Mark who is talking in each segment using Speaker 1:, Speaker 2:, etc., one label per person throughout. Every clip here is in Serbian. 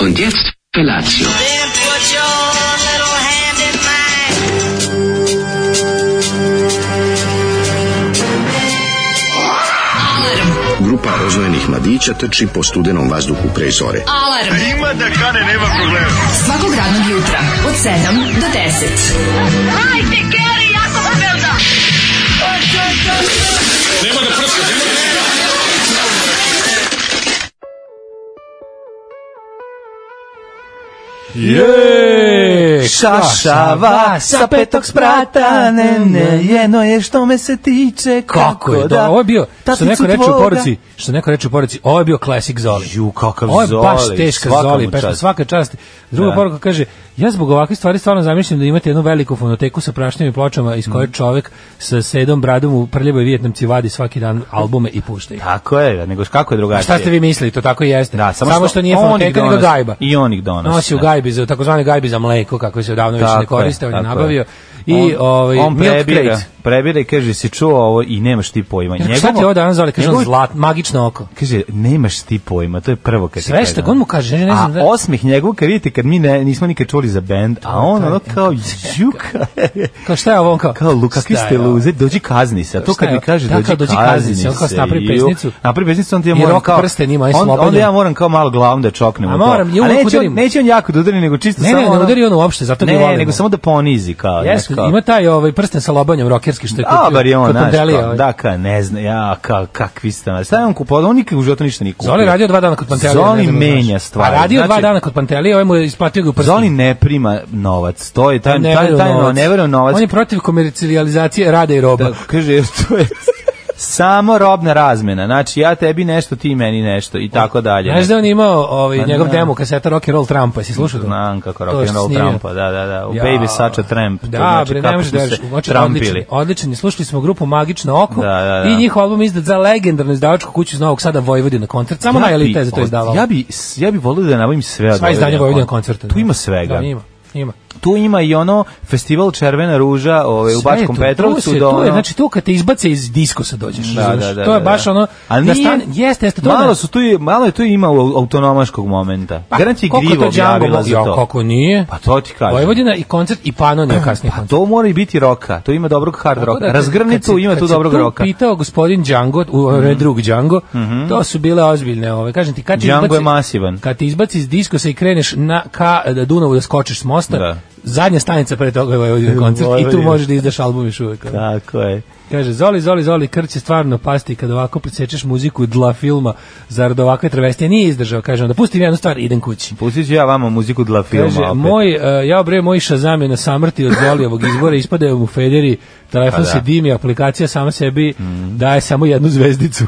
Speaker 1: Und jetzt Felatio.
Speaker 2: Then put your little hand in mine.
Speaker 3: Grupa rozvojenih mladića trči po studenom vazduhu pre zore.
Speaker 4: Alarm. A ima da kane, nema problema. Svakog radnog jutra, od 7 do 10.
Speaker 5: Je!
Speaker 6: E, Šašava sa petog sprata, ne, ne, jeno je što me se tiče, kako,
Speaker 5: Kako je da,
Speaker 6: da,
Speaker 5: ovo je bio, što
Speaker 6: taticu
Speaker 5: neko reče u
Speaker 6: tvoga.
Speaker 5: poruci, što neko reče u poruci, ovo je bio klasik Zoli.
Speaker 6: Ju, kakav
Speaker 5: Ovo je baš
Speaker 6: Zoli,
Speaker 5: teška
Speaker 6: svaka
Speaker 5: Zoli,
Speaker 6: mu
Speaker 5: pesma,
Speaker 6: čast.
Speaker 5: svaka čast. Druga
Speaker 6: Da.
Speaker 5: poruka kaže, ja zbog ovakve stvari stvarno zamišljam da imate jednu veliku fonoteku sa prašnjivim pločama iz
Speaker 6: Mm.
Speaker 5: koje čovek sa sedom bradom u prljavoj vijetnamci vadi svaki dan albume i pušta ih.
Speaker 6: Tako je, nego kako je drugačije.
Speaker 5: Šta ste vi mislili, to tako i jeste.
Speaker 6: Da, samo što
Speaker 5: što nije
Speaker 6: on ih
Speaker 5: fonoteka, nego
Speaker 6: donosi.
Speaker 5: gajba.
Speaker 6: I on ih donosi,
Speaker 5: Nosi u
Speaker 6: Ono da.
Speaker 5: gajbi, za, takozvane gajbi za mleko, kako se odavno više
Speaker 6: Tako
Speaker 5: ne koriste,
Speaker 6: je,
Speaker 5: on je
Speaker 6: tako
Speaker 5: nabavio.
Speaker 6: je.
Speaker 5: I
Speaker 6: on,
Speaker 5: ovaj,
Speaker 6: on
Speaker 5: milk
Speaker 6: prebira,
Speaker 5: crate.
Speaker 6: prebira i kaže, si čuo ovo i nemaš ti pojma.
Speaker 5: Jer šta ti ovo danas zove, kaže on
Speaker 6: njegovo-
Speaker 5: zlat, magično oko.
Speaker 6: Kaže, nemaš ti pojma, to je prvo kad ti
Speaker 5: Sve što
Speaker 6: kažem.
Speaker 5: god mu kaže, ne, ne znam da-
Speaker 6: A osmih njegov, kad vidite, kad mi ne, nismo nikad čuli za bend, a on
Speaker 5: to je-
Speaker 6: ono kao, juka,
Speaker 5: Kao šta je ovo on kao?
Speaker 6: kao Luka, kakvi
Speaker 5: šta je
Speaker 6: ste
Speaker 5: ovo?
Speaker 6: luze, dođi kazni se. A to
Speaker 5: Šta
Speaker 6: kad
Speaker 5: je
Speaker 6: mi kaže
Speaker 5: ovo? Da, kao
Speaker 6: dođi,
Speaker 5: dođi kazni
Speaker 6: kazni
Speaker 5: se,
Speaker 6: se.
Speaker 5: on kao napravi
Speaker 6: ju,
Speaker 5: pesnicu.
Speaker 6: Napravi pesnicu, onda ja
Speaker 5: I
Speaker 6: moram
Speaker 5: rok
Speaker 6: kao...
Speaker 5: prste nima, oni su
Speaker 6: on- Onda
Speaker 5: slobodni.
Speaker 6: ja moram kao malo glavom da čoknem.
Speaker 5: A
Speaker 6: u to.
Speaker 5: moram, ja
Speaker 6: A
Speaker 5: uvek
Speaker 6: neće on,
Speaker 5: udarim.
Speaker 6: neće on jako da udari, nego čisto
Speaker 5: Ne,
Speaker 6: samo...
Speaker 5: ne, ne
Speaker 6: ono-
Speaker 5: udari on uopšte, zato ga
Speaker 6: Ne,
Speaker 5: volimo.
Speaker 6: nego samo da ponizi kao.
Speaker 5: Jeste,
Speaker 6: znaš, kao-
Speaker 5: ima taj ovaj prsten sa lobanjem rokerski što je kupio.
Speaker 6: Dobar je on,
Speaker 5: kod
Speaker 6: znaš,
Speaker 5: Pantelija,
Speaker 6: kao,
Speaker 5: ovaj.
Speaker 6: da, ka, ne znam, ja, ka, kakvi ste, znaš, šta je on kupao, on nikad u životu ništa nije kupio.
Speaker 5: Zoli radio dva dana kod Pantelija.
Speaker 6: Zoli
Speaker 5: ne znam da li znaš.
Speaker 6: menja stvari.
Speaker 5: A radio
Speaker 6: Znači,
Speaker 5: dva dana kod Pantelija, ovaj mu je isplatio ga u prsten.
Speaker 6: Zoli ne prima novac, to je, taj,
Speaker 5: Ne
Speaker 6: taj, taj,
Speaker 5: veruje u
Speaker 6: taj ne veruje u novac,
Speaker 5: On je protiv komercijalizacije rada i roba.
Speaker 6: da, kaže, jer to je samo robna razmena, znači ja tebi nešto, ti meni nešto i tako dalje.
Speaker 5: Znaš da on je imao ovaj,
Speaker 6: Pa
Speaker 5: njegov
Speaker 6: da.
Speaker 5: demo kaseta Rock and Roll Trumpa, jesi slušao to?
Speaker 6: Znam kako
Speaker 5: To
Speaker 6: rock
Speaker 5: što
Speaker 6: and roll
Speaker 5: snimio.
Speaker 6: Trumpa, da, da, da, u Baby Such a Tramp. to
Speaker 5: Da,
Speaker 6: znači
Speaker 5: bre, ne
Speaker 6: kako
Speaker 5: možeš
Speaker 6: su
Speaker 5: da
Speaker 6: se
Speaker 5: veriš. Znači, odličan,
Speaker 6: trampili.
Speaker 5: odličan je. Slušali smo grupu Magično oko
Speaker 6: Da, da, da.
Speaker 5: i njihov album izdat za legendarnu izdavačku kuću iz Novog Sada Vojvodina koncert. Samo
Speaker 6: Ja bi
Speaker 5: najelite za to
Speaker 6: od-
Speaker 5: izdavalo.
Speaker 6: Ja bi, s- ja bi volio da nabavim sve od
Speaker 5: Sva izdanja
Speaker 6: Vojvodina
Speaker 5: Vojvodina
Speaker 6: koncerta.
Speaker 5: koncerta.
Speaker 6: Tu ima svega.
Speaker 5: Da, ima. Ima.
Speaker 6: tu ima i ono festival Červena ruža ovaj, u
Speaker 5: Sve je
Speaker 6: Bačkom
Speaker 5: tu,
Speaker 6: Petrovcu.
Speaker 5: Tu, se,
Speaker 6: do
Speaker 5: tu je,
Speaker 6: ono-
Speaker 5: znači tu kad te izbace iz diskosa dođeš.
Speaker 6: Da,
Speaker 5: razumeš?
Speaker 6: da, da,
Speaker 5: to je
Speaker 6: da,
Speaker 5: baš
Speaker 6: da.
Speaker 5: ono...
Speaker 6: Ali
Speaker 5: da
Speaker 6: nije-
Speaker 5: stane, jeste, jeste. To je
Speaker 6: malo,
Speaker 5: ono-
Speaker 6: su tu, i- malo je tu ima au- autonomaškog momenta.
Speaker 5: Pa,
Speaker 6: Garant je
Speaker 5: koliko
Speaker 6: grivo
Speaker 5: to Django
Speaker 6: objavila
Speaker 5: mogu-
Speaker 6: za
Speaker 5: Ja,
Speaker 6: to.
Speaker 5: Kako nije?
Speaker 6: Pa to ti kažem.
Speaker 5: Vojvodina i koncert i Panonija kasnije.
Speaker 6: Pa to mora i biti roka. To ima dobrog hard roka. Razgrnicu ima tu dobrog roka.
Speaker 5: dakle,
Speaker 6: Mhm.
Speaker 5: Kad se pitao gospodin Django, u red drug Django, to su bile ozbiljne ove. Kažem ti, kad ti
Speaker 6: Django
Speaker 5: izbaci,
Speaker 6: je masivan.
Speaker 5: Kad ti izbaci iz diskosa i kreneš na, ka e, Dunavu da skočiš s mosta,
Speaker 6: Da.
Speaker 5: zadnja stanica pre toga je Vojvodina koncert i tu
Speaker 6: Vojvodina.
Speaker 5: možeš da izdaš album još uvek. ono.
Speaker 6: Tako je.
Speaker 5: Kaže, zoli, zoli, zoli, krč je stvarno pasti kad ovako presečeš muziku dla filma, zar do ovakve travestije nije izdržao, kažem, da pustim jednu stvar, idem kući.
Speaker 6: Pustit ću ja vama muziku dla filma
Speaker 5: Kaže,
Speaker 6: opet.
Speaker 5: moj, e, ja bre, moj Shazam je na samrti od Zolijevog izbora, ispadaju mu federi, telefon
Speaker 6: Pa da. Mhm.
Speaker 5: se dimi, aplikacija sama sebi daje samo jednu zvezdicu.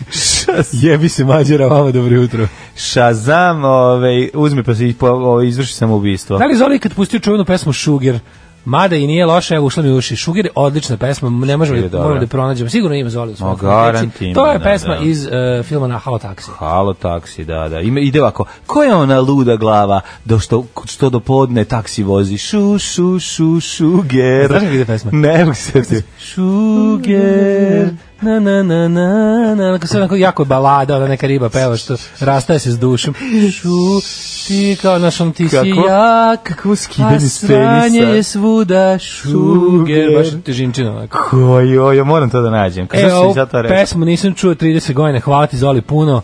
Speaker 5: Jebi se mađara, vama dobro jutro.
Speaker 6: Shazam, ovaj, uzme pa se i po- ovaj, izvrši samoubistvo.
Speaker 5: Da li Zoli kad pustio čuvenu pesmu Sugar, Mada i nije loša, evo ušla mi u uši. Sugar je odlična pesma, ne možemo
Speaker 6: Sugar je
Speaker 5: da,
Speaker 6: dobra.
Speaker 5: moramo da je pronađemo. Sigurno ima Zoli u svojoj
Speaker 6: Ma,
Speaker 5: fonoteci.
Speaker 6: garant
Speaker 5: To je
Speaker 6: ima,
Speaker 5: pesma
Speaker 6: da, da.
Speaker 5: iz e, filma na Halo Taxi.
Speaker 6: Halo taksi, da, da. Ima, ide ovako. Ko je ona luda glava do što, što do podne taksi vozi? Šu, šu, šu, šuger.
Speaker 5: Znaš kako ide pesma?
Speaker 6: Ne, mogu se ti.
Speaker 5: Sugar, na na na na na, onako sve onako jako je balada, ona neka riba peva što rastaje se s dušom. Šu, ti kao naš on ti si
Speaker 6: Kako-
Speaker 5: jak,
Speaker 6: kako skidanje
Speaker 5: a
Speaker 6: s
Speaker 5: sranje
Speaker 6: penisa.
Speaker 5: je svuda, šuger,
Speaker 6: Sugar.
Speaker 5: baš težinčina onako.
Speaker 6: Koji, oj, ja moram to da nađem. Kako
Speaker 5: E,
Speaker 6: e,
Speaker 5: ovu
Speaker 6: si sad to rekao?
Speaker 5: pesmu nisam čuo 30 godina, hvala ti Zoli puno.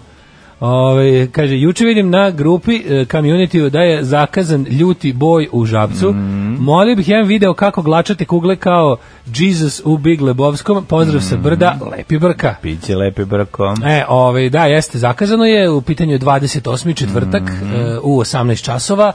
Speaker 5: Ove, kaže, juče vidim na grupi e, community da je zakazan ljuti boj u Žabcu. Molio bih jedan video kako glačate kugle kao Jesus u Big Lebovskom. Pozdrav sa brda, lepi brka.
Speaker 6: Biće lepe brko.
Speaker 5: E, ovaj, da, jeste, zakazano je, u pitanju je 28. četvrtak
Speaker 6: Mhm.
Speaker 5: e, u 18 časova,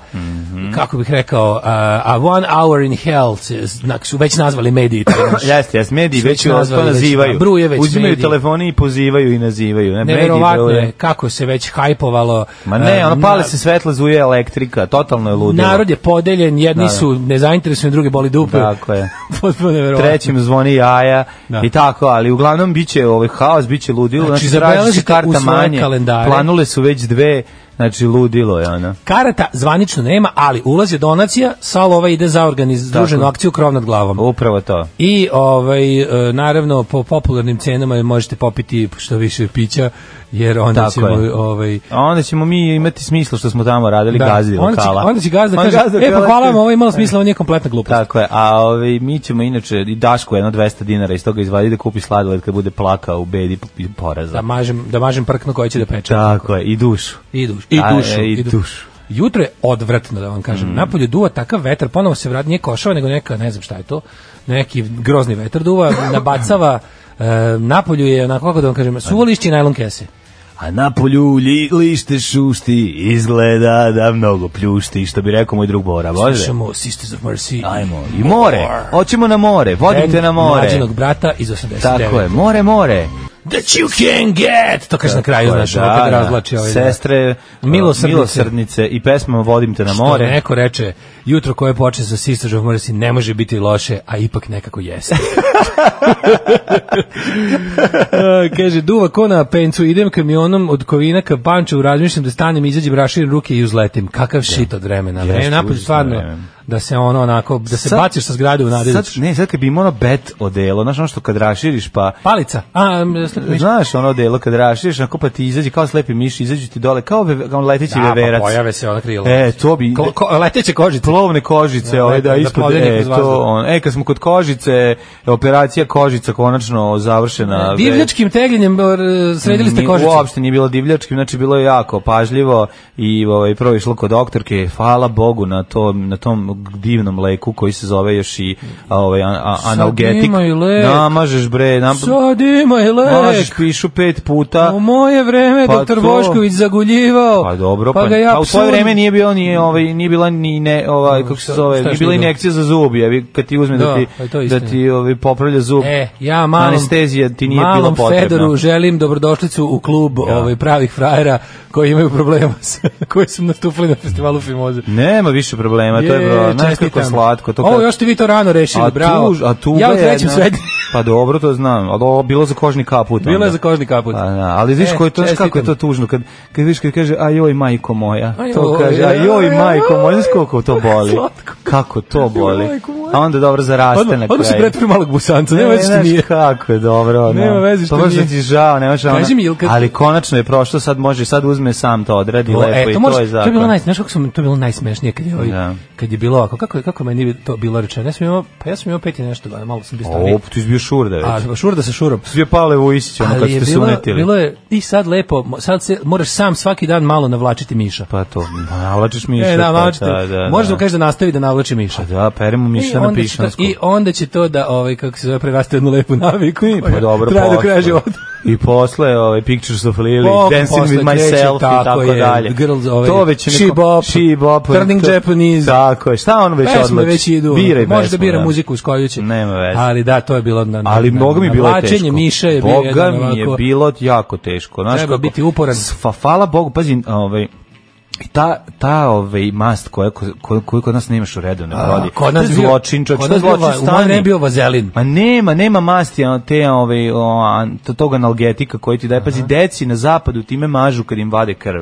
Speaker 5: kako bih rekao, a, a one hour in hell, se, znak, su već nazvali mediji. taj naš.
Speaker 6: Jeste, jes, mediji
Speaker 5: Su
Speaker 6: već
Speaker 5: već
Speaker 6: vas to
Speaker 5: nazvali, već,
Speaker 6: nazivaju.
Speaker 5: da, bruje već
Speaker 6: Uzimaju
Speaker 5: mediji.
Speaker 6: telefone i pozivaju i nazivaju. Ne, mediji,
Speaker 5: Neverovatno
Speaker 6: bruje.
Speaker 5: je kako se već hajpovalo.
Speaker 6: Ma ne,
Speaker 5: e,
Speaker 6: ono pale
Speaker 5: na-
Speaker 6: se svetla zuje elektrika, totalno je ludilo.
Speaker 5: Narod je podeljen, jedni
Speaker 6: Da, da.
Speaker 5: su nezainteresovani, drugi boli dupe.
Speaker 6: Tako je.
Speaker 5: Potpuno neverovatno.
Speaker 6: trećim zvoni jaja
Speaker 5: Da.
Speaker 6: i tako, ali uglavnom biće ovaj haos, biće ludilo,
Speaker 5: Znači,
Speaker 6: znači, traži se
Speaker 5: zabeležite u
Speaker 6: karta
Speaker 5: svoje
Speaker 6: manje,
Speaker 5: kalendare.
Speaker 6: planule su već dve, znači ludilo je ono.
Speaker 5: Karata zvanično nema, ali ulaz je donacija, sal ova ide za organiz, združenu akciju Krov nad glavom.
Speaker 6: Upravo to.
Speaker 5: I ovaj e, naravno po popularnim cenama možete popiti što više pića jer onda
Speaker 6: Tako
Speaker 5: ćemo
Speaker 6: je.
Speaker 5: ovaj
Speaker 6: A onda ććemo mi imati smisla što smo tamo radili da. gazdi
Speaker 5: onda će,
Speaker 6: lokala.
Speaker 5: onda će gazda
Speaker 6: Onda
Speaker 5: kaže,
Speaker 6: gazda
Speaker 5: e, pa
Speaker 6: lokala
Speaker 5: hvala vam,
Speaker 6: će-
Speaker 5: ovo je imalo smisla, ovo nije kompletna glupost.
Speaker 6: Tako je, a ovaj, mi ćemo inače i Dašku jedno 200 dinara iz toga izvadi da kupi sladoled kad bude plakao u bedi i
Speaker 5: Da
Speaker 6: poraza.
Speaker 5: mažem, da mažem prkno koje će da peče.
Speaker 6: Tako je, i dušu.
Speaker 5: I dušu. I
Speaker 6: A,
Speaker 5: dušu.
Speaker 6: e, i
Speaker 5: du-
Speaker 6: dušu. Mm.
Speaker 5: Jutro je odvratno, da vam kažem. Napolju duva takav vetar, ponovo se vrat, nije košava, nego neka, ne znam šta je to, neki grozni vetar duva, nabacava, e, napolju je, onako kako da vam kažem, suvo lišće i najlon kese.
Speaker 6: A na polju li, lište šušti, izgleda da mnogo pljušti, što bi rekao moj drug Bora, bože.
Speaker 5: Slušamo Sisters of Mercy.
Speaker 6: Ajmo, i more, hoćemo na more, vodite
Speaker 5: Band
Speaker 6: na more.
Speaker 5: Mlađenog brata iz 89.
Speaker 6: Tako je, more, more.
Speaker 5: That you can get! To kaže na kraju,
Speaker 6: Tako je,
Speaker 5: znaš, ono kad razvlači ovaj.
Speaker 6: Sestre, e,
Speaker 5: Milosrdnice.
Speaker 6: milosrdnice i pesma Vodim te na
Speaker 5: Što
Speaker 6: more.
Speaker 5: neko reče, jutro koje počne sa Sisters of Mercy ne može biti loše, a ipak nekako jeste. E, Kaže, duva ko na pencu, idem kamionom od Kovina ka Pančevu, razmišljam da stanem, izađem, raširim ruke i uzletim. Kakav šit od vremena. Vreme
Speaker 6: Jeste,
Speaker 5: napolju
Speaker 6: užasno
Speaker 5: stvarno
Speaker 6: vreme.
Speaker 5: da se ono onako, da se
Speaker 6: Sad-
Speaker 5: baciš sa zgrade u nade.
Speaker 6: Sad, ne, sad kad bi imao ono bet odelo, znaš ono što kad raširiš pa
Speaker 5: Palica. A, m, slep miš.
Speaker 6: Znaš ono delo kad raširiš, onako pa ti izađe kao slepi miš, izađu ti dole kao, veve, kao leteći
Speaker 5: Da, pa
Speaker 6: veverac.
Speaker 5: pojave se ona krila.
Speaker 6: E, to bi...
Speaker 5: Ko, ko, leteće kožice.
Speaker 6: plovne kožice,
Speaker 5: Da,
Speaker 6: ovaj
Speaker 5: da,
Speaker 6: da ispod
Speaker 5: plovljenje
Speaker 6: e,
Speaker 5: kroz
Speaker 6: to
Speaker 5: vazduh.
Speaker 6: on. E kad smo kod kožice, operacija kožica konačno završena.
Speaker 5: Divljačkim tegljenjem r- sredili ste
Speaker 6: Ni-
Speaker 5: kožice.
Speaker 6: Uopšte nije bilo divljački, znači bilo je jako pažljivo i ovaj prvo je išlo kod doktorke. Hvala Bogu na tom na tom divnom leku koji se zove još i a, ovaj an, a,
Speaker 5: Sad
Speaker 6: analgetik.
Speaker 5: ima i lek.
Speaker 6: Namažeš bre, nam
Speaker 5: Sad ima i
Speaker 6: Mažeš
Speaker 5: lek.
Speaker 6: pišu pet puta.
Speaker 5: U moje vreme
Speaker 6: Pa
Speaker 5: doktor
Speaker 6: to-
Speaker 5: Bošković zaguljivao.
Speaker 6: Pa dobro, pa,
Speaker 5: pa ga ja
Speaker 6: pa u svoje
Speaker 5: psujem.
Speaker 6: vreme nije bio ni ovaj nije bila ni ne ovaj kako se
Speaker 5: šta-
Speaker 6: zove,
Speaker 5: šta je
Speaker 6: nije
Speaker 5: što
Speaker 6: bila
Speaker 5: je bilo?
Speaker 6: injekcija za zub, jebi kad ti uzme da,
Speaker 5: Da,
Speaker 6: ti
Speaker 5: pa to je
Speaker 6: da
Speaker 5: istina.
Speaker 6: ti ovaj popravlja zub.
Speaker 5: E, ja malom,
Speaker 6: anestezija ti nije bila
Speaker 5: malom
Speaker 6: potrebna.
Speaker 5: Fedoru želim dobrodošlicu u klub ovaj, pravih frajera koji imaju problema sa, koji su nastupili na festivalu Fimoze.
Speaker 6: Nema više problema, to je bro, znaš kako je slatko. To
Speaker 5: Ovo
Speaker 6: kad-
Speaker 5: još ste vi to rano rešili, bravo.
Speaker 6: tuž- a tuga
Speaker 5: ja u
Speaker 6: je
Speaker 5: trećem
Speaker 6: jedna-
Speaker 5: srednju.
Speaker 6: Pa dobro, to znam, ali ovo bilo za kožni kaput.
Speaker 5: Bilo
Speaker 6: onda.
Speaker 5: je za kožni kaput.
Speaker 6: Pa, da, ali viš
Speaker 5: E,
Speaker 6: koji to znaš kako je to
Speaker 5: čestitam.
Speaker 6: tužno kad kad viš kad kaže aj joj majko moja.
Speaker 5: Aj,
Speaker 6: To
Speaker 5: joj,
Speaker 6: kaže aj joj
Speaker 5: aj,
Speaker 6: majko
Speaker 5: aj,
Speaker 6: moja, znaš koliko to boli.
Speaker 5: Slatko.
Speaker 6: Kako to boli.
Speaker 5: majko moja.
Speaker 6: A onda dobro zaraste
Speaker 5: Odmah,
Speaker 6: na kraju.
Speaker 5: odmah se pretvori malog busanca, nema
Speaker 6: E,
Speaker 5: veze što
Speaker 6: znaš
Speaker 5: nije.
Speaker 6: kako je dobro. ono.
Speaker 5: Nema veze što
Speaker 6: To baš
Speaker 5: nije.
Speaker 6: da ti žao, nema žao.
Speaker 5: Kaži mi, jel kad-
Speaker 6: Ali konačno je prošlo, sad može, sad uzme sam to odradi lepo
Speaker 5: e,
Speaker 6: i
Speaker 5: to,
Speaker 6: to je
Speaker 5: možeš, to je bilo
Speaker 6: zakon.
Speaker 5: naj, znaš kako sam, to je bilo najsmešnije kad je, ovaj,
Speaker 6: Da.
Speaker 5: kad je bilo ovako, kako je, kako je meni to bilo rečeno, ja sam imao, pa ja sam imao pet i nešto, godina, malo sam bio stariji.
Speaker 6: O, ti si bio šurda već.
Speaker 5: A pa šurda sa šurom.
Speaker 6: Sve Pavle Vujisić, ono kad
Speaker 5: Ali je
Speaker 6: ste se
Speaker 5: bilo,
Speaker 6: unetili.
Speaker 5: bilo je, i sad lepo, mo- sad se, moraš sam svaki dan malo navlačiti miša.
Speaker 6: Pa to, navlačiš miša.
Speaker 5: E,
Speaker 6: pa
Speaker 5: da, navlačite,
Speaker 6: Da, da,
Speaker 5: možeš da mu
Speaker 6: da.
Speaker 5: kažeš da nastavi da navlači miša.
Speaker 6: Pa da, peremo miša na
Speaker 5: onda će to,
Speaker 6: pišansku.
Speaker 5: I onda će to da, ovaj, kako se zove, preraste u jednu lepu naviku i
Speaker 6: Pa dobro,
Speaker 5: traje do
Speaker 6: posle.
Speaker 5: kraja života.
Speaker 6: I posle ovaj Pictures of Lily,
Speaker 5: Pop,
Speaker 6: Dancing
Speaker 5: posle
Speaker 6: with
Speaker 5: kreće,
Speaker 6: Myself
Speaker 5: tako
Speaker 6: i tako
Speaker 5: je,
Speaker 6: dalje.
Speaker 5: Girls, ovaj,
Speaker 6: to već je
Speaker 5: She Bop,
Speaker 6: She Bop,
Speaker 5: Turning
Speaker 6: to-
Speaker 5: Japanese.
Speaker 6: Tako je, šta on već
Speaker 5: Pesme
Speaker 6: odlači?
Speaker 5: već idu.
Speaker 6: Biraj
Speaker 5: Može da
Speaker 6: pesmu,
Speaker 5: bira muziku uz koju će.
Speaker 6: Nema veze.
Speaker 5: Ali da, to je bilo na, na
Speaker 6: Ali
Speaker 5: na-
Speaker 6: mnogo mi je bilo je
Speaker 5: navlačenje
Speaker 6: teško.
Speaker 5: miša je bio
Speaker 6: Boga
Speaker 5: jedan
Speaker 6: mi je
Speaker 5: ovako.
Speaker 6: bilo jako teško. Znaš
Speaker 5: Treba
Speaker 6: kako?
Speaker 5: biti uporan.
Speaker 6: Sva, hvala Bogu, pazi, ovaj, i ta, ta ovaj mast koja, koja, koja kod nas nemaš u redovnoj prodi.
Speaker 5: Kod nas
Speaker 6: To je
Speaker 5: bio-
Speaker 6: zločin, čovječ,
Speaker 5: kod
Speaker 6: to je
Speaker 5: nas bio
Speaker 6: zločin
Speaker 5: va- u mojem
Speaker 6: stani.
Speaker 5: ne bio vazelin.
Speaker 6: Ma nema, nema masti a, te ovaj o, an- to- tog analgetika koji ti daje. Pazi, deci na zapadu time mažu kad im vade krv.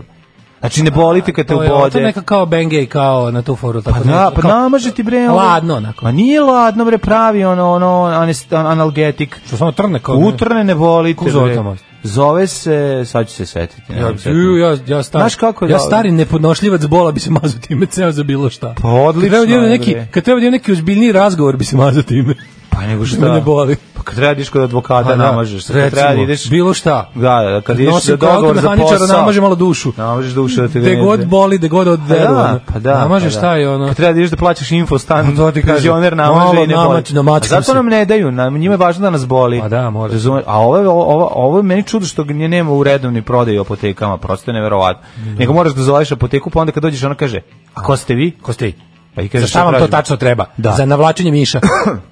Speaker 6: Znači ne bolite kad te
Speaker 5: To je to je
Speaker 6: ubode.
Speaker 5: neka kao bengej kao na tu foru tako
Speaker 6: Pa da,
Speaker 5: nešto,
Speaker 6: pa
Speaker 5: kao-
Speaker 6: namaže ti bre. ovaj-
Speaker 5: Ladno onako.
Speaker 6: Ma nije ladno bre, pravi ono, ono anest- an- analgetik.
Speaker 5: Što samo trne kao.
Speaker 6: Utrne ne bolite.
Speaker 5: Pa Kako zove
Speaker 6: bre.
Speaker 5: ta mast?
Speaker 6: Zove se, sad ću se setiti. ne
Speaker 5: Ja,
Speaker 6: mogu setiti.
Speaker 5: ju, ja, ja stari,
Speaker 6: Znaš kako je
Speaker 5: ja
Speaker 6: dobro?
Speaker 5: stari nepodnošljivac bola bi se mazao time ceo za bilo šta.
Speaker 6: Pa odlično
Speaker 5: Kad treba da imam
Speaker 6: je,
Speaker 5: neki,
Speaker 6: bre.
Speaker 5: kad treba da imam neki ozbiljniji razgovor bi se mazao time.
Speaker 6: Pa nego
Speaker 5: Da me ne
Speaker 6: šta?
Speaker 5: boli.
Speaker 6: Pa kad treba da ideš kod advokata,
Speaker 5: Pa da,
Speaker 6: namažeš se. Kad
Speaker 5: recimo,
Speaker 6: treba da ideš...
Speaker 5: Bilo šta.
Speaker 6: Da, da, kad ideš za
Speaker 5: Nosim kao
Speaker 6: dogovor za
Speaker 5: automehaničara,
Speaker 6: posao.
Speaker 5: namaže malo dušu.
Speaker 6: Namažeš dušu da te
Speaker 5: Gde
Speaker 6: ne-
Speaker 5: god boli, gde god
Speaker 6: Pa
Speaker 5: odveru.
Speaker 6: da, pa da.
Speaker 5: Namažeš
Speaker 6: pa da.
Speaker 5: šta je ono.
Speaker 6: Kad treba da ideš da plaćaš infostan,
Speaker 5: Pa to ti kažem.
Speaker 6: penzioner namaže
Speaker 5: Malo
Speaker 6: i ne boli.
Speaker 5: namač- namačkam
Speaker 6: A zato
Speaker 5: se.
Speaker 6: nam ne daju, nam, njima je važno da nas boli.
Speaker 5: Pa da, mora.
Speaker 6: Razume, a ovo, je- ovo, ovo, ovo je meni čudo što ga nje nema u redovni prodaj u apotekama, prosto je neverovatno. Nego moraš da zoveš apoteku, pa onda kad dođeš ona kaže, a ko ste vi?
Speaker 5: Ko ste vi?
Speaker 6: Pa i
Speaker 5: Za
Speaker 6: kaže,
Speaker 5: šta vam to tačno treba?
Speaker 6: Da.
Speaker 5: Za navlačenje miša.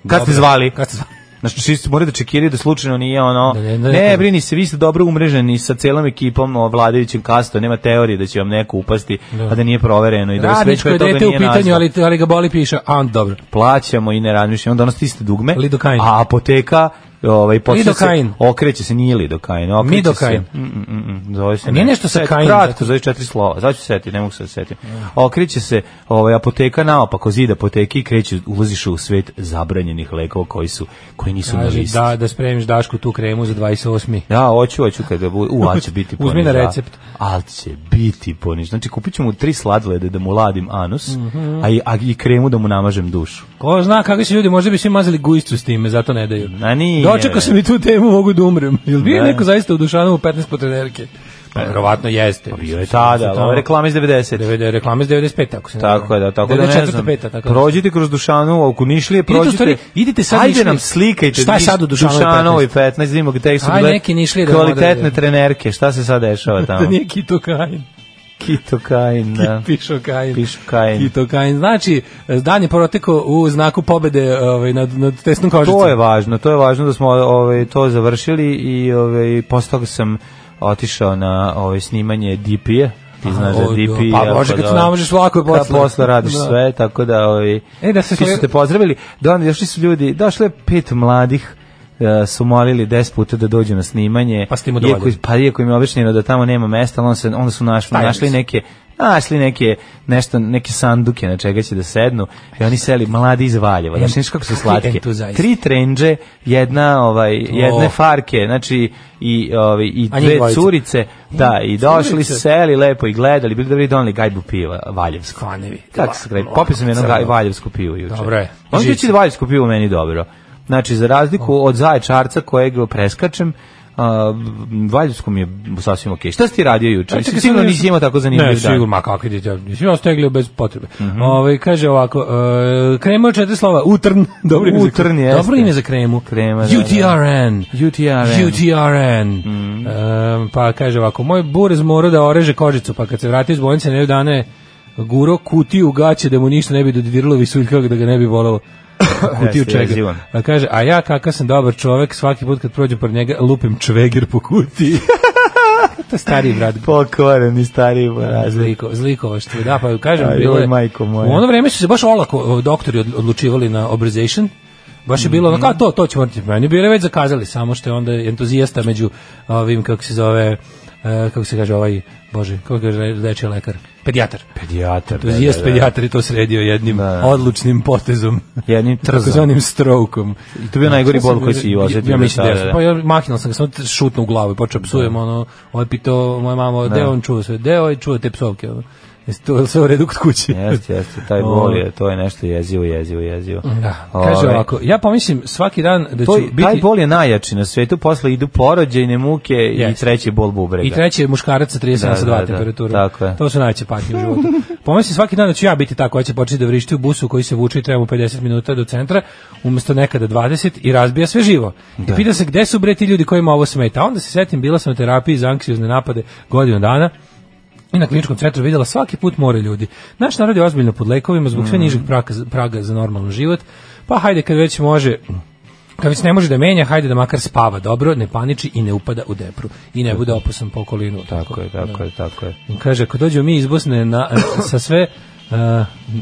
Speaker 6: Kad ste
Speaker 5: Dobro.
Speaker 6: zvali?
Speaker 5: Kad ste zvali?
Speaker 6: Znači, svi ste morali da čekiraju da slučajno nije ono...
Speaker 5: Da ne-
Speaker 6: Ne,
Speaker 5: da ne-
Speaker 6: brini se, vi ste dobro umreženi sa celom ekipom o vladajućim kasto, nema teorije da će vam neko upasti, a da nije provereno i da vas već
Speaker 5: Radničko je
Speaker 6: pre toga
Speaker 5: dete u
Speaker 6: nije
Speaker 5: pitanju,
Speaker 6: nazvao.
Speaker 5: ali, ali ga boli piša. A, dobro.
Speaker 6: Plaćamo i ne razmišljamo, onda ono stisne dugme,
Speaker 5: Lidokain.
Speaker 6: a apoteka ovaj počinje se
Speaker 5: Lidokain.
Speaker 6: okreće se nije lidokain, okreće
Speaker 5: Midokain.
Speaker 6: se. Mm, mm, mm, mm, zove se.
Speaker 5: Nije nešto sa
Speaker 6: Set-
Speaker 5: kain,
Speaker 6: Kratko
Speaker 5: zato-
Speaker 6: zove četiri slova. Sad ću se setiti, ne mogu se setiti. Okreće se ovaj apoteka naopako zid apoteke i kreće ulaziš u svet zabranjenih lekova koji su koji nisu na
Speaker 5: Kaže,
Speaker 6: listi.
Speaker 5: da, da spremiš Dašku tu kremu za 28.
Speaker 6: Da, hoću, hoću kada bude, u, ali će biti poniž.
Speaker 5: Uzmi na
Speaker 6: da.
Speaker 5: recept.
Speaker 6: Ali će biti poniž. Znači, kupit ću mu tri sladolede da mu ladim anus,
Speaker 5: Mhm.
Speaker 6: a, i, a i kremu da mu namažem dušu.
Speaker 5: Ko zna kakvi su ljudi, možda bi svi mazali gujicu s time, zato ne daju.
Speaker 6: A nije.
Speaker 5: Dočekao sam i tu temu, mogu da umrem. Jel bio
Speaker 6: Da.
Speaker 5: neko zaista u Dušanovu 15 po trenerke? Pa, verovatno jeste.
Speaker 6: Bio je tada, ovo je reklama iz 90.
Speaker 5: 90, reklame iz 95, ako se ne
Speaker 6: Tako je, da, tako da ne
Speaker 5: 94,
Speaker 6: znam.
Speaker 5: 5, tako da.
Speaker 6: Prođite kroz Dušanovu, ako Nišlije
Speaker 5: Idite u
Speaker 6: prođite.
Speaker 5: stvari, idite sad
Speaker 6: Ajde
Speaker 5: Nišlije.
Speaker 6: nam slikajte.
Speaker 5: Šta je sad u Dušanovi
Speaker 6: 15? 15 imamo gde su
Speaker 5: Aj,
Speaker 6: bile
Speaker 5: neki Nišlije da nam
Speaker 6: kvalitetne
Speaker 5: odrede.
Speaker 6: trenerke. Šta se sad dešava
Speaker 5: Da
Speaker 6: tamo?
Speaker 5: nije kitokain,
Speaker 6: Kito Kain, da.
Speaker 5: pišokain.
Speaker 6: Pišokain.
Speaker 5: Kitokain. Znači, dan je protekao u znaku pobede ovaj, nad, nad tesnom kožicom.
Speaker 6: To je važno, to je važno da smo ovaj to završili i ovaj posle toga sam otišao na ovaj snimanje DP-a. Ti znaš da
Speaker 5: o,
Speaker 6: DP
Speaker 5: da. Pa može, kad se namažeš, lako je posle.
Speaker 6: Kad posle radiš
Speaker 5: Da.
Speaker 6: sve, tako da ovaj
Speaker 5: E, da se
Speaker 6: svi
Speaker 5: sle-
Speaker 6: su te pozdravili. Da, onda došli su ljudi, došlo je pet mladih e, su molili 10 puta da dođu na snimanje.
Speaker 5: Pa ste im
Speaker 6: iako,
Speaker 5: udovoljili.
Speaker 6: pa iako im je objašnjeno da tamo nema mesta, ali onda, se, onda su našli,
Speaker 5: Stavili
Speaker 6: našli
Speaker 5: su.
Speaker 6: neke našli neke nešto neke sanduke na čega će da sednu i oni seli mladi iz Valjeva znači znaš kako su
Speaker 5: Kakvi
Speaker 6: slatke
Speaker 5: entuzijasti.
Speaker 6: tri trendže jedna ovaj jedne farke znači i ovaj i
Speaker 5: A njih
Speaker 6: dve
Speaker 5: dvojica.
Speaker 6: curice da i došli
Speaker 5: Curice.
Speaker 6: seli lepo i gledali bili dobri doneli gajbu piva valjevsko
Speaker 5: Kvanevi.
Speaker 6: kako se kaže popio sam jedno
Speaker 5: Crno.
Speaker 6: gaj- valjevsko pivo juče
Speaker 5: Dobro je.
Speaker 6: Moram
Speaker 5: Živci.
Speaker 6: reći da valjevsko pivo meni dobro znači za razliku od zaječarca kojeg preskačem a, valjevsko mi je sasvim okej šta si ti radio juče
Speaker 5: Čekaj,
Speaker 6: sigurno
Speaker 5: sad-
Speaker 6: nisi imao tako zanimljiv Mhm.
Speaker 5: Ne,
Speaker 6: dan
Speaker 5: sigurno, ma kakvi ti ja nisi ja steglio bez potrebe. Ovaj kaže ovako, e, krema od četiri slova, utrn, dobro ime
Speaker 6: Utrn
Speaker 5: za
Speaker 6: jeste.
Speaker 5: Dobro ime za kremu.
Speaker 6: Krema, da, da.
Speaker 5: UTRN.
Speaker 6: UTRN.
Speaker 5: UTRN.
Speaker 6: Mhm.
Speaker 5: E, pa kaže ovako, moj burez mora da oreže kožicu, pa kad se vrati iz bolnice ne dane guro kutiju gaće da mu ništa ne bi dodirilo visuljkog da ga ne bi volelo. kutiju
Speaker 6: Jeste,
Speaker 5: čega.
Speaker 6: jezivan.
Speaker 5: A kaže, a ja kakav sam dobar čovek, svaki put kad prođem pored njega, lupim čvegir po kutiji. to je stariji brat,
Speaker 6: pokoren i stariji razli
Speaker 5: Zliko, zlikovaštvo, da, pa kažem,
Speaker 6: Aj,
Speaker 5: bilo
Speaker 6: joj,
Speaker 5: je,
Speaker 6: majko moja.
Speaker 5: u ono vreme su se baš olako o, doktori od- odlučivali na obrization, baš je bilo, mm kao to, to ćemo morati, meni bili već zakazali, samo što je onda entuzijasta među ovim, kako se zove, e, kako se kaže ovaj, bože, kako se kaže dečiji lekar, pedijatar.
Speaker 6: pedijatar
Speaker 5: Entuzijast pedijatar je to sredio jednim
Speaker 6: Da, da.
Speaker 5: odlučnim potezom.
Speaker 6: jednim trzom
Speaker 5: Takozvanim strokom.
Speaker 6: I to je bio najgori bol koji si i osetio
Speaker 5: Ja
Speaker 6: do
Speaker 5: mislim da
Speaker 6: tada,
Speaker 5: je.
Speaker 6: da.
Speaker 5: Pa ja mahnal sam ga samo t- šutno u glavu i počeo psujem ono, ovaj pitao moja mama, da. on čuo sve, deo je čuo te psovke. Ono. Jesi to je li sve u redu kod kuće?
Speaker 6: Jeste, jeste, taj bol je, to je nešto jezivo, jezivo, jezivo.
Speaker 5: Da. Kaže
Speaker 6: Ovaj,
Speaker 5: ovako, ja pomislim svaki dan da ću
Speaker 6: To,
Speaker 5: biti...
Speaker 6: Taj bol je najjači na svetu, posle idu porođajne muke i
Speaker 5: Jeste.
Speaker 6: treći je bol bubrega.
Speaker 5: I treći je muškarac sa 37
Speaker 6: Da,
Speaker 5: sa
Speaker 6: da,
Speaker 5: 2
Speaker 6: da,
Speaker 5: temperaturom.
Speaker 6: tako je.
Speaker 5: To su najveće patnje u životu. Pomislim svaki dan da ću ja biti tako, koja će početi da vrišti u busu koji se vuče i treba mu 50 minuta do centra, umesto nekada 20 i razbija sve živo. I pita se gde su bre ti ljudi kojima ovo smeta. A Onda se setim, bila sam na terapiji za anksiozne napade godinu dana i na kliničkom centru videla svaki put more ljudi. Naš narod je ozbiljno pod lekovima zbog
Speaker 6: Mm.
Speaker 5: sve nižeg praka, praga za normalan život, pa hajde kad već može kad već ne može da menja, hajde da makar spava dobro, ne paniči i ne upada u depru i ne bude opasan po okolinu.
Speaker 6: Tako je, tako je, tako je.
Speaker 5: Kaže, ako dođemo mi iz Bosne na, e, sa sve uh,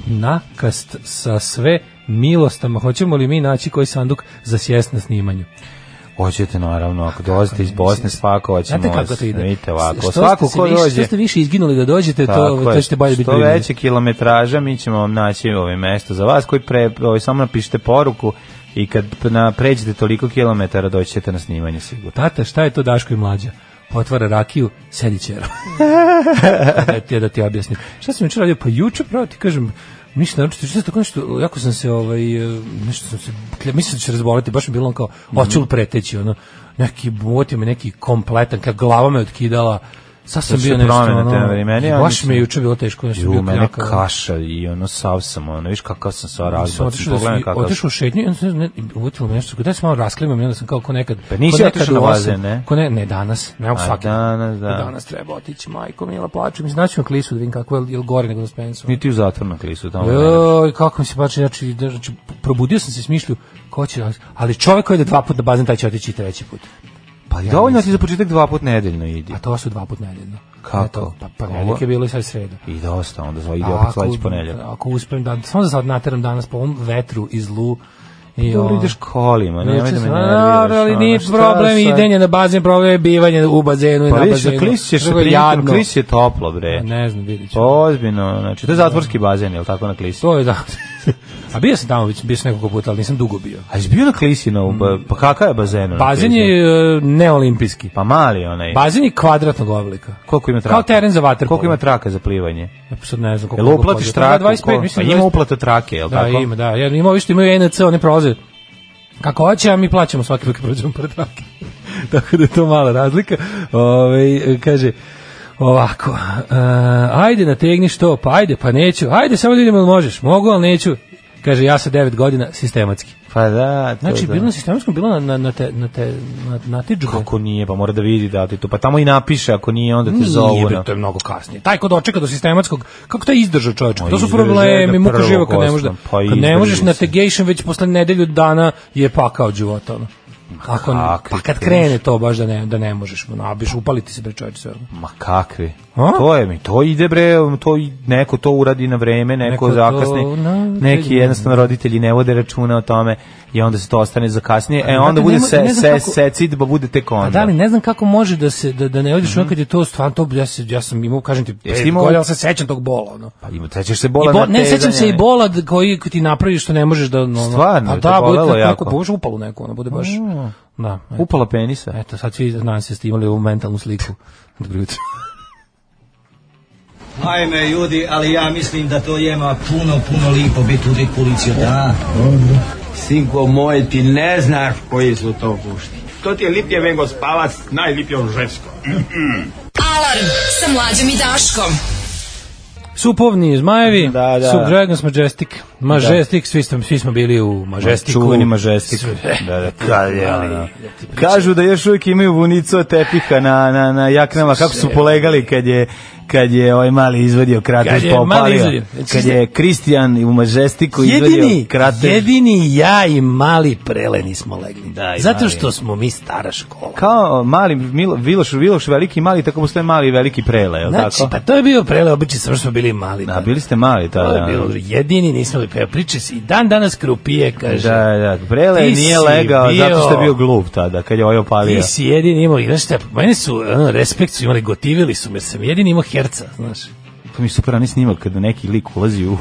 Speaker 5: nakast, sa sve milostama, hoćemo li mi naći koji sanduk za sjest na snimanju?
Speaker 6: Hoćete naravno, ako dolazite iz Bosne svako hoćemo.
Speaker 5: Znate kako to ide?
Speaker 6: Vidite ovako,
Speaker 5: Što
Speaker 6: svako
Speaker 5: ste se
Speaker 6: ko
Speaker 5: više,
Speaker 6: dođe.
Speaker 5: Što ste više izginuli da dođete, to,
Speaker 6: Tako
Speaker 5: to
Speaker 6: je,
Speaker 5: ćete bolje biti
Speaker 6: što
Speaker 5: primljeni.
Speaker 6: veće kilometraža mi ćemo vam naći ovo mesto za vas koji pre, ovaj, samo napišite poruku i kad na, pređete toliko kilometara doći ćete na snimanje sigurno.
Speaker 5: Tata, šta je to Daško i mlađa? Otvara rakiju, sedi ćero. da, ti, da ti objasnim. Šta sam jučer radio? Pa juče, pravo ti kažem, ništa naročito, što tako nešto, jako sam se, ovaj, e, nešto sam se, klja- mislim da ću se razboliti, baš mi je bilo on kao,
Speaker 6: Mhm.
Speaker 5: hoću li preteći, ono, neki, uvotio me neki kompletan, kad glava me otkidala, sad sam
Speaker 6: Sad su
Speaker 5: bio nešto,
Speaker 6: promene te
Speaker 5: ono,
Speaker 6: na meni, ja
Speaker 5: baš
Speaker 6: mislim-
Speaker 5: mi je juče bilo teško, nešto sam
Speaker 6: Ju,
Speaker 5: bio
Speaker 6: mene
Speaker 5: kljakav, ono.
Speaker 6: kaša i ono sav sam, ono, viš kakav sam sva
Speaker 5: sam
Speaker 6: razbac.
Speaker 5: otišao da sam
Speaker 6: Pogledaj kakav sam.
Speaker 5: otišao u šetnju i onda sam ne, uvutilo me nešto, da sam malo rasklimam i onda sam kao ko nekad.
Speaker 6: Pa nisi
Speaker 5: ko nekad
Speaker 6: otišao na
Speaker 5: u osam,
Speaker 6: bazen, ne?
Speaker 5: Ko ne, ne danas, ne mogu
Speaker 6: A,
Speaker 5: svaki.
Speaker 6: danas, da.
Speaker 5: Danas treba otići, majko mila, plačem. Mislim, naći ćemo klisu da vidim kako je, je li gore nego na Spensu.
Speaker 6: Niti u zatvornom klisu tamo. ne.
Speaker 5: Joj, kako mi se plače, znači, da- znači, probudio sam se s mišlju, ko će, ali čovek koji ide dva puta na bazen, taj će otići i treći put.
Speaker 6: Pa dovoljno ti za početak dva put nedeljno idi.
Speaker 5: A to su dva puta nedeljno.
Speaker 6: Kako?
Speaker 5: Ne, to- Pa, pa
Speaker 6: Ovo-
Speaker 5: je bilo i sad sreda.
Speaker 6: I dosta, onda zva ide
Speaker 5: A
Speaker 6: opet sledeći ponedjeljak.
Speaker 5: Ako uspem da samo da sad nateram danas po ovom vetru i zlu I
Speaker 6: Pa Dobro
Speaker 5: ono.
Speaker 6: ideš kolima,
Speaker 5: Ne,
Speaker 6: nemoj da me
Speaker 5: česno,
Speaker 6: nerviraš.
Speaker 5: dobro, ali
Speaker 6: ono,
Speaker 5: nije
Speaker 6: šta
Speaker 5: problem
Speaker 6: sad?
Speaker 5: idenje na bazen, problem je bivanje u bazenu i
Speaker 6: Pa
Speaker 5: na
Speaker 6: vidiš, za
Speaker 5: bazenu.
Speaker 6: klis ćeš,
Speaker 5: Drugo je
Speaker 6: prilikom,
Speaker 5: jadno. Pa
Speaker 6: klis je toplo, bre.
Speaker 5: A Ne znam, vidit ću.
Speaker 6: Ozbiljno, znači, to je zatvorski bazen, je li tako na klisi?
Speaker 5: To je da. A bio sam tamo, već, bio sam nekoliko puta, ali nisam dugo bio.
Speaker 6: A jesi bio na klisi, na, mm. pa kakav je bazen? ono,
Speaker 5: Bazen
Speaker 6: klisi?
Speaker 5: je e, neolimpijski.
Speaker 6: Pa mali onaj.
Speaker 5: Bazen je kvadratnog oblika.
Speaker 6: Koliko ima traka?
Speaker 5: Kao teren za vaterpolo.
Speaker 6: Koliko ima traka za plivanje?
Speaker 5: Ja Sad ne znam koliko.
Speaker 6: Jel
Speaker 5: koliko
Speaker 6: uplatiš
Speaker 5: koliko-
Speaker 6: traku?
Speaker 5: Da, 25,
Speaker 6: ko-
Speaker 5: mislim.
Speaker 6: pa ima
Speaker 5: 20.
Speaker 6: uplata trake, je li
Speaker 5: Da,
Speaker 6: tako?
Speaker 5: ima, da. Ja, ima ovi što imaju NC, oni prolaze kako hoće, a mi plaćamo svaki put kad prođemo pored trake. tako da je to mala razlika. Ove, kaže, ovako, e, ajde nategni što, pa ajde, pa neću, ajde samo da vidimo ili možeš, mogu, ali neću. Kaže, ja sa 9 godina sistematski.
Speaker 6: Pa da, to
Speaker 5: Znači,
Speaker 6: da.
Speaker 5: bilo na sistematskom, bilo na, na, na, te, na, te, na, na tičbu.
Speaker 6: Kako nije, pa mora da vidi da ti to. Pa tamo i napiše, ako nije, onda te zovu. ono.
Speaker 5: bre,
Speaker 6: na-
Speaker 5: to je mnogo kasnije. Taj ko dočeka do sistematskog, kako taj izdržao čoveč? To
Speaker 6: Ma,
Speaker 5: su
Speaker 6: izdržao je
Speaker 5: problemi,
Speaker 6: do
Speaker 5: muka
Speaker 6: prvog
Speaker 5: živa kad ne možeš da,
Speaker 6: osnova, pa
Speaker 5: kad ne
Speaker 6: izdrži
Speaker 5: možeš na
Speaker 6: se.
Speaker 5: tegation već posle nedelju dana je pakao od života. Ono. Ako,
Speaker 6: kakvi
Speaker 5: pa kad
Speaker 6: teški.
Speaker 5: krene to baš da ne, da ne možeš, ono, a biš upaliti se bre čoveč sve. ono.
Speaker 6: Ma kakvi?
Speaker 5: A?
Speaker 6: To je mi, to ide bre, um, to i- neko to uradi na vreme, neko,
Speaker 5: Neko to
Speaker 6: zakasni,
Speaker 5: na-
Speaker 6: neki jednostavno roditelji ne vode računa o tome i onda se to ostane za kasnije, e
Speaker 5: znate,
Speaker 6: onda bude
Speaker 5: nema-
Speaker 6: se,
Speaker 5: ne znam
Speaker 6: se,
Speaker 5: kako-
Speaker 6: secidba bude tek onda.
Speaker 5: A Pa da li ne znam kako može da se da, da ne odiš mm -hmm. kad je to stvarno to ja, se, ja sam imao kažem ti
Speaker 6: Jesi
Speaker 5: pet
Speaker 6: Mhm. E, imao-
Speaker 5: godina, ali se sećam tog bola ono.
Speaker 6: Pa ima, sećaš se
Speaker 5: I
Speaker 6: bola
Speaker 5: bo,
Speaker 6: na
Speaker 5: ne sećam se i
Speaker 6: tezanje.
Speaker 5: bola d- koji ti napravi što ne možeš da ono,
Speaker 6: Stvarno,
Speaker 5: a
Speaker 6: je to
Speaker 5: da
Speaker 6: bolelo
Speaker 5: bude
Speaker 6: jako? Mm.
Speaker 5: kako bože upalu neku ono bude baš da eto.
Speaker 6: Upala penisa.
Speaker 5: Eto, sad svi znam se ste imali ovu mentalnu sliku. Dobro jutro.
Speaker 1: Ajme ljudi, ali ja mislim da to jema puno, puno lipo biti uvijek policija, da?
Speaker 7: Sinko moj, ti ne znaš koji su to gušti. To ti je lipje vengo spavac, najlipje on žensko.
Speaker 4: Alarm sa mlađom i Daškom.
Speaker 5: Supovni zmajevi,
Speaker 6: Da, da.
Speaker 5: Sub Dragons Majestic. Majestic, svi, smo, svi smo bili u Majesticu.
Speaker 6: Čuveni mažestik. Da, da, kad je ono. Kažu da još uvijek imaju vunicu od tepiha na, na, na jaknama, kako su polegali kad je kad je ovaj mali izvadio krater
Speaker 5: Kad je mali
Speaker 6: popalio.
Speaker 5: izvadio. Znači,
Speaker 6: Kad je Kristijan u Majestiku izvadio
Speaker 5: Jedini,
Speaker 6: krater.
Speaker 5: jedini ja i mali preleni smo legli.
Speaker 6: Da, i
Speaker 5: Zato
Speaker 6: mali.
Speaker 5: što smo mi stara škola.
Speaker 6: Kao mali Milo, Viloš, Viloš veliki i mali, tako postoje mali i veliki prele, je li
Speaker 5: Znači,
Speaker 6: tako?
Speaker 5: pa to je bio prele, običaj samo što smo bili mali.
Speaker 6: Da, bili ste mali
Speaker 5: to
Speaker 6: tada.
Speaker 5: je bilo jedini, nismo li pa priče si. I dan danas krupije, kaže.
Speaker 6: Da, da, Prele
Speaker 5: Ti
Speaker 6: nije
Speaker 5: si
Speaker 6: legao
Speaker 5: bio-
Speaker 6: zato što je bio glup tada, kad je ovaj opalio.
Speaker 5: Ti si jedini imao, i znaš šta, mene su, ono, respekt su imali, gotivili su me, jer sam jedini imao herca, znaš.
Speaker 6: To mi je super onaj snimak kada neki lik ulazi u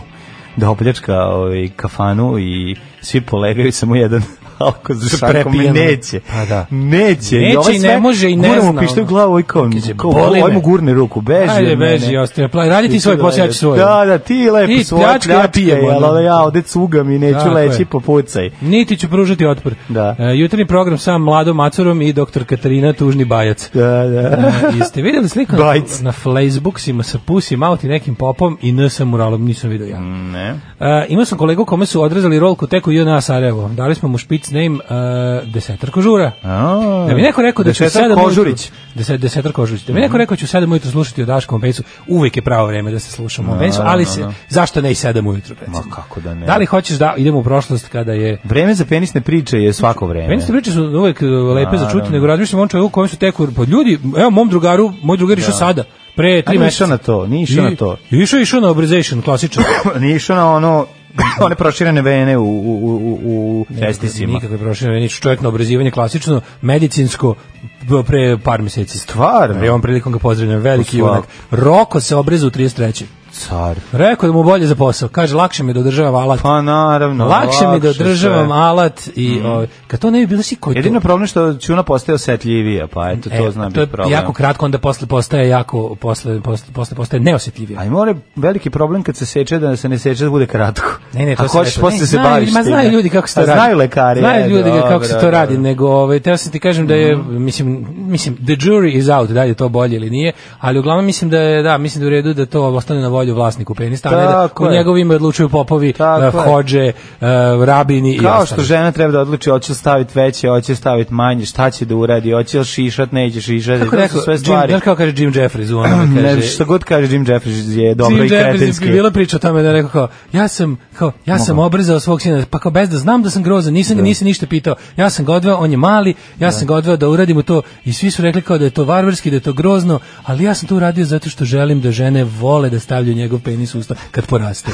Speaker 6: da opljačka ovaj, kafanu i svi polegaju samo jedan alko za šankom i
Speaker 5: Prepijan.
Speaker 6: neće.
Speaker 5: Pa da.
Speaker 6: Neće.
Speaker 5: Neće
Speaker 6: ovaj
Speaker 5: i ne
Speaker 6: sve
Speaker 5: može i ne
Speaker 6: gura mu
Speaker 5: zna,
Speaker 6: pištolj u
Speaker 5: ono.
Speaker 6: glavu ovaj kao,
Speaker 5: Kaže,
Speaker 6: kao
Speaker 5: boli me.
Speaker 6: ovaj mu gurne ruku, beži.
Speaker 5: Ajde,
Speaker 6: od mene.
Speaker 5: beži, ostaje. Pla- radi ti
Speaker 6: ću
Speaker 5: svoj
Speaker 6: da
Speaker 5: posao, ja ću
Speaker 6: ležeš.
Speaker 5: svoj.
Speaker 6: Da, da, ti lepo
Speaker 5: Ti
Speaker 6: svoje
Speaker 5: pljačkaj, ja pijem,
Speaker 6: pljačke,
Speaker 5: ono.
Speaker 6: ali ja ovde cugam i neću
Speaker 5: Tako
Speaker 6: leći
Speaker 5: je.
Speaker 6: popucaj.
Speaker 5: Niti ću pružati otpor.
Speaker 6: Da.
Speaker 5: E, jutarnji program sa mladom macurom i doktor Katarina Tužni Bajac.
Speaker 6: Da, da.
Speaker 5: I ste videli sliku na,
Speaker 6: Bajc.
Speaker 5: na Facebooksima sa Pussy Mouth i nekim popom i NS muralom, nisam vidio
Speaker 6: Mm.
Speaker 5: ja.
Speaker 6: Ne.
Speaker 5: E, imao sam kolegu kome su odrezali rolku teku JNA Sarajevo. Dali smo mu špic name e, desetarko žura.
Speaker 6: A,
Speaker 5: Da mi neko rekao da ću u
Speaker 6: Desetak
Speaker 5: sedam
Speaker 6: Kožurić. Mhm.
Speaker 5: ujutru- Deset, desetar Kožurić. Da mi neko rekao da ću u sedam ujutru slušati o Daškom Bencu. Uvek je pravo vreme da se slušamo o Bencu, ali se, zašto ne i sedam ujutru, recimo?
Speaker 6: Ma, kako da ne.
Speaker 5: Da li hoćeš da idemo u prošlost kada je
Speaker 6: Vreme za penisne Znači, priče je svako vreme.
Speaker 5: Meni ste priče su uvek e, lepe za čuti, nego razmišljam o ovom čovjeku kojem su teku pod ljudi, evo mom drugaru, moj drugar išao sada, pre
Speaker 6: A
Speaker 5: tri
Speaker 6: nije
Speaker 5: meseca.
Speaker 6: išao na to, nije išao
Speaker 5: I-
Speaker 6: na to.
Speaker 5: Išao išao na obrization, klasičan.
Speaker 6: Nije išao na ono one proširene vene u, u, u, u testisima.
Speaker 5: Nikakve prošle, nič čovjek na obrazivanje klasično, medicinsko, b- pre par meseci.
Speaker 6: Stvarno?
Speaker 5: Pre ovom prilikom ga pozdravljam, veliki
Speaker 6: Sva-
Speaker 5: junak. Roko se obrezu u 33.
Speaker 6: Car.
Speaker 5: Rekao da mu bolje za posao. Kaže, lakše mi je da održavam alat.
Speaker 6: Pa naravno.
Speaker 5: lakše mi je da
Speaker 6: sve. Mhm.
Speaker 5: održavam alat. I, ovaj, kad to ne bi bilo si koji
Speaker 6: Jedino problem je što Ćuna postaje osjetljivija, pa eto, to
Speaker 5: E,
Speaker 6: zna
Speaker 5: to je
Speaker 6: biti problem.
Speaker 5: jako kratko, onda posle postaje jako, posle, posle, posle postaje neosetljivije.
Speaker 6: A i mora veliki problem kad se seče da se ne seče da bude kratko.
Speaker 5: Ne, ne, to
Speaker 6: A
Speaker 5: sam
Speaker 6: hoćeš
Speaker 5: rekao.
Speaker 6: posle
Speaker 5: Ne,
Speaker 6: se
Speaker 5: znaju-
Speaker 6: baviš
Speaker 5: Ma znaju
Speaker 6: time.
Speaker 5: ljudi kako se to
Speaker 6: A
Speaker 5: radi.
Speaker 6: znaju lekari. e,
Speaker 5: Znaju ljudi ga- kako
Speaker 6: dobro,
Speaker 5: se to radi,
Speaker 6: dobro. Mhm.
Speaker 5: nego ovaj teo sam ti kažem da je mislim mislim the jury is out, da li je to bolje ili nije, ali uglavnom mislim da je da, mislim da je u redu da to ostane na volju vlasniku penista, a ne da
Speaker 6: Tako
Speaker 5: u
Speaker 6: je.
Speaker 5: njegovo ime odlučuju popovi,
Speaker 6: Tako
Speaker 5: eh,
Speaker 6: je.
Speaker 5: hodže, eh, rabini i
Speaker 6: Kao što
Speaker 5: ostali.
Speaker 6: žena treba da odluči hoće li staviti veće, hoće li staviti manje, šta će da uradi, hoće li šišat, neće šišat,
Speaker 5: Kako
Speaker 6: to
Speaker 5: rekao,
Speaker 6: su sve
Speaker 5: Jim-
Speaker 6: stvari.
Speaker 5: znaš kako kaže Jim Jeffries u onome,
Speaker 6: Ne,
Speaker 5: kaže,
Speaker 6: šta god kaže Jim Jeffries je dobro
Speaker 5: Jim
Speaker 6: i
Speaker 5: Jeffries
Speaker 6: kretenski.
Speaker 5: je bila priča o tome da je rekao kao, ja sam, kao, ja sam obrzao svog sina, pa kao bez da znam da sam grozan, nisam ga nisam ništa pitao, ja sam ga odveo, on je mali, ja sam ga odveo da uradimo to i svi su rekli kao da je to varvarski, da je to grozno, ali ja sam to uradio zato što želim da žene vole da stavljaju stavlja njegov penis u usta kad poraste.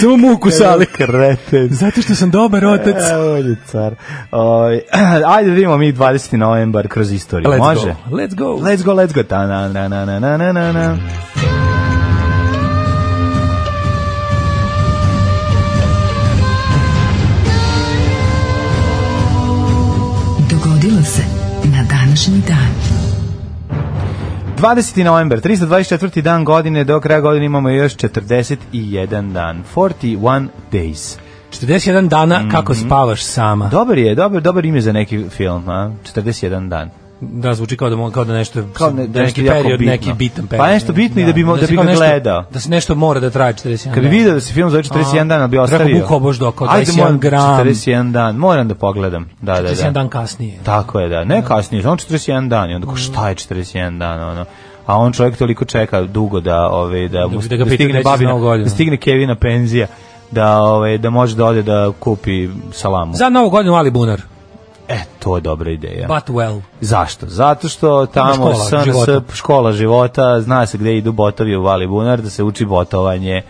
Speaker 5: Samo muku sali.
Speaker 6: Kreten.
Speaker 5: Zato što sam dobar otac.
Speaker 6: E, on je car. Oj, ajde da vidimo mi 20. novembar kroz istoriju.
Speaker 5: Let's
Speaker 6: Može?
Speaker 5: go. Let's go.
Speaker 6: Let's go, let's go. Ta na na na na na na na na.
Speaker 4: Dogodilo se na današnji dan.
Speaker 6: 20. novembar, 324. dan godine, do kraja godine imamo još 41 dan. 41 days.
Speaker 5: 41 dana kako spavaš sama.
Speaker 6: Dobar je, dobar, dobar ime za neki film, a? 41 dan.
Speaker 5: Da, zvuči kao da, mo- kao da nešto,
Speaker 6: Kao ne- da
Speaker 5: da neki
Speaker 6: nešto jako
Speaker 5: period,
Speaker 6: bitno.
Speaker 5: neki bitan
Speaker 6: Pa
Speaker 5: period.
Speaker 6: nešto bitno i da bi mo- da
Speaker 5: se
Speaker 6: bi
Speaker 5: kao
Speaker 6: ga
Speaker 5: nešto-
Speaker 6: gledao.
Speaker 5: Da se nešto mora da traje 41
Speaker 6: Kad bi
Speaker 5: dana.
Speaker 6: video da se film zove 41 dan, ali bi
Speaker 5: Rekao
Speaker 6: ostavio.
Speaker 5: Buko Boždo, kao
Speaker 6: Ajde,
Speaker 5: 21
Speaker 6: moram,
Speaker 5: gram.
Speaker 6: 41 dan, moram da pogledam. Da, da, da.
Speaker 5: 41 dan kasnije.
Speaker 6: Tako je, da. Ne kasnije, samo 41 dan. I onda ko, šta je 41 dan, ono? A on čovjek toliko čeka dugo da, ove, da, mu,
Speaker 5: Da- da ga pita
Speaker 6: da
Speaker 5: gde
Speaker 6: stigne
Speaker 5: će za Novu
Speaker 6: babina,
Speaker 5: godinu.
Speaker 6: da stigne Kevina penzija, da, ove, da može da ode da kupi salamu.
Speaker 5: Za novu godinu Ali Bunar.
Speaker 6: E, to je dobra ideja.
Speaker 5: But well.
Speaker 6: Zašto? Zato što tamo
Speaker 5: Ima škola
Speaker 6: SNS
Speaker 5: života.
Speaker 6: škola života, zna se gde idu botovi u Vali Bunar, da se uči botovanje.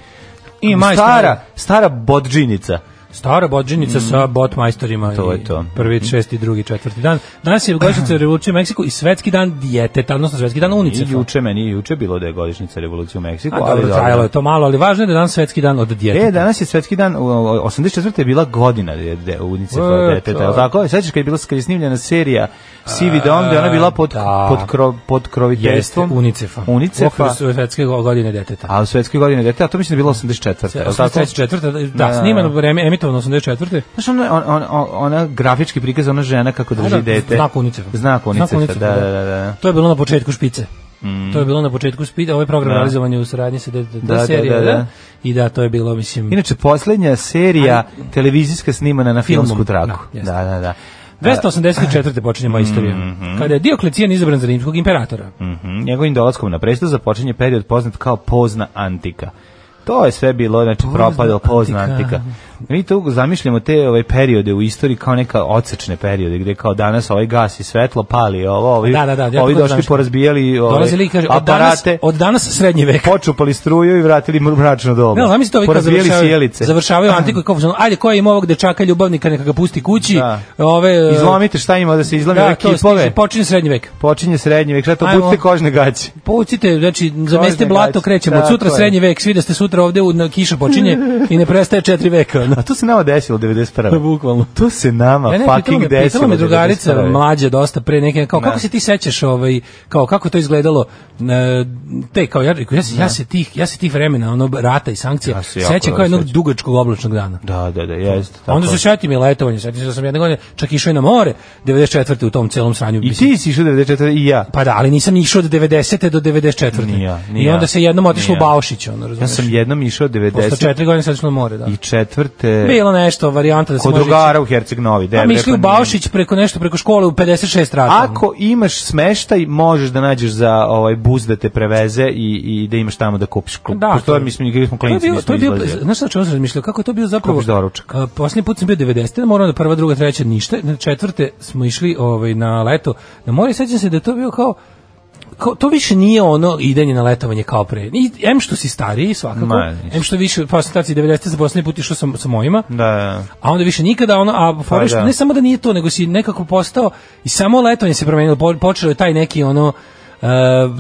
Speaker 5: I majstor-
Speaker 6: stara, stara bodžinica.
Speaker 5: Stara bođenica sa bot majstorima.
Speaker 6: Mm. To
Speaker 5: i
Speaker 6: je to. Mm.
Speaker 5: Prvi, šesti, drugi, četvrti dan. Danas je godišnjica revolucije u Meksiku i svetski dan dijete, odnosno svetski dan
Speaker 6: I
Speaker 5: UNICEF-a.
Speaker 6: juče, meni je juče bilo da je godišnjica revolucije u Meksiku.
Speaker 5: A
Speaker 6: ali
Speaker 5: dobro, trajalo je to malo, ali važno je da je danas svetski dan od djeteta.
Speaker 6: E, danas je svetski dan, u- u- 84. je bila godina de- de- UNICEF-a
Speaker 5: E,
Speaker 6: deteta,
Speaker 5: to.
Speaker 6: je li tako? Sećaš kad je, bila, kad je snimljena serija Sivi dom, da je ona bila pod,
Speaker 5: E, da.
Speaker 6: pod, kro, pod
Speaker 5: Jeste,
Speaker 6: kroviteljstvom?
Speaker 5: UNICEF-a.
Speaker 6: UNICEF-a.
Speaker 5: U okviru su svetske go- godine deteta.
Speaker 6: A u svetskoj godini deteta, a to mislim da je bila 84. je li tako?
Speaker 5: 83. četvrta,
Speaker 6: Da,
Speaker 5: da,
Speaker 6: da,
Speaker 5: snimano
Speaker 6: da.
Speaker 5: vreme, emitovano 84.
Speaker 6: Znaš, ona, on, on, on- ona grafički prikaz, ona žena kako drži
Speaker 5: A da,
Speaker 6: dete.
Speaker 5: znak UNICEF-a.
Speaker 6: Znak UNICEF-a,
Speaker 5: Znak UNICEF-a,
Speaker 6: da, da,
Speaker 5: da.
Speaker 6: da. da.
Speaker 5: To je bilo na početku špice. To je bilo na početku špice, ovaj program
Speaker 6: Mm. Da.
Speaker 5: realizovan je u saradnji sa DDT
Speaker 6: Da, da,
Speaker 5: serija,
Speaker 6: da,
Speaker 5: da,
Speaker 6: da.
Speaker 5: I da, to je bilo, mislim...
Speaker 6: Inače, posljednja serija televizijska snimana na
Speaker 5: Filmom.
Speaker 6: filmsku traku.
Speaker 5: Da, jeste.
Speaker 6: Da, da, da.
Speaker 5: 284. počinje moja istorija. Kada je Dioklecijan izabran za rimskog imperatora.
Speaker 6: Mhm, Njegovim dolaskom na presto započinje period poznat kao pozna antika. To je sve bilo, znači propadalo pozna
Speaker 5: antika.
Speaker 6: antika. Mi tu zamišljamo te ovaj periode u istoriji kao neka odsečne periode gdje kao danas ovaj gas i svetlo pali ovo, ovi,
Speaker 5: Da, da, da, ja tako
Speaker 6: ovi došli
Speaker 5: zamišljam.
Speaker 6: porazbijali ovaj,
Speaker 5: Dolazi lik i kaže, od danas,
Speaker 6: aparate.
Speaker 5: od danas srednji vek.
Speaker 6: počupali struju i vratili mr- mračno doba.
Speaker 5: Ne, ali zamisli to ovi kad
Speaker 6: Porazbijali
Speaker 5: završavaju,
Speaker 6: sjelice.
Speaker 5: završavaju antiku i kao, ono, ajde, ko je ima ovog dečaka ljubavnika, neka ga pusti kući,
Speaker 6: Da.
Speaker 5: ove... e,
Speaker 6: Izlomite šta ima da se izlomi
Speaker 5: Da,
Speaker 6: ove
Speaker 5: to
Speaker 6: kipove.
Speaker 5: stiže, počinje srednji vek.
Speaker 6: Počinje srednji vek, šta to
Speaker 5: Ajmo.
Speaker 6: budite kožne gaće.
Speaker 5: Poucite, znači, zameste
Speaker 6: Kožne
Speaker 5: blato,
Speaker 6: gaće.
Speaker 5: krećemo. Od
Speaker 6: Tako
Speaker 5: sutra
Speaker 6: je.
Speaker 5: srednji vek, svi da ste sutra ovde, u, na, kiša počinje i ne prestaje četiri veka. ono.
Speaker 6: A to se nama desilo 91.
Speaker 5: Bukvalno.
Speaker 6: To se nama
Speaker 5: Ne, ne, pitala
Speaker 6: Pa fucking
Speaker 5: me,
Speaker 6: desilo.
Speaker 5: pitala me drugarica
Speaker 6: 91..
Speaker 5: mlađa dosta pre neke, kao, kako
Speaker 6: Ne.
Speaker 5: se ti sećaš, ovaj, kao, kako je to izgledalo, e, te, kao, ja, ja, se- ja se tih, ja se tih vremena, onog rata i sankcija,
Speaker 6: Ja se jako
Speaker 5: sećam kao
Speaker 6: dobro
Speaker 5: jednog
Speaker 6: sećam.
Speaker 5: dugačkog oblačnog dana.
Speaker 6: Da, da, da, jeste.
Speaker 5: A
Speaker 6: Tako.
Speaker 5: Onda se setim i letovanje, setim se da sam jedne godine čak išao i na more, 94. u tom celom sranju.
Speaker 6: I
Speaker 5: mislim.
Speaker 6: ti si išao 94. i ja.
Speaker 5: Pa da, ali nisam išao od 90. do 94.
Speaker 6: Ni ja, ni
Speaker 5: I
Speaker 6: ja.
Speaker 5: onda se jednom otišlo
Speaker 6: Ni
Speaker 5: u
Speaker 6: ja.
Speaker 5: Baušić, ono,
Speaker 6: Ja
Speaker 5: razumeš?
Speaker 6: sam jednom išao
Speaker 5: Posle
Speaker 6: 94.
Speaker 5: četiri godine sad išlo na more, da.
Speaker 6: i četvrte
Speaker 5: Bilo nešto, varijanta da se
Speaker 6: kod
Speaker 5: može
Speaker 6: drugara u Herceg Novi.
Speaker 5: Pa
Speaker 6: Debre,
Speaker 5: mi išli u
Speaker 6: pa nije.
Speaker 5: Baušić preko nešto, preko škole u 56 rata. ono.
Speaker 6: Ako imaš smeštaj, možeš da nađeš za ovaj bus da te preveze i, i da imaš tamo da kupiš klub. Da, to, mislim, igrali smo
Speaker 5: To je
Speaker 6: klinci,
Speaker 5: bio, to
Speaker 6: nismo
Speaker 5: je bio,
Speaker 6: izlazili.
Speaker 5: znaš šta o čemu sam razmišljao, kako je to bio zapravo...
Speaker 6: Kupiš doručak.
Speaker 5: A, Posljednji put sam bio 90. Moramo da prva, druga, treća, ništa. Na četvrte smo išli ovaj, na leto. Na more i sećam se da je to bio kao, kao to više nije ono idenje na letovanje kao pre. I, em što si stariji svakako,
Speaker 6: Ma, ništa.
Speaker 5: em što više, pa sam taci 90. za posljednji put išao sa, sa mojima,
Speaker 6: Da, da.
Speaker 5: a onda više nikada, ono, a fora je što
Speaker 6: Pa da.
Speaker 5: ne samo da nije to, nego si nekako postao i samo letovanje se promenilo, po- počelo je taj neki ono, e,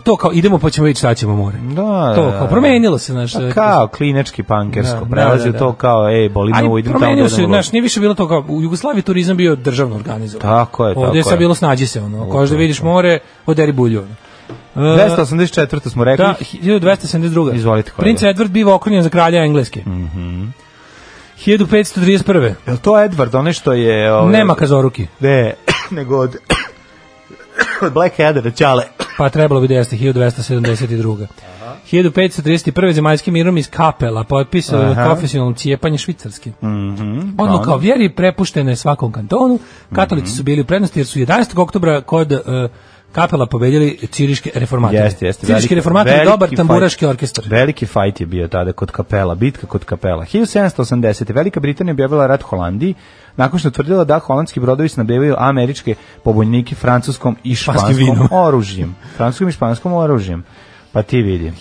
Speaker 5: to kao idemo pa ćemo vidjeti šta ćemo more.
Speaker 6: Da,
Speaker 5: to
Speaker 6: da,
Speaker 5: kao
Speaker 6: da.
Speaker 5: promenilo se, znaš. e,
Speaker 6: Pa kao klinečki pankersko,
Speaker 5: Da,
Speaker 6: prelazi
Speaker 5: da,
Speaker 6: u
Speaker 5: da,
Speaker 6: to
Speaker 5: da.
Speaker 6: kao, ej, boli me ovo,
Speaker 5: Aj,
Speaker 6: idem tamo da
Speaker 5: promenilo se,
Speaker 6: jedem
Speaker 5: znaš,
Speaker 6: lov.
Speaker 5: nije više bilo to kao, u Jugoslaviji turizam bio državno organizovan.
Speaker 6: Tako je, tako
Speaker 5: Ovdje je sad
Speaker 6: je.
Speaker 5: bilo snađi se, ono, ako hoćeš da vidiš more, oderi bulju. ono. E,
Speaker 6: 284. smo rekli,
Speaker 5: Da, 1272.
Speaker 6: E, Izvolite, kolega. Mhm.
Speaker 5: Princ Edward biva okrunjen za kralja Engleske. Mm 1531.
Speaker 6: je li to Edward, one što je... Ove,
Speaker 5: Nema kazoruki.
Speaker 6: Ne, nego od, od Blackheadera, Ćale.
Speaker 5: Pa trebalo bi da jeste 1272. 1531. zemaljskim mirom iz Kapela potpisao
Speaker 6: Aha. Mhm, pa
Speaker 5: profesionalno cijepanje švicarske. Odluka o vjeri prepuštena je svakom kantonu. Katolici
Speaker 6: Mhm.
Speaker 5: su bili u prednosti jer su 11. oktobra kod e, Kapela pobedjeli ciriške reformatore.
Speaker 6: Jeste, jeste.
Speaker 5: Ciriški
Speaker 6: veliki-
Speaker 5: Pa reformator je
Speaker 6: veliki
Speaker 5: dobar tamburaški
Speaker 6: fajt.
Speaker 5: orkestar.
Speaker 6: Veliki fajt je bio tada kod kapela, bitka kod kapela. 1780. Velika Britanija objavila rat Holandiji, nakon što je tvrdila da holandski brodovi snabdevaju američke pobunjenike francuskom i
Speaker 5: Španskim
Speaker 6: španskom
Speaker 5: vinom.
Speaker 6: oružjem. Francuskom i španskom oružjem. Pa ti vidim.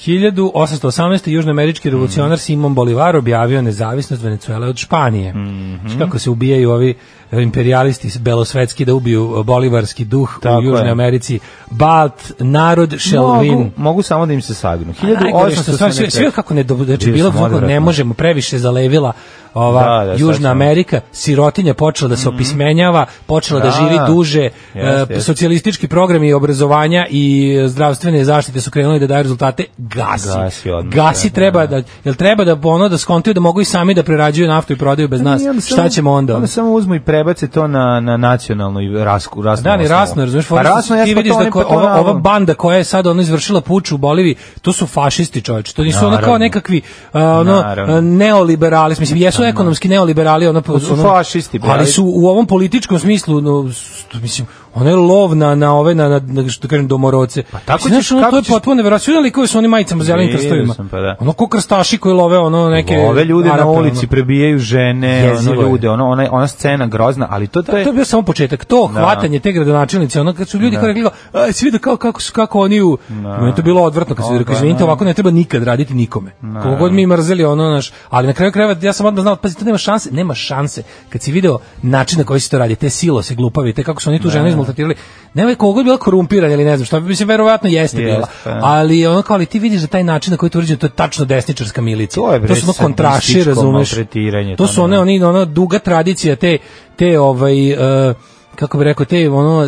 Speaker 5: 1818. južnoamerički
Speaker 6: Mm.
Speaker 5: revolucionar Simon Bolivar objavio nezavisnost Venecuele od Španije.
Speaker 6: Mhm.
Speaker 5: Znaš Kako se ubijaju ovi eh, imperialisti belosvetski da ubiju e, bolivarski duh
Speaker 6: Tako
Speaker 5: u
Speaker 6: je.
Speaker 5: Južnoj Americi. Balt, narod, shall win.
Speaker 6: Mogu, mogu samo da im se sagnu.
Speaker 5: A najgore što stvarno, sve, sve kako ne, do- znači,
Speaker 6: Bio
Speaker 5: bilo
Speaker 6: sam
Speaker 5: kako ne
Speaker 6: odvratno.
Speaker 5: možemo, previše je zalevila ova
Speaker 6: Da, da, sad ćemo.
Speaker 5: Južna Amerika, sirotinja počela da se opismenjava, počela da,
Speaker 6: Da.
Speaker 5: živi duže,
Speaker 6: Jeste,
Speaker 5: e,
Speaker 6: jeste.
Speaker 5: socijalistički programi obrazovanja i e, zdravstvene zaštite su krenuli da daju rezultate, gasi.
Speaker 6: Gasi odmah,
Speaker 5: Gasi
Speaker 6: da,
Speaker 5: treba da, jel treba da ono da skontaju da mogu i sami da prerađuju naftu i prodaju bez nas. Šta ćemo onda?
Speaker 6: Onda samo uzmu i prebace to na, na nacionalnu i rasku, rasnu
Speaker 5: Da, ni
Speaker 6: osnovu.
Speaker 5: rasno, razumeš,
Speaker 6: Pa
Speaker 5: fora što
Speaker 6: rasno, ja
Speaker 5: ti
Speaker 6: sam
Speaker 5: vidiš
Speaker 6: to
Speaker 5: da
Speaker 6: oni,
Speaker 5: ko,
Speaker 6: pa to
Speaker 5: ova,
Speaker 6: ono-
Speaker 5: ova banda koja je sad ono izvršila puč u Boliviji, to su fašisti, čoveče. To nisu ono kao
Speaker 6: Naravno.
Speaker 5: nekakvi uh, ono
Speaker 6: Naravno.
Speaker 5: uh, neoliberali, mislim jesu ekonomski neoliberali, ono pa
Speaker 6: su fašisti, bre,
Speaker 5: ali
Speaker 6: ali-
Speaker 5: su u ovom političkom smislu, no, s- mislim, ona je lov na, na ove, na, na, na što kažem, domoroce. Pa
Speaker 6: tako
Speaker 5: Znaš,
Speaker 6: ćeš-
Speaker 5: ono,
Speaker 6: kako
Speaker 5: to je
Speaker 6: ćeš-
Speaker 5: potpuno neverovatno, ali koji su oni majicama zelenim
Speaker 6: Vidio
Speaker 5: krstovima.
Speaker 6: sam, pa da.
Speaker 5: Ono ko krstaši koji love ono neke
Speaker 6: Ove ljude na
Speaker 5: Arape, ono.
Speaker 6: ulici prebijaju žene, ono
Speaker 5: Jezivo je.
Speaker 6: ljude, ono, ona, ona scena grozna, ali to, to je...
Speaker 5: to je bio samo početak. To
Speaker 6: Da.
Speaker 5: hvatanje te gradonačelnice, ono kad su ljudi koji rekli, aj svi da kao kako su kako oni u Meni je to bilo odvratno kad su rekli, izvinite, ovako ne treba nikad raditi nikome. Koliko god mi mrzeli ono naš, ali na kraju krajeva ja sam odmah znao, pazi, to nema šanse, nema šanse. Kad si video način na koji se to radi, te silo se glupavi, te kako su oni tu ženu izmaltretirali. Nema je koliko god bila korumpirana ili ne znam, šta bi se verovatno jeste
Speaker 6: Jeste,
Speaker 5: bila.
Speaker 6: da.
Speaker 5: Ali ono kao ali ti vidiš da taj način na koji je to urađeno, to je tačno desničarska milicija.
Speaker 6: To je, bre,
Speaker 5: su ono kontraši,
Speaker 6: sadističko
Speaker 5: razumeš?
Speaker 6: maltretiranje,
Speaker 5: To
Speaker 6: to
Speaker 5: su
Speaker 6: ne.
Speaker 5: one oni ono duga tradicija te te ovaj e, kako bih rekao te ono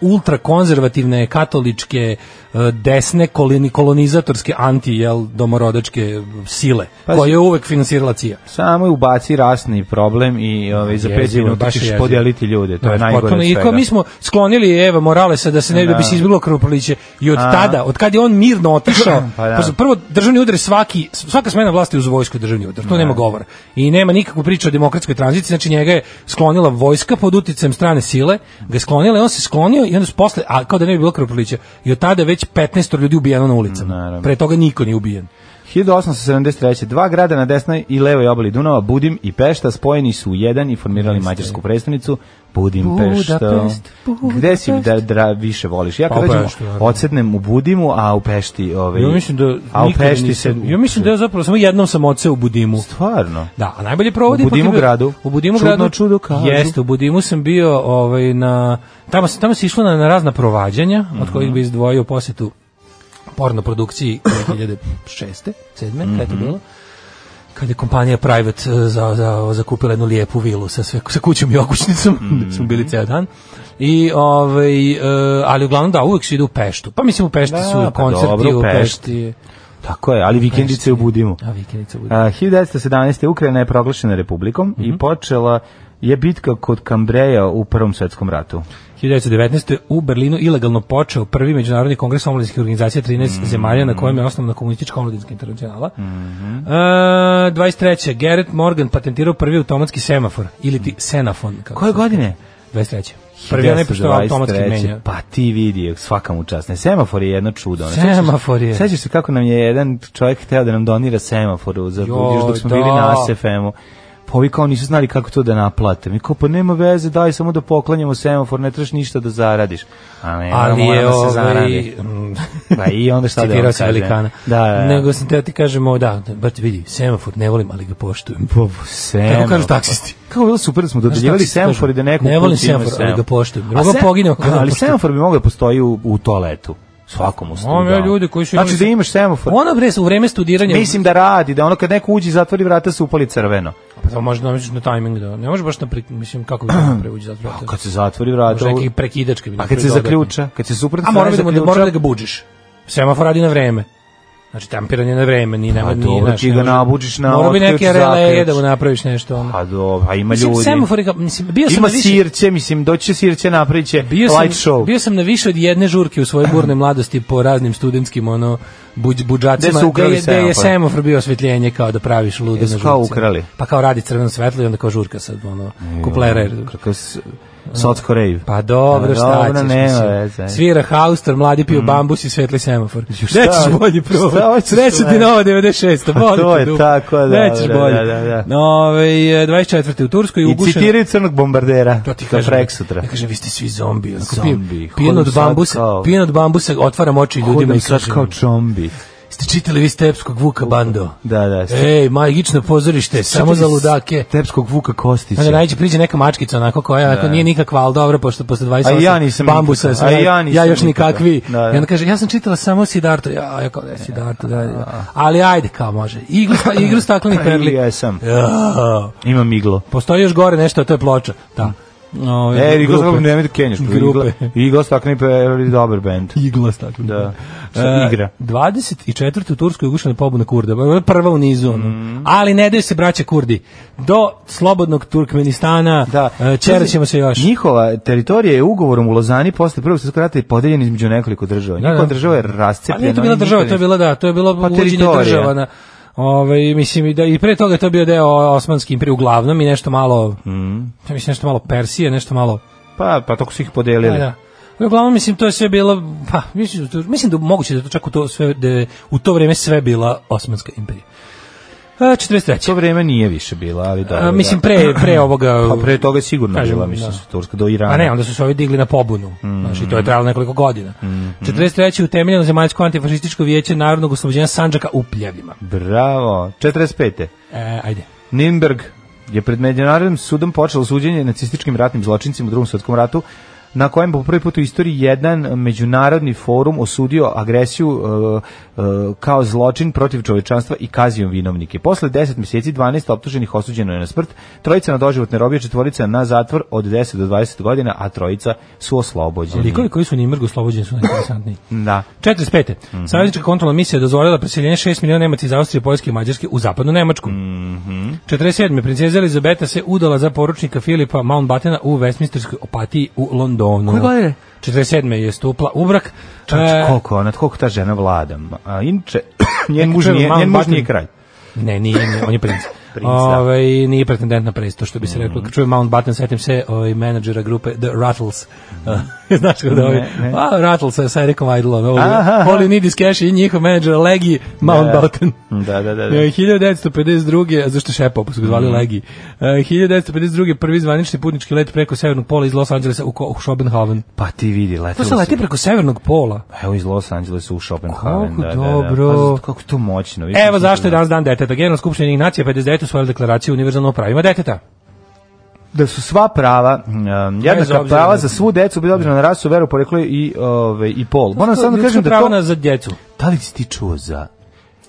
Speaker 5: ultra konzervativne katoličke e, desne koloni, kolonizatorske anti jel domorodačke sile
Speaker 6: Pazi.
Speaker 5: koje je uvek finansirala CIA.
Speaker 6: Samo ubaci rasni problem i ovaj, za pet
Speaker 5: Jezivo,
Speaker 6: minuta
Speaker 5: baš je
Speaker 6: ćeš
Speaker 5: jezivo.
Speaker 6: podeliti ljude. E, To je
Speaker 5: Da,
Speaker 6: najgore
Speaker 5: potpuno.
Speaker 6: od
Speaker 5: I
Speaker 6: svega.
Speaker 5: kao mi smo sklonili Eva Moralesa da se ne da. bi se izbilo krvoproliće i od
Speaker 6: A.
Speaker 5: tada, od kad je on mirno otišao,
Speaker 6: Pa da.
Speaker 5: pa su prvo državni udar je svaki svaka smena vlasti uz vojsku je državni udar. To nema govora. I nema nikakvu priču o demokratskoj tranziciji, znači njega je sklonila vojska pod uticajem strane sile, ga je sklonila i on se sklonio i onda su posle a kao da ne bi bilo krvoprolića. I od tada je već 15 ljudi ubijeno na ulicama.
Speaker 6: Naravno.
Speaker 5: Pre toga niko nije ubijen.
Speaker 6: 1873. Dva grada na desnoj i levoj obali Dunava, Budim i Pešta, spojeni su u jedan i formirali mađarsku predstavnicu Budimpešta.
Speaker 5: Budapest,
Speaker 6: Gde si da, da više voliš? Ja
Speaker 5: Pa
Speaker 6: kad
Speaker 5: u
Speaker 6: dođem,
Speaker 5: Peštu, naravno.
Speaker 6: odsednem u Budimu, a u Pešti... Ovaj,
Speaker 5: Ja mislim da
Speaker 6: a u
Speaker 5: nikada
Speaker 6: Pešti se...
Speaker 5: nisam- Ja mislim da ja zapravo samo jednom sam odseo u Budimu.
Speaker 6: Stvarno?
Speaker 5: Da, a najbolje provodi
Speaker 6: U
Speaker 5: ipak je bio-
Speaker 6: Budimogradu.
Speaker 5: U Budimu
Speaker 6: Čudno
Speaker 5: gradu.
Speaker 6: čudo kažu.
Speaker 5: Jeste, u Budimu sam bio ovaj na tamo se tamo se išlo na, na razna provađanja, od kojih bi izdvojio posetu porno produkciji 2006. 7. kada
Speaker 6: Mhm.
Speaker 5: je to bilo kad je kompanija Private e, za, za, zakupila jednu lijepu vilu sa, sve, sa kućom i okućnicom,
Speaker 6: Mhm.
Speaker 5: gde smo bili ceo dan. I, ovaj, e, ali uglavnom da, uvek se ide u Peštu. Pa mislim u Pešti
Speaker 6: Da,
Speaker 5: su
Speaker 6: pa
Speaker 5: koncerti,
Speaker 6: dobro,
Speaker 5: u
Speaker 6: u
Speaker 5: Pešti.
Speaker 6: Pešti. Tako je, ali vikendice u Budimu.
Speaker 5: A vikendice u Budimu.
Speaker 6: A, 1917. Ukrajina je proglašena republikom
Speaker 5: Mhm.
Speaker 6: i počela je bitka kod Kambreja u Prvom svetskom ratu.
Speaker 5: 1919. u Berlinu ilegalno počeo prvi međunarodni kongres omladinskih organizacija 13 zemalja na kojem je osnovna komunistička omladinska internacionala. Mm 23. Gerrit Morgan patentirao prvi automatski semafor ili ti senafon. Kako
Speaker 6: Koje
Speaker 5: se zove.
Speaker 6: godine?
Speaker 5: 23. Prvi onaj što automatski
Speaker 6: 1923.
Speaker 5: menja.
Speaker 6: Pa ti vidi, svaka mu čast. Ne, semafor je jedno čudo. Ne,
Speaker 5: Semafor je.
Speaker 6: Sećaš se kako nam je jedan čovjek hteo da nam donira semaforu za
Speaker 5: Joj,
Speaker 6: još dok smo
Speaker 5: da.
Speaker 6: bili na SFM-u. Pa ovi kao nisu znali kako to da naplate. Mi kao, pa nema veze, daj samo da poklanjamo semafor, ne trebaš ništa da zaradiš. A ne,
Speaker 5: Ali
Speaker 6: mora,
Speaker 5: je
Speaker 6: mora da
Speaker 5: ovaj,
Speaker 6: se zaradi. Pa i onda šta da
Speaker 5: Citirao
Speaker 6: vam
Speaker 5: si
Speaker 6: kažem?
Speaker 5: velikana.
Speaker 6: Da, da, da.
Speaker 5: Nego sam teo ti kažemo, da, brate vidi, semafor ne volim, ali ga poštujem.
Speaker 6: Pa, Semafor.
Speaker 5: Kako kažu taksisti?
Speaker 6: Kako je ono. bilo super da smo
Speaker 5: Znaš
Speaker 6: dodeljivali
Speaker 5: šta ti se
Speaker 6: semafor i
Speaker 5: kaže?
Speaker 6: da neko
Speaker 5: Ne volim
Speaker 6: kući ima
Speaker 5: semafor, ali ga poštujem.
Speaker 6: A
Speaker 5: Mogu
Speaker 6: se-
Speaker 5: poginem ako ga
Speaker 6: Ali
Speaker 5: poštujem.
Speaker 6: semafor bi mogao da postoji u, u toaletu. Svakom u
Speaker 5: Znam ja ljude koji su imali
Speaker 6: Znači da
Speaker 5: se-
Speaker 6: imaš semafor.
Speaker 5: Ono bre, u vreme studiranja...
Speaker 6: Mislim da radi, da ono kad neko uđe i zatvori vrata se upali crveno.
Speaker 5: Pa to možda namisiš na tajming da. Ne može baš na pri, mislim kako bi to preuđi zato.
Speaker 6: A Pa, kad se zatvori vrata...
Speaker 5: Možda neki prekidač kad bi
Speaker 6: Pa kad se
Speaker 5: napravio dodatno.
Speaker 6: zaključa, kad se suprotno
Speaker 5: A mora da da mora da ga budžiš. Semafor radi na vreme. Znači tampiranje na vreme, ni nema
Speaker 6: Pa
Speaker 5: ni
Speaker 6: dobro,
Speaker 5: znaš,
Speaker 6: ti
Speaker 5: ne
Speaker 6: ga
Speaker 5: može-
Speaker 6: nabučiš na
Speaker 5: Mora bi
Speaker 6: otključ,
Speaker 5: neke rele
Speaker 6: zaključ.
Speaker 5: da mu napraviš nešto ono.
Speaker 6: Pa dobro, a ima
Speaker 5: Mislim,
Speaker 6: ljudi.
Speaker 5: semafor ga, mislim, bio sam
Speaker 6: Ima
Speaker 5: na više,
Speaker 6: sirće, mislim, doći će sirće, napravit će
Speaker 5: bio sam,
Speaker 6: light show.
Speaker 5: bio sam na više od jedne žurke u svojoj burne mladosti po raznim studentskim ono buđ, budžacima,
Speaker 6: Gde su ukrali
Speaker 5: je, gde je
Speaker 6: semafor?
Speaker 5: semafor bio osvetljenje kao da praviš ludo na
Speaker 6: Jesu
Speaker 5: žurci.
Speaker 6: kao ukrali?
Speaker 5: Pa kao radi crveno svetlo i onda kao žurka sad ono kuplera.
Speaker 6: Kakav s- Sotsko rave.
Speaker 5: Pa dobro, šta
Speaker 6: dobro,
Speaker 5: ćeš,
Speaker 6: nema
Speaker 5: mislim.
Speaker 6: veze. Mm.
Speaker 5: Svira hauster, mladi piju bambus i svetli semafor.
Speaker 6: šta
Speaker 5: Nećeš
Speaker 6: hoćeš,
Speaker 5: bolje
Speaker 6: šta
Speaker 5: proba.
Speaker 6: hoćeš,
Speaker 5: Sreće ti
Speaker 6: ne.
Speaker 5: nova 96.
Speaker 6: Pa
Speaker 5: boli
Speaker 6: to
Speaker 5: ti
Speaker 6: je
Speaker 5: dupe.
Speaker 6: tako, da,
Speaker 5: Nećeš
Speaker 6: da,
Speaker 5: bolje.
Speaker 6: da, da, da.
Speaker 5: Ove, 24. u Turskoj
Speaker 6: I
Speaker 5: ugušeno.
Speaker 6: citiraju crnog bombardera.
Speaker 5: To ti
Speaker 6: do
Speaker 5: kažem.
Speaker 6: preksutra.
Speaker 5: Ja kažem, vi ste svi zombi. Onako,
Speaker 6: Zombi.
Speaker 5: Pijem, pijen od
Speaker 6: Hodam sad
Speaker 5: bambusa,
Speaker 6: kao-
Speaker 5: pijen od bambusa, otvaram oči ljudima i
Speaker 6: Hodam sad
Speaker 5: kažem.
Speaker 6: kao čombi.
Speaker 5: Ste čitali vi Stepskog Vuka Bando?
Speaker 6: Da, da.
Speaker 5: Ej, magično pozorište, E, samo za ludake.
Speaker 6: Tepskog Vuka Kostića.
Speaker 5: Onda najče priđe neka mačkica onako koja onako nije nikakva, ali dobro, pošto posle 28
Speaker 6: A ja nisam
Speaker 5: bambusa, sam
Speaker 6: nikakav. A
Speaker 5: ja,
Speaker 6: ja
Speaker 5: ja,
Speaker 6: nisam
Speaker 5: još
Speaker 6: nikakav.
Speaker 5: nikakvi.
Speaker 6: Da, da.
Speaker 5: I onda kaže, ja sam čitala samo Sidarto, ja, ja kao da je Sidarto, da, da. ali ajde kao može. Igru, sta- igru staklenih perli.
Speaker 6: Pa
Speaker 5: E.
Speaker 6: Ja sam.
Speaker 5: Ja.
Speaker 6: Imam iglo.
Speaker 5: Postoji još gore nešto, a to je ploča. Da. Ove,
Speaker 6: E, iglo
Speaker 5: grupe.
Speaker 6: stakle, nemoj da kenjaš.
Speaker 5: Grupe.
Speaker 6: Iglo stakle, pa je dobar band.
Speaker 5: Igla stakle.
Speaker 6: Da.
Speaker 5: E,
Speaker 6: Sa igra.
Speaker 5: 24. u Turskoj je ugušena pobuna Kurda. Ovo je Prva u nizu. ono.
Speaker 6: Mm.
Speaker 5: Ali ne daju se braća Kurdi. Do slobodnog Turkmenistana
Speaker 6: Da.
Speaker 5: e, ćeraćemo se još.
Speaker 6: Njihova teritorija je ugovorom u Lozani posle prvog svetskog rata i podeljena između nekoliko država.
Speaker 5: Da,
Speaker 6: Njihova
Speaker 5: da.
Speaker 6: država je
Speaker 5: Pa
Speaker 6: rascepljena.
Speaker 5: nije to bila
Speaker 6: oni
Speaker 5: država,
Speaker 6: nikad
Speaker 5: to je bila da, to je bilo
Speaker 6: Pa
Speaker 5: uvođenje
Speaker 6: teritorija.
Speaker 5: država na Ove, mislim, i da, i pre toga je to bio deo Osmanske imperije, uglavnom, i nešto malo,
Speaker 6: Mm.
Speaker 5: ja mislim, nešto malo Persije, nešto malo,
Speaker 6: nisu- Pa, pa tako su ih
Speaker 5: da,
Speaker 6: podelili.
Speaker 5: da. Ali Uglavnom, mislim, to je sve bilo, pa, mislim, da to- mislim da moguće da je to čak u to, sve, da je u to vreme sve bila Osmanska imperija. E, 43.
Speaker 6: To vreme nije više bila, ali dobro.
Speaker 5: A, mislim,
Speaker 6: da.
Speaker 5: pre, pre ovoga...
Speaker 6: Pa pre toga je sigurno
Speaker 5: Kažem,
Speaker 6: bila, mislim,
Speaker 5: da.
Speaker 6: da. Mm. Turska do Irana.
Speaker 5: A ne, onda su se ovi digli na pobunu. Znaš, i to je trajalo nekoliko godina.
Speaker 6: mm.
Speaker 5: 43. utemeljeno zemaljsko antifašističko vijeće narodnog oslobođenja Sanđaka u Pljevljima.
Speaker 6: Bravo. 45.
Speaker 5: E, ajde.
Speaker 6: Nimberg je pred međunarodnim sudom počelo suđenje nacističkim ratnim zločincima u drugom svetskom ratu na kojem po prvi put u istoriji jedan međunarodni forum osudio agresiju e, e, kao zločin protiv čovečanstva i kazio vinovnike. Posle 10 mjeseci 12 optuženih osuđeno je na smrt, trojica na doživotne robije, četvorica na zatvor od 10 do 20 godina, a trojica su oslobođeni.
Speaker 5: Likovi koji su u Nimrgu oslobođeni su najinteresantniji.
Speaker 6: Da.
Speaker 5: 45. Mm
Speaker 6: Mhm.
Speaker 5: Saveznička kontrolna misija je dozvolila preseljenje 6 miliona Nemaca iz Austrije, Poljske i Mađarske u zapadnu Nemačku. Mm
Speaker 6: Mhm.
Speaker 5: 47. Princeza Elizabeta se udala za poručnika Filipa Mountbattena u Westminsterskoj opatiji u Londonu.
Speaker 6: Koje godine?
Speaker 5: 47. je stupla u brak.
Speaker 6: Čač,
Speaker 5: E,
Speaker 6: koliko, nad koliko ta žena vlada. A, inče, njen muž
Speaker 5: čovjek
Speaker 6: nije,
Speaker 5: malo
Speaker 6: njen muž
Speaker 5: batin-
Speaker 6: nije kralj.
Speaker 5: Ne, nije, nije, on je princ.
Speaker 6: Princ, da.
Speaker 5: Ovaj, nije pretendent na princ, to što bi se reklo.
Speaker 6: Mhm.
Speaker 5: Kad čujem Mountbatten, setim se ovaj, menadžera grupe The Rattles. Znaš kada ovi,
Speaker 6: ne.
Speaker 5: a, Rattles sa sa Ericom Idolom, ovo,
Speaker 6: Aha.
Speaker 5: All You Need Is Cash i njihov menadžer Legi Mountbatten.
Speaker 6: Da, da, da. da.
Speaker 5: E, 1952. a Zašto šepao, pa su ga
Speaker 6: Mhm.
Speaker 5: zvali Legi. E, 1952. prvi zvanični putnički let preko severnog pola iz Los Angelesa u, Ko- u Schopenhaven.
Speaker 6: Pa ti vidi,
Speaker 5: To
Speaker 6: letelo
Speaker 5: se leti preko severnog pola.
Speaker 6: Evo iz Los Angelesa u Schopenhaven.
Speaker 5: Kako
Speaker 6: da, da,
Speaker 5: dobro.
Speaker 6: Da, Pa, kako je to moćno. vidiš,
Speaker 5: Evo
Speaker 6: mislim,
Speaker 5: zašto je
Speaker 6: da,
Speaker 5: danas dan deteta. Generalna skupština Ujedinjenih nacija 59. usvojila deklaraciju o univerzalnom pravima deteta.
Speaker 6: da su sva prava, um, jednaka
Speaker 5: obzira
Speaker 6: prava
Speaker 5: na-
Speaker 6: za svu decu, bez obzira na rasu, veru, poreklo i, ove, i pol. Moram samo da
Speaker 5: Ljudska
Speaker 6: kažem da
Speaker 5: prava
Speaker 6: to...
Speaker 5: na- za djecu.
Speaker 6: Da li si ti čuo za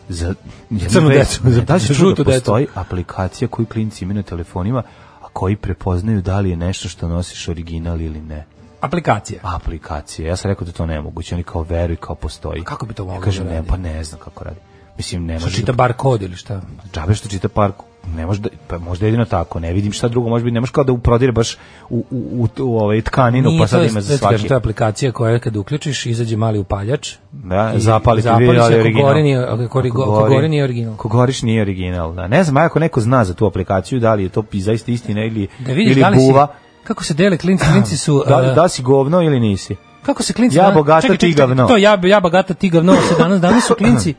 Speaker 6: za jednu
Speaker 5: Crnu
Speaker 6: vest?
Speaker 5: decu, za-
Speaker 6: da li si
Speaker 5: za
Speaker 6: čuo
Speaker 5: žutu
Speaker 6: da
Speaker 5: decu.
Speaker 6: postoji aplikacija koju klinci imaju na telefonima, a koji prepoznaju da li je nešto što nosiš original ili ne.
Speaker 5: Aplikacija.
Speaker 6: aplikacije. Ja sam rekao da to nemoguće, oni kao veruj kao postoji.
Speaker 5: kako bi to moglo
Speaker 6: Ja kažem,
Speaker 5: da
Speaker 6: ne,
Speaker 5: radi?
Speaker 6: pa ne znam kako radi. Mislim, ne
Speaker 5: Što
Speaker 6: može.
Speaker 5: Pa čita
Speaker 6: Čita...
Speaker 5: bar kod ili šta?
Speaker 6: Džabe što čita park, ne može da, pa možda jedino tako, ne vidim šta drugo može biti, ne može kao da uprodire baš u, u, u, u ovaj tkaninu,
Speaker 5: Nije,
Speaker 6: pa sad
Speaker 5: to je-
Speaker 6: ima
Speaker 5: to
Speaker 6: za
Speaker 5: je-
Speaker 6: svaki.
Speaker 5: To je aplikacija koja kad uključiš, izađe mali upaljač.
Speaker 6: Da,
Speaker 5: i
Speaker 6: zapali ti
Speaker 5: zapali
Speaker 6: vidi
Speaker 5: se
Speaker 6: ali
Speaker 5: ako
Speaker 6: original.
Speaker 5: gori nije- ako gori- ako
Speaker 6: gori-
Speaker 5: gori nije original.
Speaker 6: Ako goriš nije original, da. Ne znam, a ako neko zna za tu aplikaciju, da li je to i zaista istina ili,
Speaker 5: Da vidiš
Speaker 6: ili
Speaker 5: da li si, Uh,
Speaker 6: buva.
Speaker 5: kako se dele klinci, klinci su... e,
Speaker 6: Da,
Speaker 5: a,
Speaker 6: li- da si govno ili nisi?
Speaker 5: Kako se klinci...
Speaker 6: Ja
Speaker 5: danas-
Speaker 6: bogata,
Speaker 5: čekaj, čekaj,
Speaker 6: ti
Speaker 5: čekaj,
Speaker 6: gavno.
Speaker 5: To ja, ja bogata, ti gavno, se danas, danas su klinci...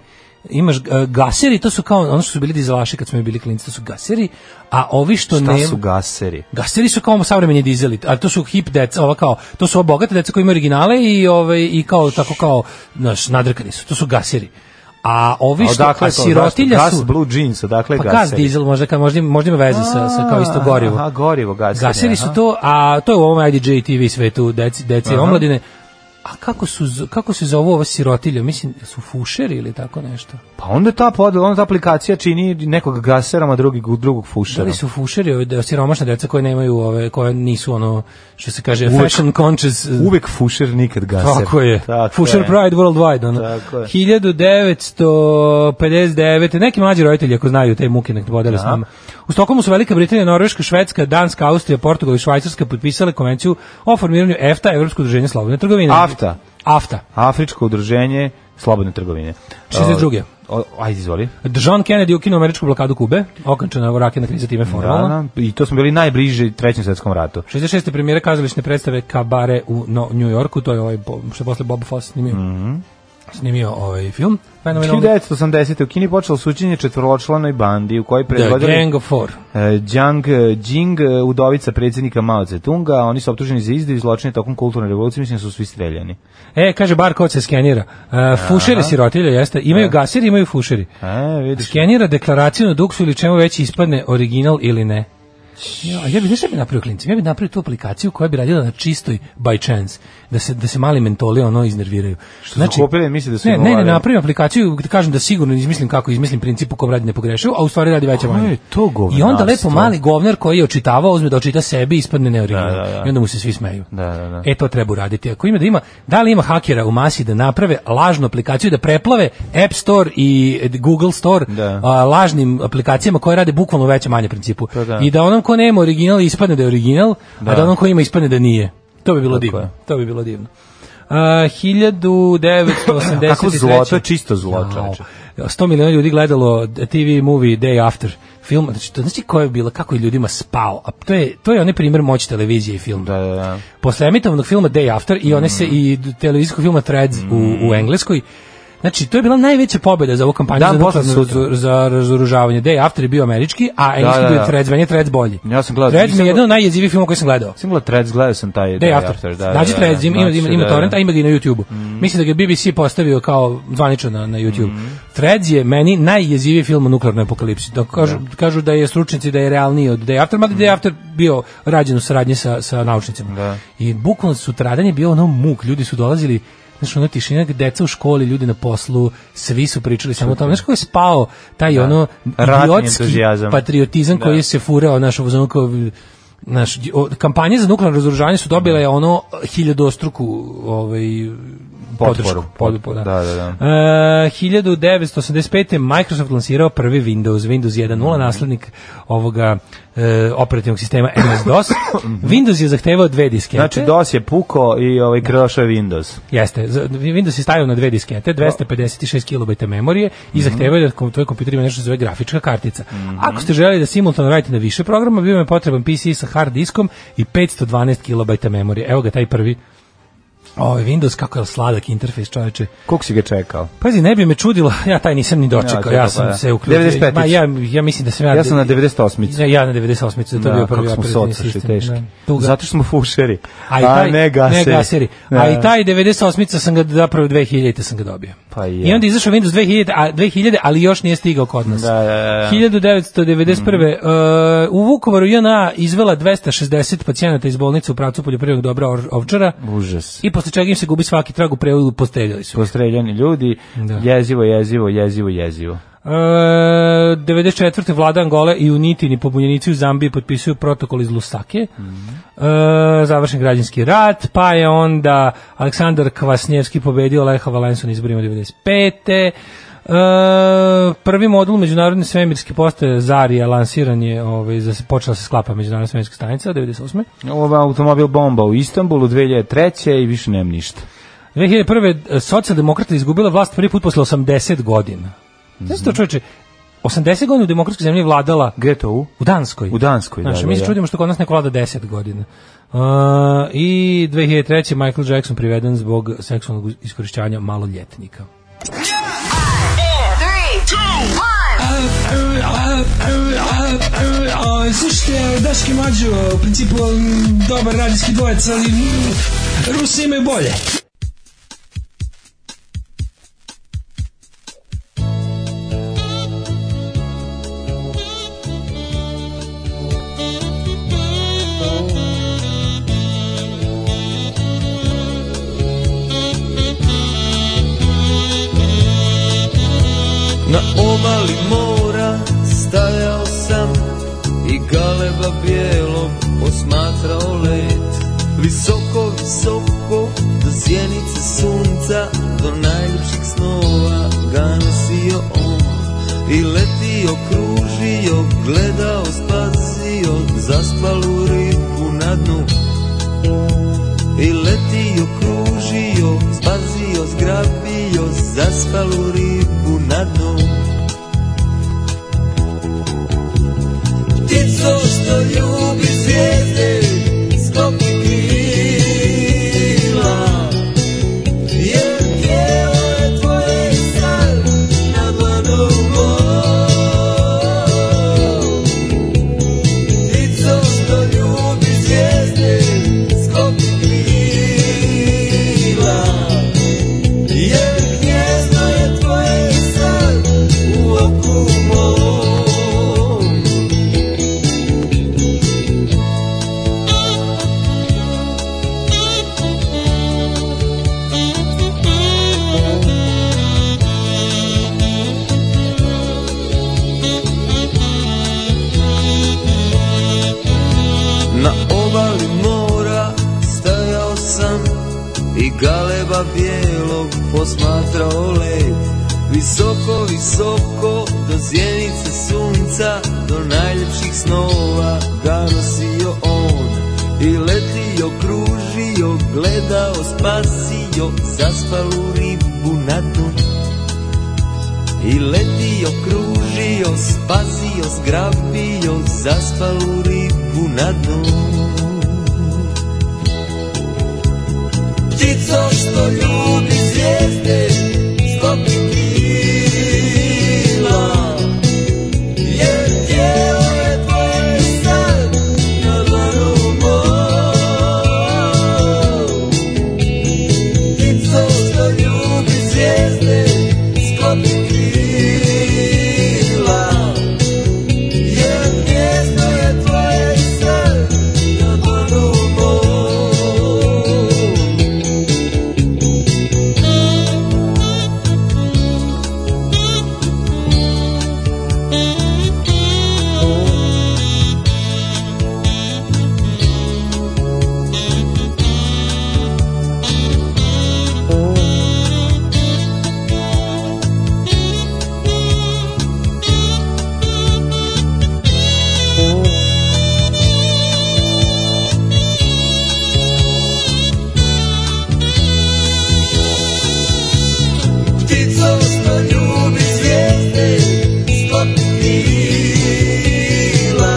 Speaker 5: Imaš e, gaseri, to su kao ono što su bili dizelaši kad smo mi bili klinci, to su gaseri, a ovi što
Speaker 6: Šta
Speaker 5: ne...
Speaker 6: su gaseri?
Speaker 5: Gaseri su kao savremeni dizeli, ali to su hip deca, ova kao, to su ova bogata deca koji imaju originale i ovaj i kao tako kao naš nadrkani su. To su gaseri. A ovi
Speaker 6: A
Speaker 5: što a
Speaker 6: odakle to?
Speaker 5: sirotilja
Speaker 6: Gas
Speaker 5: su
Speaker 6: blue jeans, odakle
Speaker 5: pa gas
Speaker 6: gaseri?
Speaker 5: dizel možda kao možda, možda ima veze sa, sa kao isto gorivo.
Speaker 6: Aha, gorivo gaseri.
Speaker 5: Gaseri su
Speaker 6: aha.
Speaker 5: to, a to je u ovom IDJ TV svetu deci, deci i omladine. A kako, su, z- kako se zovu ova sirotilja? Mislim, su fušeri ili tako nešto?
Speaker 6: Pa onda ta podela, onda ta aplikacija čini nekog gaserom, a drugi, drugog
Speaker 5: Da
Speaker 6: fušerom.
Speaker 5: li su fušeri ove de- siromašna deca koje nemaju ove, koje nisu ono, što se kaže,
Speaker 6: Uvek-
Speaker 5: fashion conscious eh,
Speaker 6: Uvek fušer, nikad gaser.
Speaker 5: Tako je.
Speaker 6: Tako
Speaker 5: Fusher
Speaker 6: je.
Speaker 5: Pride Worldwide. Ono.
Speaker 6: Tako je.
Speaker 5: 1959. Neki mlađi roditelji ako znaju te muke nek podele s nama. U Stokomu su Velika Britanija, Norveška, Švedska, Danska, Austrija, Portugal i Švajcarska potpisale konvenciju o formiranju EFTA, Evropsko udruženje slobodne trgovine.
Speaker 6: AFTA.
Speaker 5: AFTA.
Speaker 6: Afričko udruženje slobodne trgovine.
Speaker 5: 62.
Speaker 6: O, ajde, izvoli.
Speaker 5: John Kennedy ukinuo američku blokadu Kube, okončena je raketna kriza time formalno.
Speaker 6: Da, da, I to smo bili najbliži trećem svetskom ratu.
Speaker 5: 66. premijera kazališne predstave Kabare u no, New Yorku, to je ovaj bo- što je posle Bob Foss snimio.
Speaker 6: Mhm.
Speaker 5: Snimio ovaj film. Fenomenalno.
Speaker 6: 1980. u Kini počelo suđenje četvoročlanoj bandi u kojoj
Speaker 5: The
Speaker 6: predvodili
Speaker 5: Gang of Four.
Speaker 6: E, Jiang e, Jing, e, udovica predsjednika Mao Zedonga, a oni su optuženi za izdaju i zločine tokom kulturne revolucije, mislim da su svi streljani.
Speaker 5: E, kaže, bar kod se skenira. Uh, fušere sirotilja, jeste. Imaju gasiri, imaju fušeri.
Speaker 6: E, vidiš.
Speaker 5: Skenira deklaraciju na duksu ili čemu već ispadne original ili ne. Ja, a ja bih, znaš šta bih napravio klincima? Ja bih napravio tu aplikaciju koja bi radila na čistoj by chance, da se, da se mali mentoli ono iznerviraju. Što
Speaker 6: zakopili i misle da su
Speaker 5: znači- ne,
Speaker 6: im
Speaker 5: ne, ne,
Speaker 6: ovale.
Speaker 5: napravim aplikaciju gde kažem da sigurno izmislim kako izmislim princip u kom radi ne pogrešio, a u stvari radi veća
Speaker 6: Koje
Speaker 5: manja.
Speaker 6: je to
Speaker 5: I onda
Speaker 6: govnarstvo?
Speaker 5: lepo mali govner koji je očitavao, uzme da očita sebi i ispadne neoriginal.
Speaker 6: Da, da, da.
Speaker 5: I onda mu se svi smeju.
Speaker 6: Da, da, da.
Speaker 5: E to treba uraditi. Ako ima da ima, da li ima hakera u masi da naprave lažnu aplikaciju da preplave App Store i Google Store
Speaker 6: Da.
Speaker 5: a, lažnim aplikacijama koje rade bukvalno u većem manje principu.
Speaker 6: Pa da.
Speaker 5: I da onom ko nema original ispadne da je original, a da onom ko ima ispadne da nije. To bi bilo divno.
Speaker 6: je.
Speaker 5: To bi bilo divno. A, 1983.
Speaker 6: Kako zloto, čisto zlo,
Speaker 5: Jao.
Speaker 6: čoveče.
Speaker 5: 100 miliona ljudi gledalo TV movie Day After film, znači to znači koja je bila, kako je ljudima spao, a to je, to je onaj primjer moći televizije i filma.
Speaker 6: Da, Mm. da, da.
Speaker 5: Posle emitovanog filma Day After i one se i televizijskog filma Threads
Speaker 6: Mm.
Speaker 5: u, u Engleskoj, Znači, to je bila najveća pobjeda za ovu kampanju
Speaker 6: Dan
Speaker 5: za,
Speaker 6: posle
Speaker 5: nuklearno-
Speaker 6: sutra.
Speaker 5: za razoružavanje. Day After je bio američki, a engleski
Speaker 6: da,
Speaker 5: bio
Speaker 6: da.
Speaker 5: Threads, meni je Threads bolji.
Speaker 6: Ja sam gledao-
Speaker 5: Threads mi
Speaker 6: nisam
Speaker 5: je jedan
Speaker 6: gledao-
Speaker 5: od najjezivijih filmova koji sam gledao.
Speaker 6: Sam gledao Threads, gledao sam taj
Speaker 5: Day After. after da, znači, Threads, ima, ima, ima,
Speaker 6: Znači, da,
Speaker 5: torrent,
Speaker 6: da. Mm.
Speaker 5: a ima ga i na YouTube-u. Mislim da ga je BBC postavio kao zvanično na, na YouTube. Threads je meni najjeziviji film o nuklearnoj apokalipsi. Dok kažu, kažu da je stručnici da je realniji od Day After, mada je Day After bio rađen u saradnji sa, sa naučnicima.
Speaker 6: Mm. Da.
Speaker 5: I bukvalno sutradan je bio ono muk, ljudi su dolazili Znaš, ono tišina, deca u školi, ljudi na poslu, svi su pričali samo o tome. Znaš kako je spao taj ono
Speaker 6: Ratni
Speaker 5: idiotski pa
Speaker 6: entuzijazam.
Speaker 5: patriotizam koji se furao, naš, ono kao, naš, o, kampanje za nuklearno razoružanje su dobile ono hiljadostruku ovaj, podršku.
Speaker 6: Potporu.
Speaker 5: Podporu, da.
Speaker 6: Da, da, da.
Speaker 5: E, 1985. je Microsoft lansirao prvi Windows, Windows 1.0,
Speaker 6: Mhm.
Speaker 5: naslednik ovoga e, operativnog sistema MS-DOS. Windows je zahtevao dve diskete.
Speaker 6: Znači, DOS je puko i ovaj krošao je Windows.
Speaker 5: Jeste, za- Windows je stavio na dve diskete, 256 KB memorije i
Speaker 6: Mhm.
Speaker 5: zahtevaju da kom- tvoj kompjuter ima nešto što se zove grafička kartica. Ako ste želeli da simultano radite na više programa, bio vam je potreban PC sa hard diskom i 512 KB memorije. Evo ga taj prvi Ovo Windows, kako je sladak interfejs, čoveče.
Speaker 6: Koliko si ga čekao?
Speaker 5: Pazi, ne bi me čudilo, ja taj nisam ni dočekao, ja,
Speaker 6: čekao,
Speaker 5: sam
Speaker 6: pa da.
Speaker 5: se uključio.
Speaker 6: 95.
Speaker 5: Ma, ja, ja mislim da sam ja...
Speaker 6: Ja sam na 98.
Speaker 5: Ne, ja na 98. Da, to
Speaker 6: Da,
Speaker 5: je bio prvi
Speaker 6: kako smo
Speaker 5: operativni
Speaker 6: socaši
Speaker 5: sistem,
Speaker 6: teški.
Speaker 5: da. Tuga.
Speaker 6: Zato što smo fušeri.
Speaker 5: A, i taj,
Speaker 6: Pa ne gaseri.
Speaker 5: A i
Speaker 6: Da.
Speaker 5: taj 98 sam ga zapravo 2000 sam ga dobio.
Speaker 6: Pa je.
Speaker 5: I onda je izašao Windows 2000, a, 2000, ali još nije stigao kod nas.
Speaker 6: Da, da, da. Mhm.
Speaker 5: 1991. e, u Vukovaru JNA izvela 260 pacijenata iz bolnice u pravcu poljoprivrednog dobra Or- Ovčara.
Speaker 6: Užas.
Speaker 5: I posle čega im se gubi svaki trag u prevodu, postreljali su.
Speaker 6: postreljani ljudi, jezivo, jezivo, jezivo, jezivo.
Speaker 5: E, 94. vlada Angole i Unitini pobunjenici u Zambiji potpisuju protokol iz Lusake. E, završen građanski rat, pa je onda Aleksandar Kvasnjevski pobedio Leha Valensu na izborima 95. E, prvi modul međunarodne svemirske postaje Zarija lansiran je, ovaj, za, počela se sklapa međunarodna svemirska stanica 98.
Speaker 6: Ova automobil bomba u Istanbulu 2003. i više nemam ništa.
Speaker 5: 2001. socijaldemokrata e, izgubila vlast prvi put posle 80 godina. Znaš to čovječe, 80 godina u demokratskoj zemlji je vladala
Speaker 6: Gde to u?
Speaker 5: U Danskoj.
Speaker 6: U Danskoj, da,
Speaker 5: Znaš,
Speaker 6: da,
Speaker 5: mi se
Speaker 6: da.
Speaker 5: čudimo što kod nas neko vlada 10 godina. Uh, I 2003. Michael Jackson priveden zbog seksualnog iskorišćanja maloljetnika. Slušajte, Daški Mađo, u principu dobar radijski dvojec, ali Rusi imaju bolje.
Speaker 8: Na obali mora stajao sam I galeba bijelog posmatrao let Visoko, visoko, do sjenice sunca Do najljepših snova ga nosio on I letio, kružio, gledao, spasio Zaspalu ribu na dnu I letio, kružio, spazio, zgrabio Zaspalu ribu na dnu Ptico što ljubi zvijezde Skoki krila Jer tijelo je tvoje sad Na dlanu moj Ptico što ljubi zvijezde Skoki krila jer gnjezdo je tvoje sad u oku mom. Na obali mora stajao sam i galeba bijelog posmatrao let. Visoko, visoko, do zjenice sunca, do najljepših snova ga nosio on. I letio, kružio, gledao, spasio, zaspalu ribu na dnu. I letio, kružio, spasio, zgrabio, zaspalu ribu na dnu. Ptico što ljubi zvijezde Stopi krila Jer tijelo je tvoje sad Na dlanu moj Ptico što ljubi zvijezde Stopi krila Jer mjesto je tvoje sad Na dlanu moj Ptico što ljubi zvijezde Skopila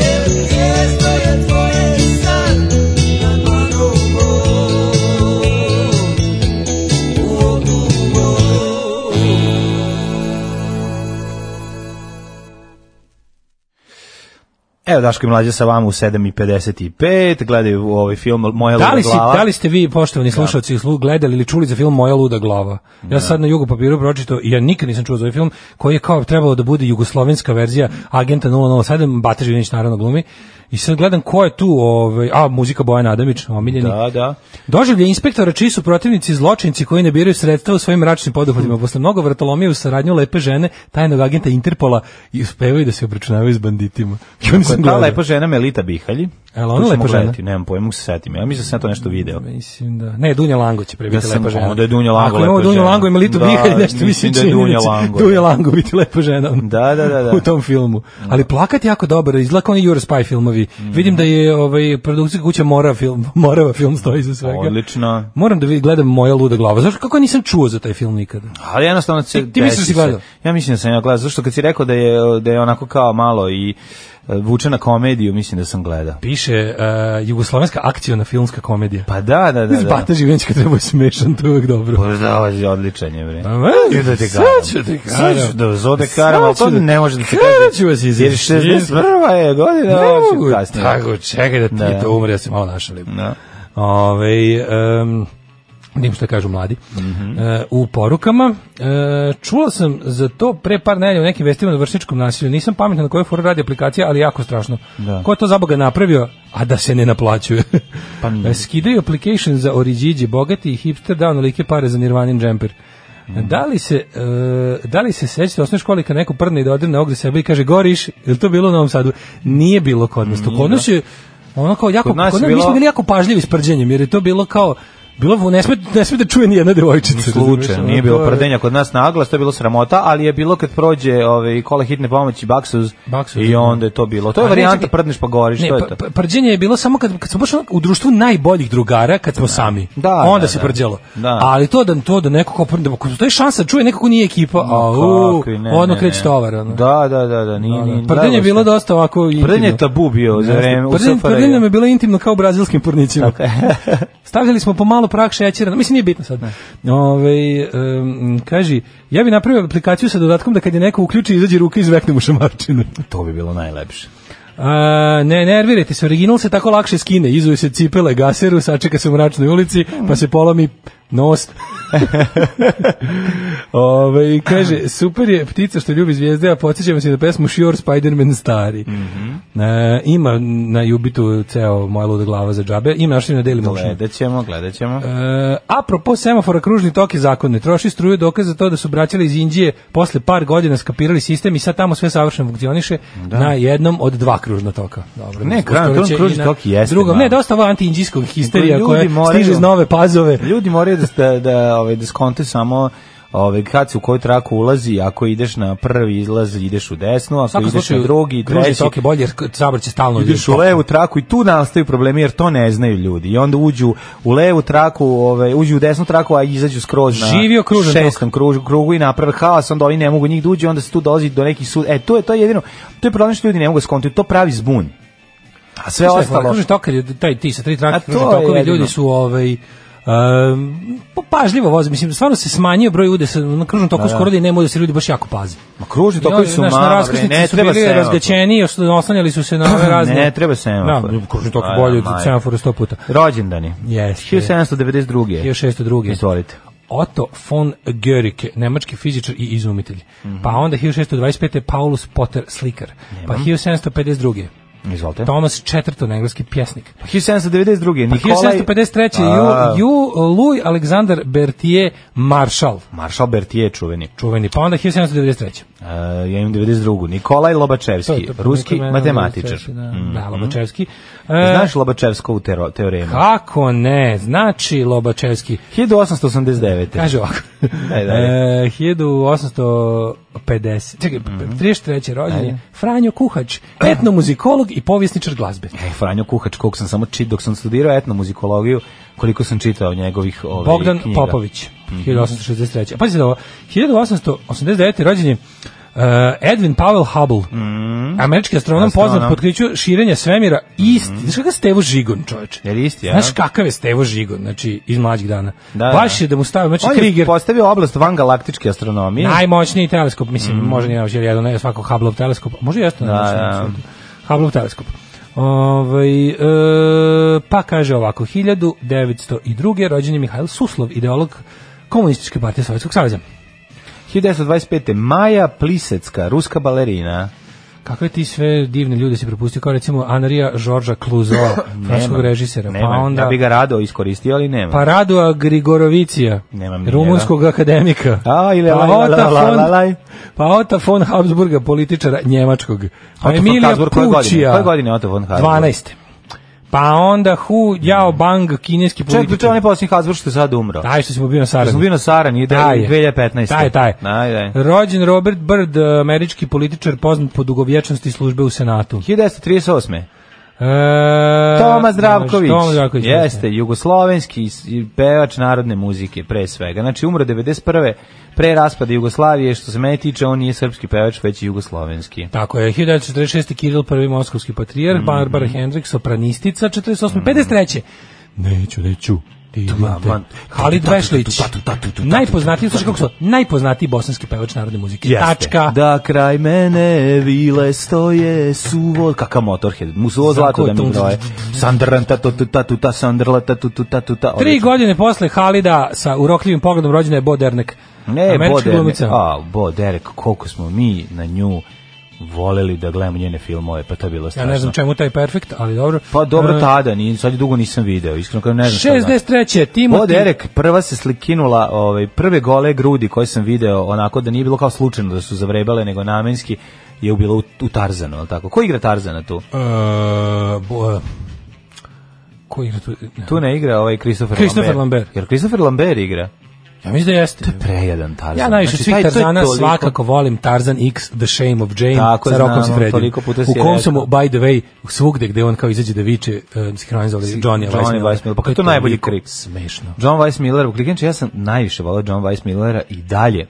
Speaker 8: Jer zvijezda je tvoje san Na dlanu mom U oku mom
Speaker 6: Evo Daško i Mlađa sa vama u 7.55, gledaju ovaj film Moja
Speaker 5: Da li,
Speaker 6: luda
Speaker 5: si,
Speaker 6: glava.
Speaker 5: da li ste vi, poštovani slušalci, slu- gledali ili čuli za film Moja luda glava? Ja sad na jugu papiru pročito i ja nikad nisam čuo za ovaj film koji je kao trebalo da bude jugoslovenska verzija Agenta 007, Bata Živinić naravno glumi. I sad gledam ko je tu, ovaj, a muzika Bojan Adamić, omiljeni.
Speaker 6: Da, da.
Speaker 5: Doživlje inspektora čiji su protivnici zločinci koji ne biraju sredstva u svojim mračnim
Speaker 6: Hmm.
Speaker 5: poduhvatima. Posle mnogo vratolomije u saradnju lepe žene, tajnog agenta Interpola i uspevaju da se obračunavaju s banditima. I onda
Speaker 6: Koja
Speaker 5: sam
Speaker 6: je ta
Speaker 5: gledao.
Speaker 6: lepa žena Melita Bihalji.
Speaker 5: Jel ona
Speaker 6: Koju ćemo
Speaker 5: lepa žena?
Speaker 6: gledati, Nemam pojma, mogu se setim. Ja mislim da sam ja to nešto video.
Speaker 5: Mislim da. Ne, Dunja Lango će pre
Speaker 6: Da
Speaker 5: biti
Speaker 6: sam-
Speaker 5: lepa žena.
Speaker 6: onda je Dunja Lango
Speaker 5: Ako imamo
Speaker 6: lepa
Speaker 5: Dunju
Speaker 6: žena.
Speaker 5: Lango i Melitu
Speaker 6: Da,
Speaker 5: Bihalj, nešto mi se
Speaker 6: mislim da je
Speaker 5: čini
Speaker 6: Dunja
Speaker 5: će
Speaker 6: Lango,
Speaker 5: Dunja
Speaker 6: da.
Speaker 5: Lango biti lepa žena.
Speaker 6: Da, da, da, Mhm. da.
Speaker 5: U tom filmu. Ali plakat je jako dobar, izgleda kao oni Euro Spy filmovi. Vidim da je ovaj, produkcija kuća Morava film, Morava film stoji za svega.
Speaker 6: Odlično.
Speaker 5: Moram da vi gledam moja luda glava. Zašto kako ja nisam čuo za taj film nikada?
Speaker 6: Ali jednostavno se
Speaker 5: Ti- ti misliš da si
Speaker 6: desi se.
Speaker 5: gledao?
Speaker 6: Ja mislim da sam ja gledao, zašto kad si rekao da je, da je onako kao malo i e, vuče na komediju, mislim da sam gledao.
Speaker 5: Piše uh, jugoslovenska akciona filmska komedija.
Speaker 6: Pa da, da, da.
Speaker 5: Iz
Speaker 6: da.
Speaker 5: Bata Živinić kad treba je smešan, to je uvek dobro.
Speaker 6: Pa da, ovo je odličan je, bre.
Speaker 5: E,
Speaker 6: Idem da te
Speaker 5: sad ću
Speaker 6: karam.
Speaker 5: te karam.
Speaker 6: Pa, Sad ću da zode karam, ali to
Speaker 5: Sad ću da-
Speaker 6: ne može da se
Speaker 5: Karam
Speaker 6: kaže.
Speaker 5: ću vas izaći.
Speaker 6: Jer 61. je godina,
Speaker 5: Ne
Speaker 6: ovo
Speaker 5: mogu,
Speaker 6: ću kasnije.
Speaker 5: Tako, čekaj da ti
Speaker 6: Da.
Speaker 5: to umre, ja se malo našalim.
Speaker 6: Da.
Speaker 5: Ove, um, Nijem što kažu mladi. E, u porukama e, čula sam za to pre par nedelja u nekim vestima na vršničkom nasilju. Nisam pametan na kojoj foru radi aplikacija, ali jako strašno.
Speaker 6: Da.
Speaker 5: Ko je to za boga napravio, a da se ne naplaćuje? Pa Skidaju application za Oriđiđi, bogati i hipster dao nolike pare za Nirvanin džemper. Da li se e, da li se sećate osnovne škole kad neko prdne i da odrne ogde sebe i kaže goriš, je li to bilo u Novom Sadu? Nije bilo kod nas. To kod nas je ono kao jako
Speaker 6: Kod nas
Speaker 5: kod
Speaker 6: je
Speaker 5: nas, mi
Speaker 6: bilo-
Speaker 5: smo bili jako pažljivi s prđenjem jer je to bilo kao Bilo vu- ne sme ne sme da čuje ni jedna devojčica.
Speaker 6: slučajno,
Speaker 5: razumiješ?
Speaker 6: nije
Speaker 5: Ono, to
Speaker 6: bilo
Speaker 5: je-
Speaker 6: prdenja kod nas naglas, to je bilo sramota, ali je bilo kad prođe ovaj kola hitne pomoći baksuz,
Speaker 5: Baksuz,
Speaker 6: i
Speaker 5: da.
Speaker 6: onda je to bilo. To je
Speaker 5: A ne,
Speaker 6: varijanta
Speaker 5: čekaj.
Speaker 6: prdneš pa goriš,
Speaker 5: Ne,
Speaker 6: to je
Speaker 5: pr-
Speaker 6: to.
Speaker 5: pr- prđenje je bilo samo kad, kad smo baš onako u društvu najboljih drugara, kad smo sami.
Speaker 6: Da,
Speaker 5: Onda
Speaker 6: da,
Speaker 5: se
Speaker 6: da.
Speaker 5: prđelo.
Speaker 6: Da.
Speaker 5: Ali to da to da neko ko prde, ako to je šansa da čuje nekako nije ekipa, a u,
Speaker 6: Kako i ne,
Speaker 5: odmah
Speaker 6: ne,
Speaker 5: kreće
Speaker 6: ne.
Speaker 5: tovar. ono.
Speaker 6: Da, da, da, da, nije, nije.
Speaker 5: Prdenje je bilo dosta ovako intimno.
Speaker 6: Prdenje je tabu bio za vreme u
Speaker 5: Prdenje,
Speaker 6: SFRJ.
Speaker 5: prdenje pa nam je bilo intimno kao u brazilskim pornićima. Stavljali smo po malo prah šećera, mislim nije bitno sad. Ove, um, kaži, ja bi napravio aplikaciju sa dodatkom da kad je neko uključi izađe ruka i izvekne mu šamarčinu.
Speaker 6: To bi bilo najlepše.
Speaker 5: A, ne, nervirajte se, original se tako lakše skine, izuju se cipele gaseru, sačeka se u mračnoj ulici, pa se polomi nos. Ove, i kaže, super je ptica što ljubi zvijezde, a podsjećamo se na pesmu Sure Spider-Man stari. E, ima na Jubitu ceo moja luda glava za džabe, ima našli na Daily Motion.
Speaker 6: Gledat ćemo, gledat ćemo.
Speaker 5: E, apropo semafora, kružni tok je zakon ne troši struju, dokaz za to da su braćali iz Indije posle par godina skapirali sistem i sad tamo sve savršeno funkcioniše na jednom od dva kružna toka. Dobro,
Speaker 6: Ne,
Speaker 5: mislim,
Speaker 6: kraj,
Speaker 5: postojeće
Speaker 6: to kružni
Speaker 5: i na
Speaker 6: tok jeste
Speaker 5: Drugom, ne,
Speaker 6: malo.
Speaker 5: dosta ovo anti-indijskog histerija
Speaker 6: Ljudi
Speaker 5: koja
Speaker 6: moraju-
Speaker 5: stiže iz nove pazove.
Speaker 6: Ljudi moraju da da da ovaj da skonte samo ovaj kad se u koju traku ulazi, ako ideš na prvi izlaz ideš u desnu, ako ideš na drugi,
Speaker 5: kružni
Speaker 6: treći,
Speaker 5: tok je bolje, jer sabor će stalno
Speaker 6: ideš u
Speaker 5: tokom.
Speaker 6: levu traku i tu nastaju problemi jer to ne znaju ljudi. I onda uđu u levu traku, ovaj uđu u desnu traku, a izađu skroz na
Speaker 5: Živio kružan tok.
Speaker 6: šestom kružu, krugu i naprave haos, onda oni ne mogu njih da uđu, onda se tu dolazi do nekih sud. E, to je to je jedino. To je problem što ljudi ne mogu skontati, to pravi zbun. A sve
Speaker 5: Šta je fora?
Speaker 6: ostalo
Speaker 5: Kružni tok je taj ti sa tri
Speaker 6: A
Speaker 5: trake,
Speaker 6: to
Speaker 5: kružni
Speaker 6: je
Speaker 5: tokovi
Speaker 6: jedino.
Speaker 5: ljudi su ovaj Um, pažljivo voze, mislim, stvarno se smanjio broj udesa, na kružnom toku skoro da i nema da se ljudi baš jako paze.
Speaker 6: Ma kružni tokovi su
Speaker 5: Znaš,
Speaker 6: mala,
Speaker 5: Na
Speaker 6: bre,
Speaker 5: raskrsnici
Speaker 6: ne
Speaker 5: su
Speaker 6: treba
Speaker 5: bili
Speaker 6: semafor.
Speaker 5: razgaćeni, os- oslanjali su se na ove razne...
Speaker 6: Ne treba semafor.
Speaker 5: Da, kružni tok
Speaker 6: A,
Speaker 5: je bolje
Speaker 6: da,
Speaker 5: od
Speaker 6: majko.
Speaker 5: semafora sto puta.
Speaker 6: Rođendani.
Speaker 5: Jeste.
Speaker 6: 1792.
Speaker 5: 1602.
Speaker 6: Izvolite.
Speaker 5: Otto von Guericke, nemački fizičar i izumitelj.
Speaker 6: Mhm.
Speaker 5: Pa onda 1625. Paulus Potter, slikar. Pa 1752.
Speaker 6: Izvolite.
Speaker 5: Thomas Chatterton, engleski pjesnik.
Speaker 6: 1792.
Speaker 5: Pa
Speaker 6: Nikolaj...
Speaker 5: 1753.
Speaker 6: A,
Speaker 5: Ju, Ju Louis Alexander Berthier Marshall,
Speaker 6: Maršal Bertije čuveni.
Speaker 5: čuveni, pa onda 1793.
Speaker 6: Uh, ja imam 92. Nikolaj
Speaker 5: To je
Speaker 6: Lobačevski,
Speaker 5: to, po
Speaker 6: ruski
Speaker 5: nekom imenu
Speaker 6: matematičar. Mm.
Speaker 5: Lobačevski,
Speaker 6: Mhm.
Speaker 5: Da, da Lobačevski. E,
Speaker 6: Znaš Lobačevskovu tero, teoremu?
Speaker 5: Kako ne, znači Lobačevski.
Speaker 6: 1889.
Speaker 5: Kaže ovako.
Speaker 6: Daj, Mhm.
Speaker 5: E, 1850, čekaj, 33. rođenje, Franjo Kuhač, etnomuzikolog i povjesničar glazbe.
Speaker 6: E, Franjo Kuhač, koliko sam samo čit, dok sam studirao etnomuzikologiju, koliko sam čitao njegovih ovih
Speaker 5: Bogdan
Speaker 6: knjiga. Mhm.
Speaker 5: Popović, 1863. A pazite ovo, 1889. rođen je uh, Edwin Powell Hubble, američki astronom,
Speaker 6: Mhm. Astronom.
Speaker 5: poznat po otkriću širenja svemira, ist, znaš kakav je Stevo Žigon, čoveč?
Speaker 6: Jer isti, ja?
Speaker 5: Znaš kakav je Stevo Žigon, znači, iz mlađih dana.
Speaker 6: Da,
Speaker 5: Baš
Speaker 6: da.
Speaker 5: je da mu stavio, znači,
Speaker 6: On je
Speaker 5: Krieger,
Speaker 6: postavio oblast van galaktičke astronomije.
Speaker 5: najmoćniji teleskop, mislim, može nije najmoćniji, jer jedan je svakog Hubble teleskop, može jeste
Speaker 6: Mm. Da,
Speaker 5: najmoćniji.
Speaker 6: da.
Speaker 5: apsolutno. Hubble teleskop. Ovaj, e, pa kaže ovako, 1902. rođen je Mihajl Suslov, ideolog komunističke partije Sovjetskog saveza.
Speaker 6: 1925. Maja Plisecka, ruska balerina.
Speaker 5: Kakve ti sve divne ljude si propustio, kao recimo Anarija Žorža Kluzo, franskog
Speaker 6: Nemam.
Speaker 5: režisera, pa
Speaker 6: Nemam.
Speaker 5: onda
Speaker 6: Ja bi ga rado iskoristio, ali nema.
Speaker 5: pa Radua Grigorovicija,
Speaker 6: Nemam ni
Speaker 5: rumunskog akademika,
Speaker 6: A, ili
Speaker 5: pa
Speaker 6: laj, laj,
Speaker 5: Ota
Speaker 6: laj,
Speaker 5: von-
Speaker 6: laj, laj.
Speaker 5: pa Ota von Habsburga, političara njemačkog, pa
Speaker 6: Otto von
Speaker 5: Emilija
Speaker 6: Habsburg, koje godine?
Speaker 5: Pučija,
Speaker 6: Koje godine je Otto von Habsburg?
Speaker 5: 12. Pa onda Hu Yao Bang, kineski
Speaker 6: Čekaj,
Speaker 5: političar.
Speaker 6: pričao onaj posljednji Habsburg što je sad umro.
Speaker 5: Taj što si mu bio na Sarani.
Speaker 6: Što smo bio na Sarani, ide
Speaker 5: Taj je.
Speaker 6: 2015.
Speaker 5: Taj, taj.
Speaker 6: Daj, daj.
Speaker 5: Rođen Robert Byrd, američki političar poznat po dugovječnosti službe u Senatu.
Speaker 6: 1938.
Speaker 5: E,
Speaker 6: Toma Zdravković.
Speaker 5: Toma Zdravković.
Speaker 6: Jeste, jugoslovenski s- i pevač narodne muzike, pre svega. Znači, umro 91. pre raspada Jugoslavije, što se mene tiče, on nije srpski pevač, već je jugoslovenski.
Speaker 5: Tako je, 1946. Kiril prvi moskovski
Speaker 6: Mhm.
Speaker 5: patrijarh, Barbara Hendrik, sopranistica, 48. 53. Neću, neću. Ti idete.
Speaker 6: man.
Speaker 5: Halid Vešlić, najpoznatiji, slušaj kako su, najpoznatiji bosanski pevač narodne muzike. Tačka.
Speaker 6: Da kraj mene vile stoje suvo... Kaka motorhead? Mu suvo
Speaker 5: Znam
Speaker 6: zlato
Speaker 5: ko je
Speaker 6: da mi
Speaker 5: to.
Speaker 6: broje. Sandran ta tu ta tu ta sandrla ta tu tu ta tu ta.
Speaker 5: Tri godine posle Halida sa urokljivim pogledom rođena je Bo Dernek.
Speaker 6: Ne,
Speaker 5: američka
Speaker 6: Bo Derek.
Speaker 5: glumica.
Speaker 6: A, Bo Derek, koliko smo mi na nju voleli da gledamo njene filmove, pa to je bilo
Speaker 5: Ja
Speaker 6: strašno.
Speaker 5: ne znam čemu taj perfekt, ali dobro.
Speaker 6: Pa dobro
Speaker 5: E,
Speaker 6: tada, ni sad dugo nisam video, iskreno kažem ne znam. šta znači.
Speaker 5: 63. Timothy.
Speaker 6: Bo Derek prva se slikinula, ovaj prve gole grudi koje sam video, onako da nije bilo kao slučajno da su zavrebale, nego namenski je bilo u, u Tarzanu, al tako. Ko igra Tarzana tu?
Speaker 5: E, bo, Ko igra tu?
Speaker 6: Tu ne igra ovaj Christopher,
Speaker 5: Christopher
Speaker 6: Lambert.
Speaker 5: Lambert.
Speaker 6: Jer Christopher Lambert igra.
Speaker 5: Ja mislim da jeste.
Speaker 6: Prejedan Tarzan. Znači,
Speaker 5: Ja najviše od svih
Speaker 6: taj- to je
Speaker 5: Tarzana
Speaker 6: toliko-
Speaker 5: svakako volim Tarzan X The Shame of Jane
Speaker 6: Tako,
Speaker 5: sa Rokom
Speaker 6: znamo,
Speaker 5: Sifredijem.
Speaker 6: toliko puta si
Speaker 5: U kom
Speaker 6: rekao.
Speaker 5: su mu, by the way, svugde gde on kao izađe da viče uh, sinhronizovali
Speaker 6: Si-
Speaker 5: Johnny
Speaker 6: Johnny Weissmuller. Pa kako je to najbolji krik?
Speaker 5: Smešno.
Speaker 6: John Weissmiller, u Klikenče, ja sam najviše volao John Weissmillera i dalje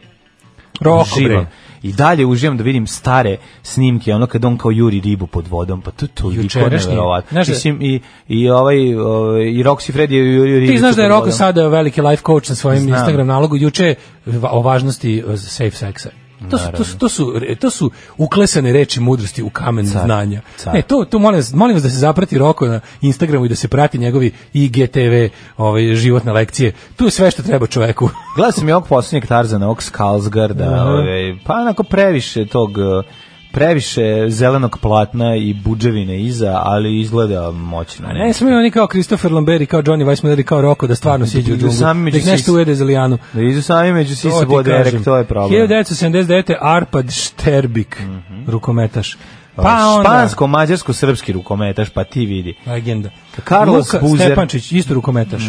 Speaker 5: Roko bre.
Speaker 6: uživam. I dalje uživam da vidim stare snimke, ono kad on kao juri ribu pod vodom, pa to je toliko
Speaker 5: Jučerašnji.
Speaker 6: neverovatno.
Speaker 5: Znaš da-
Speaker 6: Mislim, i, i, ovaj, ovaj, i Roxy Freddy je jurio ribu
Speaker 5: Ti znaš da je
Speaker 6: pod
Speaker 5: Roko
Speaker 6: vodom.
Speaker 5: sada veliki life coach na svojem
Speaker 6: Znam.
Speaker 5: Instagram nalogu juče je va- o važnosti uh, safe seksa. To su, to, su, to, su, re- to su uklesane reči mudrosti u kamen znanja.
Speaker 6: car.
Speaker 5: Ne, to, to molim, vas, molim vas da se zaprati Roko na Instagramu i da se prati njegovi IGTV ovaj, životne lekcije. Tu je sve što treba čoveku.
Speaker 6: Gledao sam i ovog posljednjeg Tarzana, ovog Skalsgarda, ovaj, pa onako previše tog eh, previše zelenog platna i buđevine iza, ali izgleda moćno.
Speaker 5: Ne smiju E, oni kao Christopher Lambert i kao Johnny Weissmuller i kao Rocco da stvarno siđu u
Speaker 6: idu
Speaker 5: džunglu.
Speaker 6: sami među
Speaker 5: Da ih nešto
Speaker 6: sis-
Speaker 5: ujede za lijanu.
Speaker 6: Da idu sami među si
Speaker 5: To
Speaker 6: se
Speaker 5: ti
Speaker 6: bode
Speaker 5: kažem.
Speaker 6: erek, to je problem.
Speaker 5: 1979. Arpad Šterbik, rukometaš. Pa
Speaker 6: Pa
Speaker 5: onda,
Speaker 6: Špansko, mađarsko, srpski rukometaš, pa ti vidi.
Speaker 5: legenda.
Speaker 6: Carlos
Speaker 5: Luka
Speaker 6: Buzer. Mhm.
Speaker 5: Stepančić, isto rukometaš.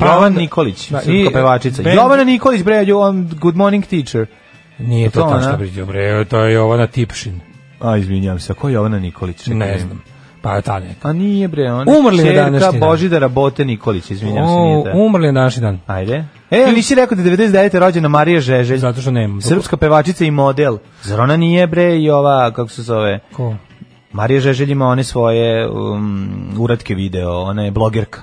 Speaker 5: Pa
Speaker 6: Jovan
Speaker 5: onda-
Speaker 6: Nikolić,
Speaker 5: Da, i
Speaker 6: srpska pevačica.
Speaker 5: Ben-
Speaker 6: Jovana Nikolić, bre, you on Good Morning Teacher.
Speaker 5: Nije to,
Speaker 6: To
Speaker 5: to
Speaker 6: ona?
Speaker 5: što priđe, bre, to je Jovana Tipšin.
Speaker 6: A, izvinjam se, a ko je Jovana Nikolić? Čekaj.
Speaker 5: Ne znam. Pa je ta neka.
Speaker 6: A nije, bre, ona je
Speaker 5: Umrli na
Speaker 6: čerka
Speaker 5: današnji dan.
Speaker 6: Božidara Bote Nikolić, izvinjam se,
Speaker 5: O,
Speaker 6: nije ta.
Speaker 5: umrli je današnji dan.
Speaker 6: Ajde. um- E, a nisi rekao da je 99. rođena Marija Žeželj,
Speaker 5: Zato što nemam.
Speaker 6: srpska pevačica i model. Zar ona nije, bre, i ova, kako se zove?
Speaker 5: Ko?
Speaker 6: Marija Žeželj ima one svoje um, uratke video, ona je blogerka.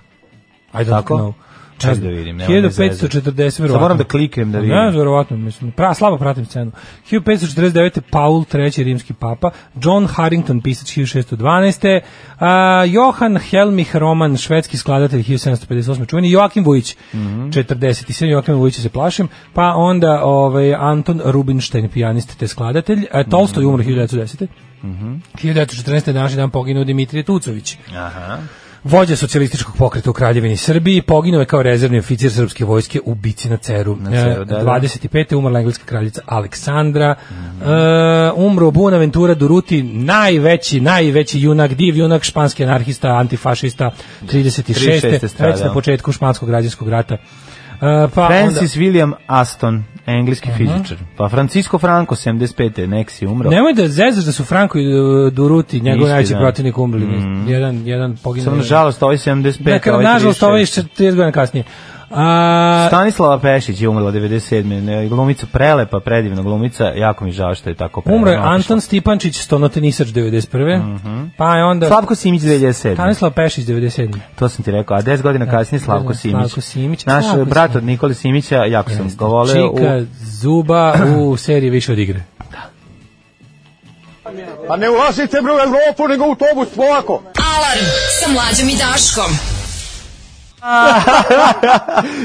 Speaker 5: I don't
Speaker 6: Tako?
Speaker 5: know.
Speaker 6: Čekaj da vidim, nema me zezati.
Speaker 5: 1540, verovatno.
Speaker 6: Sad moram da kliknem da vidim.
Speaker 5: Ne, verovatno, mislim. Pra, slabo pratim scenu. 1549. Paul III. rimski papa, John Harrington, pisac 1612. A, Johan Helmich Roman, švedski skladatelj 1758. čuveni, Joakim Vujić, 47. Joakim Vujića se plašim, pa onda ovaj, Anton Rubinstein, pijanist te skladatelj. E, Tolstoj umro 1910. 1914. je današnji dan poginuo Dimitrije Tucović. Vođa socijalističkog pokreta u Kraljevini Srbiji poginuo je kao rezervni oficir srpske vojske u bici na Ceru.
Speaker 6: Ceru,
Speaker 5: E,
Speaker 6: da, da.
Speaker 5: 25. umrla engleska kraljica Aleksandra. E, umro Buenaventura Duruti, najveći, najveći junak, div junak, španski anarhista, antifašista, 36.
Speaker 6: 36.
Speaker 5: Već na
Speaker 6: stradao.
Speaker 5: početku španskog građanskog rata. E, pa
Speaker 6: Francis William Aston, engleski fizičar. Pa Francisco Franco, 75. nek si umro.
Speaker 5: onda, nemoj da zezaš da su Franko i e, Duruti, njegov
Speaker 6: Isti,
Speaker 5: najveći
Speaker 6: da. Mm.
Speaker 5: protivnik umrli. Jedan, jedan poginuo.
Speaker 6: Samo
Speaker 5: jedan-
Speaker 6: nažalost, ovaj 75.
Speaker 5: Dakle,
Speaker 6: ovaj
Speaker 5: nažalost,
Speaker 6: 36.
Speaker 5: ovo je 40 godina kasnije. Eh, A,
Speaker 6: Stanislava Pešić je umrla 97. Ne, Glumica prelepa, predivna glumica. Jako mi žao što je tako prelepa.
Speaker 5: Umro je Anton Stipančić, stonotenisač 91. Pa je onda
Speaker 6: Slavko Simić 97.
Speaker 5: Stanislav Pešić 97.
Speaker 6: To sam ti rekao. A 10 godina kasnije Slavko Simić.
Speaker 5: Slavko Simić.
Speaker 6: Naš eh,
Speaker 5: Slavko
Speaker 6: brat
Speaker 5: Simić.
Speaker 6: od Nikole Simića, jako sam ga voleo. u-
Speaker 5: Čika Zuba u seriji više od igre.
Speaker 7: Pa ne ulazite bre u Evropu, nego u autobus, polako.
Speaker 4: Alarm sa mlađom i Daškom.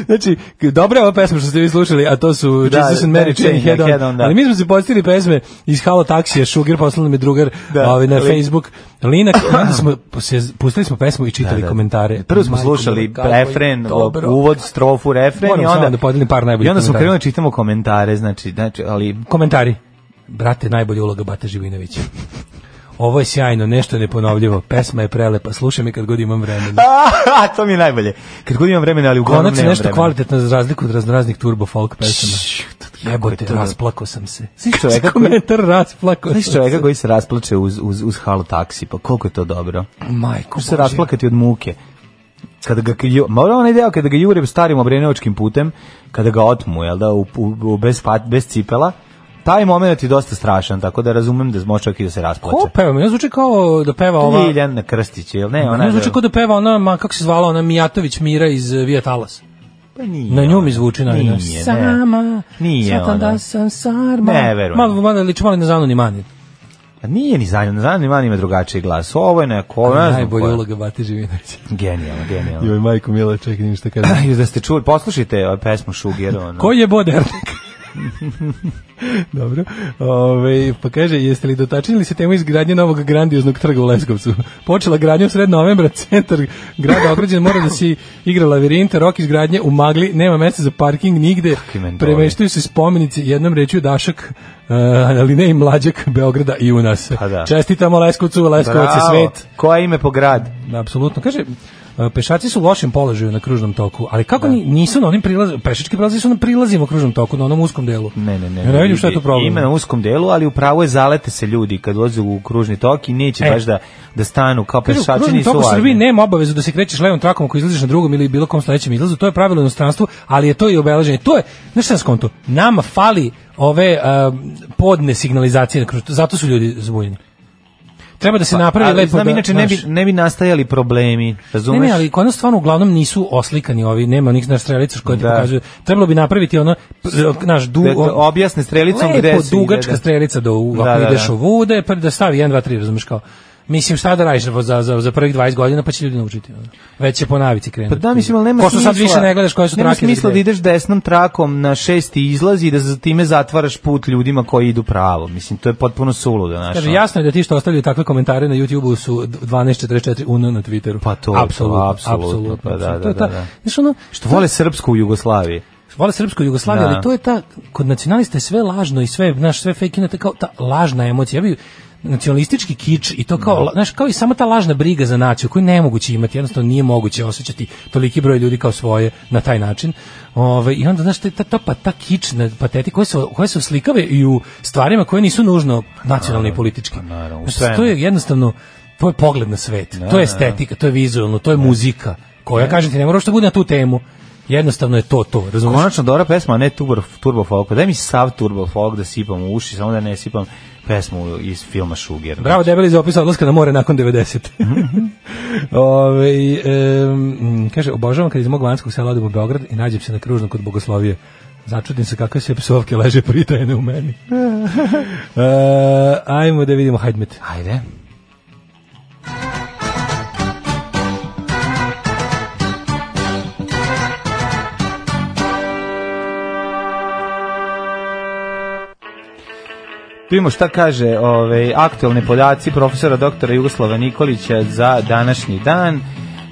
Speaker 5: Znači, k- dobra je ova pesma što ste vi slušali, a to su
Speaker 6: Da,
Speaker 5: Jesus and
Speaker 6: da,
Speaker 5: Mary Chain Head On.
Speaker 6: Head On, da.
Speaker 5: Ali mi smo se postili pesme iz Halo Taksija, Sugar, poslali mi drugar
Speaker 6: Da,
Speaker 5: ovaj, na
Speaker 6: ali-
Speaker 5: Facebook. Linak, i onda smo, se- pustili smo pesmu i čitali
Speaker 6: Da, da.
Speaker 5: komentare.
Speaker 6: Prvo smo
Speaker 5: Majko
Speaker 6: slušali
Speaker 5: mila, kako je
Speaker 6: refren,
Speaker 5: dobro.
Speaker 6: uvod, strofu, refren
Speaker 5: Moram
Speaker 6: i
Speaker 5: samo
Speaker 6: onda
Speaker 5: da podelim par najboljih
Speaker 6: I onda smo
Speaker 5: komentara.
Speaker 6: krenuli da čitamo komentare, znači, znači, ali
Speaker 5: Komentari. Brate, najbolja uloga Bata Živinovića. Ovo je sjajno, nešto je neponovljivo. Pesma je prelepa, slušam je kad god imam vremena.
Speaker 6: A, to mi je najbolje. Kad god imam vremena, ali uglavnom
Speaker 5: Konačno
Speaker 6: nemam
Speaker 5: nešto
Speaker 6: vremena.
Speaker 5: kvalitetno za razliku od raznoraznih turbo folk pesama. Jebote,
Speaker 6: to dobro.
Speaker 5: rasplako sam se.
Speaker 6: Znaš čoveka koji-
Speaker 5: Komentar rasplako sam
Speaker 6: Znaš
Speaker 5: se.
Speaker 6: čoveka koji se rasplače uz, uz, uz halo taksi, pa koliko je to dobro.
Speaker 5: Majko
Speaker 6: Može se
Speaker 5: Božja.
Speaker 6: rasplakati od muke. Kada ga, ju- ma ono onaj deo kada ga jure starim obrenovačkim putem, kada ga otmu, jel da, u, u, u- bez, pat, bez cipela, taj moment je dosta strašan, tako da razumem da može čovjek i da se rasplače.
Speaker 5: Ko peva? Mene zvuči kao da peva
Speaker 6: Ova...
Speaker 5: ova...
Speaker 6: Ljiljana Krstić, jel ne? Ona
Speaker 5: Mene
Speaker 6: je-
Speaker 5: zvuči kao da peva ona, ma, kako se zvala, ona Mijatović Mira iz eh, Vija Talas.
Speaker 6: Pa nije
Speaker 5: Na nju mi
Speaker 6: ona.
Speaker 5: zvuči na
Speaker 6: Nije,
Speaker 5: nju.
Speaker 6: ne.
Speaker 5: Sama,
Speaker 6: Nije
Speaker 5: shvatam
Speaker 6: ona.
Speaker 5: da sam sarma.
Speaker 6: Ne, verujem.
Speaker 5: Malo, malo, liči malo i na Zanoni Mani.
Speaker 6: Pa nije ni zanjeno, zanjeno ima ima drugačiji glas. Ovo je neko, ovo je ne znam ko
Speaker 5: Najbolja
Speaker 6: je.
Speaker 5: uloga Bate Živinovića.
Speaker 6: Genijalno, genijalno.
Speaker 5: Joj, majko mila, čekaj, ništa šta kažem.
Speaker 6: Još da ste čuli, poslušajte ovaj pesmu Šugero. Ono.
Speaker 5: Ko je Bodernik? Dobro. Ove, pa kaže, jeste li dotačili se temu izgradnje novog grandioznog trga u Leskovcu? Počela gradnja u sred novembra, centar grada ograđen, mora da se igra lavirinta, rok izgradnje u magli, nema mesta za parking nigde,
Speaker 6: mentori.
Speaker 5: premeštaju se spomenici, jednom rečju Dašak, eh, ali ne i mlađak Beograda i u nas.
Speaker 6: Pa da.
Speaker 5: Čestitamo Leskovcu, Leskovac je
Speaker 6: Bravo.
Speaker 5: svet.
Speaker 6: Koje ime po grad?
Speaker 5: Apsolutno. Kaže, E, Pešaci su u lošem položaju na kružnom toku, ali kako ni- nisu na onim prilazima, pešački prilazi su na prilazima u kružnom toku, na onom uskom delu.
Speaker 6: Ne, ne, ne.
Speaker 5: Ja ne vidim šta je to problem.
Speaker 6: Ima na uskom delu, ali upravo je zalete se ljudi kad voze u kružni tok i neće
Speaker 5: E.
Speaker 6: baš da, da stanu kao
Speaker 5: Kažu, u
Speaker 6: pešačini
Speaker 5: kružnom
Speaker 6: su
Speaker 5: toku u Srbiji
Speaker 6: važni.
Speaker 5: nema obavezu da se krećeš levom trakom ako izlaziš na drugom ili bilo kom sledećem izlazu, to je pravilo u inostranstvu, ali je to i obeleženje. To je, znaš šta je skonto, nama fali ove um, podne signalizacije, na kružnom- zato su ljudi zbunjeni. Treba da se napravi
Speaker 6: Pa, ali,
Speaker 5: lepo
Speaker 6: znam,
Speaker 5: da,
Speaker 6: inače ne bi,
Speaker 5: znaš-
Speaker 6: ne bi nastajali problemi, razumeš?
Speaker 5: Ne, ne, ali kod nas stvarno uglavnom nisu oslikani ovi, nema onih na strelicu koje ti
Speaker 6: Da.
Speaker 5: pokazuju. Trebalo bi napraviti ono, p- naš du,
Speaker 6: Da te
Speaker 5: on-
Speaker 6: objasne strelicom
Speaker 5: Lepo
Speaker 6: gde su i
Speaker 5: dugačka
Speaker 6: gde da-
Speaker 5: strelica do u,
Speaker 6: Da,
Speaker 5: ako
Speaker 6: da,
Speaker 5: ideš
Speaker 6: da.
Speaker 5: ovude, pa da stavi 1, 2, 3, razumeš kao. Mislim, šta da radiš za, za, za prvih 20 godina, pa će ljudi naučiti. ono. Već će po navici krenuti.
Speaker 6: Pa da, mislim, ali nema
Speaker 5: Pošto sad više ne gledaš koje su
Speaker 6: nema
Speaker 5: trake. za
Speaker 6: smisla da
Speaker 5: gde.
Speaker 6: ideš desnom trakom na šesti izlaz i da za time zatvaraš put ljudima koji idu pravo. Mislim, to je potpuno suludo, znaš.
Speaker 5: Kaže,
Speaker 6: ono.
Speaker 5: jasno je da ti što ostavljaju takve komentare na YouTube-u su 12.44 UNO na Twitteru.
Speaker 6: Pa to je to, apsolutno, pa da,
Speaker 5: apsolutno. To je
Speaker 6: da,
Speaker 5: ta-
Speaker 6: da, da.
Speaker 5: Znaš, ono,
Speaker 6: Što vole srpsku u Jugoslaviji.
Speaker 5: vole srpsku Jugoslaviju,
Speaker 6: Da.
Speaker 5: ali to je ta kod nacionalista je sve lažno i sve naš sve fake ina, to je kao ta lažna emocija. Ja bi nacionalistički kič i to kao, la- znaš, kao i samo ta lažna briga za naciju koju nemoguće imati, jednostavno nije moguće osjećati toliki broj ljudi kao svoje na taj način. Ove, I onda, znaš, ta, ta, ta, pa, ta kič, na- pateti koje se, koje se oslikave i u stvarima koje nisu nužno nacionalne i političke.
Speaker 6: naravno, u
Speaker 5: Znaš, to je jednostavno, to je pogled na svet, to je estetika, to je vizualno, to je muzika, koja, kažem ti, ne mora što bude na tu temu. Jednostavno je to to, razumiješ?
Speaker 6: Konačno dobra pesma, a ne turbo, turbo folk. Daj mi sav turbo folk da sipam u uši, samo da ne sipam pesmu iz filma Znači, Sugar.
Speaker 5: Bravo, debeli za opis odlaska na more nakon 90. Ove, em, kaže, obožavam kad iz mog vanjskog sela odem u Beograd i nađem se na kružnom kod Bogoslovije. Začudim se kakve sve psovke leže pritajene u meni. E, ajmo da vidimo Hajdmet.
Speaker 6: Ajde. Primo šta kaže ove, aktualne podaci profesora doktora Jugoslava Nikolića za današnji dan.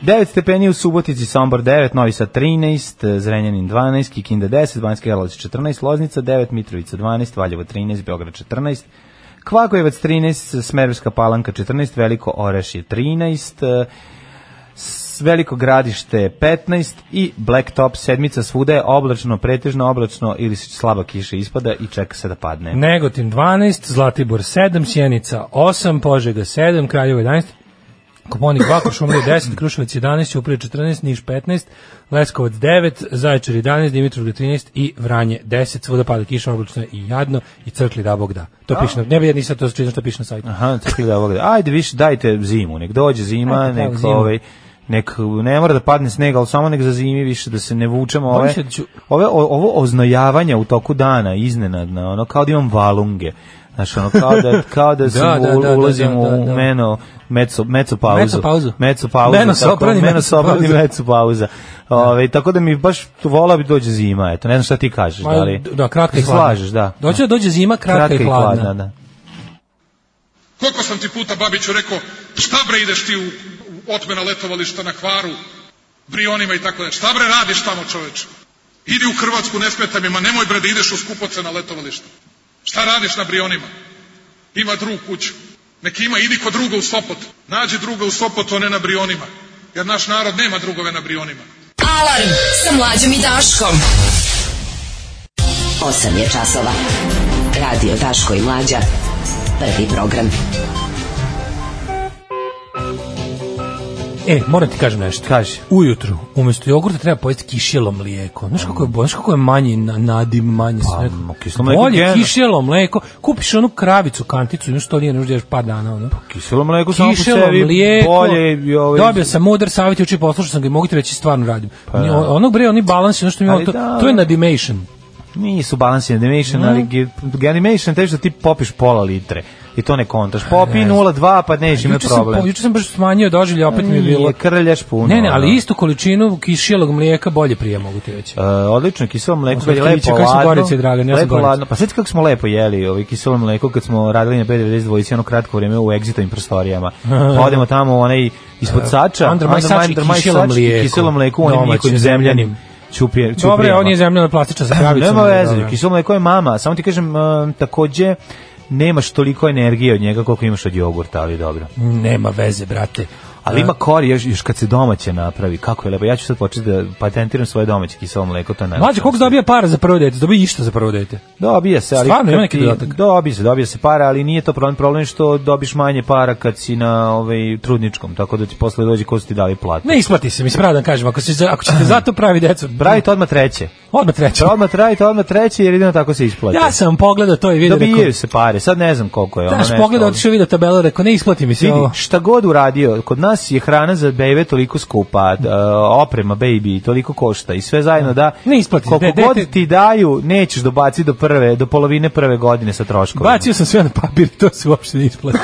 Speaker 6: 9 stepeni u Subotici, Sombor 9, Novi Sad 13, Zrenjanin 12, Kikinda 10, Banjska Jelac 14, Loznica 9, Mitrovica 12, Valjevo 13, Beograd 14, Kvagojevac 13, Smerovska palanka 14, Veliko Orešje 13, eh, s- Veliko gradište 15 i Blacktop sedmica svuda je oblačno, pretežno oblačno ili slaba kiša ispada i čeka se da padne.
Speaker 5: Negotin 12, Zlatibor 7, Sjenica 8, Požega 7, Kraljevo 11, Koponik 2, Košumlija 10, Kruševac 11, Uprije 14, Niš 15, Leskovac 9, Zaječar 11, Dimitrov 13 i Vranje 10. Svuda pada kiša, oblačno je i jadno i crkli da Bog da. To piše na, ne bi ja nisam to čitam što piše na sajtu.
Speaker 6: Aha, tako da ovoga. Ajde više dajte zimu, nek dođe zima,
Speaker 5: Ajde, pravu
Speaker 6: nek
Speaker 5: zimu.
Speaker 6: ovaj nek ne mora da padne sneg, ali samo nek za zimi više da se ne vučemo ove.
Speaker 5: se da ću-
Speaker 6: Ove o- ovo oznojavanje u toku dana iznenadno, ono kao da imam valunge. Znaš, ono, kao da, kao da, sam
Speaker 5: da,
Speaker 6: u-
Speaker 5: da, da,
Speaker 6: ulazim
Speaker 5: da, da, da.
Speaker 6: u meno, meco, meco pauzu.
Speaker 5: Mecopauzu.
Speaker 6: Meco pauzu.
Speaker 5: Meno
Speaker 6: tako,
Speaker 5: soprani,
Speaker 6: meno
Speaker 5: mecopauza.
Speaker 6: soprani, meco pauza. Ove, tako da mi baš vola bi dođe zima, eto, ne znam šta ti kažeš, da li?
Speaker 5: Ma, Da, kratka i hladna.
Speaker 6: Slažeš, da.
Speaker 5: Doće da dođe zima, kratka,
Speaker 6: Kratka
Speaker 5: i hladna.
Speaker 6: da.
Speaker 9: Koliko sam ti puta Babiću rekao, šta bre ideš ti u, u otmena letovališta na kvaru, brionima i tako dalje. Šta bre radiš tamo čoveče? Idi u Hrvatsku, ne smeta mi, ma nemoj bre da ideš u skupoce na letovališta. Šta radiš na brionima? Ima drug kuću. Neki ima, idi kod druga u Sopot. Nađi druga u Sopotu, a ne na brionima. Jer naš narod nema drugove na brionima.
Speaker 4: Alarm sa mlađom i Daškom.
Speaker 10: 8 je časova. Radio Daško i Mlađa. Prvi program.
Speaker 5: E, moram ti kažem nešto.
Speaker 6: Kaži.
Speaker 5: Ujutru, umjesto jogurta treba pojesti kišjelo mlijeko. Znaš kako je, bo- znaš kako je manji na, nadim, manje se
Speaker 6: Pa, ma,
Speaker 5: nekako.
Speaker 6: kiselo mlijeko
Speaker 5: Bolje
Speaker 6: generalno.
Speaker 5: kišjelo mlejko. Kupiš onu kravicu, kanticu, imaš to nije, ne možeš par dana. Ono.
Speaker 6: Kiselo mleko Pa, samo po
Speaker 5: Kišelo
Speaker 6: sebi,
Speaker 5: mlijeko.
Speaker 6: bolje i ovaj...
Speaker 5: Dobio sam mudar savjet, juče poslušao sam ga i mogu ti reći stvarno radim. Ni-
Speaker 6: Pa, da.
Speaker 5: Onog bre, oni balansi, ono što mi je
Speaker 6: Ali
Speaker 5: to,
Speaker 6: da.
Speaker 5: to je nadimation.
Speaker 6: Nisu balance animation, ali ge- ge- animation teže da ti popiš pola litre i to ne kontaš. Popi 0,2 pa nećeš imati
Speaker 5: Juče sam,
Speaker 6: problem.
Speaker 5: po- juče sam baš smanjio doživlje, opet mi je
Speaker 6: Nije,
Speaker 5: bilo...
Speaker 6: krljaš puno.
Speaker 5: Ne, ne,
Speaker 6: ono.
Speaker 5: ali istu količinu kišjelog mlijeka bolje prije mogu ti reći.
Speaker 6: E, odlično, kiselo mleko kad je
Speaker 5: Slatkovića,
Speaker 6: lepo
Speaker 5: kako su
Speaker 6: ladno.
Speaker 5: Gorice, Dragan, ja sam
Speaker 6: lepo
Speaker 5: Gorica.
Speaker 6: ladno. Pa sjeti kako smo lepo jeli ovaj kiselo mleko kad smo radili na B92 dvojici ono kratko vrijeme u exitovim prostorijama. Pa odemo tamo u onaj ispod sača,
Speaker 5: Under my sač i
Speaker 6: my
Speaker 5: kiselo
Speaker 6: sač
Speaker 5: mlijeko.
Speaker 6: I kiselo mlijeko u onim
Speaker 5: Domaće,
Speaker 6: njihovim zemljanim
Speaker 5: zemljanim.
Speaker 6: čupije, čuprijama.
Speaker 5: Dobre, on je zemljena plastična sa kravicom.
Speaker 6: Pa, Nema
Speaker 5: ali
Speaker 6: veze,
Speaker 5: dobro.
Speaker 6: kiselo mleko je mama, samo ti kažem, e, takođe, nemaš toliko energije od njega koliko imaš od jogurta, ali dobro.
Speaker 5: Nema veze, brate.
Speaker 6: Ali ima kori još, još kad se domaće napravi. Kako je lepo. Ja ću sad početi da patentiram svoje domaće kiselo mleko. To je najlepše.
Speaker 5: Mlađe, koliko dobija para za prvo dete? Dobija išta za prvo dete?
Speaker 6: Dobija se, ali
Speaker 5: Stvarno,
Speaker 6: kad
Speaker 5: ima neki
Speaker 6: ti-
Speaker 5: dodatak?
Speaker 6: Dobija se, dobija se para, ali nije to problem, problem je što dobiš manje para kad si na ovaj trudničkom, tako da ti posle dođe ko su ti dali platu.
Speaker 5: Ne isplati se, mislim, pravda kažem, ako, se, za- ako ćete zato pravi decu,
Speaker 6: Pravite odmah treće.
Speaker 5: odmah treće.
Speaker 6: Odmah trajite, odmah treće, jer jedino tako se isplati.
Speaker 5: Ja sam pogledao to i vidio,
Speaker 6: Dobijaju se pare, sad ne znam koliko je. ono
Speaker 5: Daš
Speaker 6: nešto,
Speaker 5: pogled,
Speaker 6: ali-
Speaker 5: otišao vidio tabelu, rekao, ne isplati mi se
Speaker 6: Vidi,
Speaker 5: ovo.
Speaker 6: šta god uradio, kod nas je hrana za bebe toliko skupa, d- e, oprema baby toliko košta i sve zajedno da
Speaker 5: Ne isplati se,
Speaker 6: koliko
Speaker 5: de-
Speaker 6: god
Speaker 5: dete-
Speaker 6: ti daju, nećeš dobaci do prve, do polovine prve godine sa troškovima.
Speaker 5: Bacio sam sve na papir, to se uopšte ne isplati.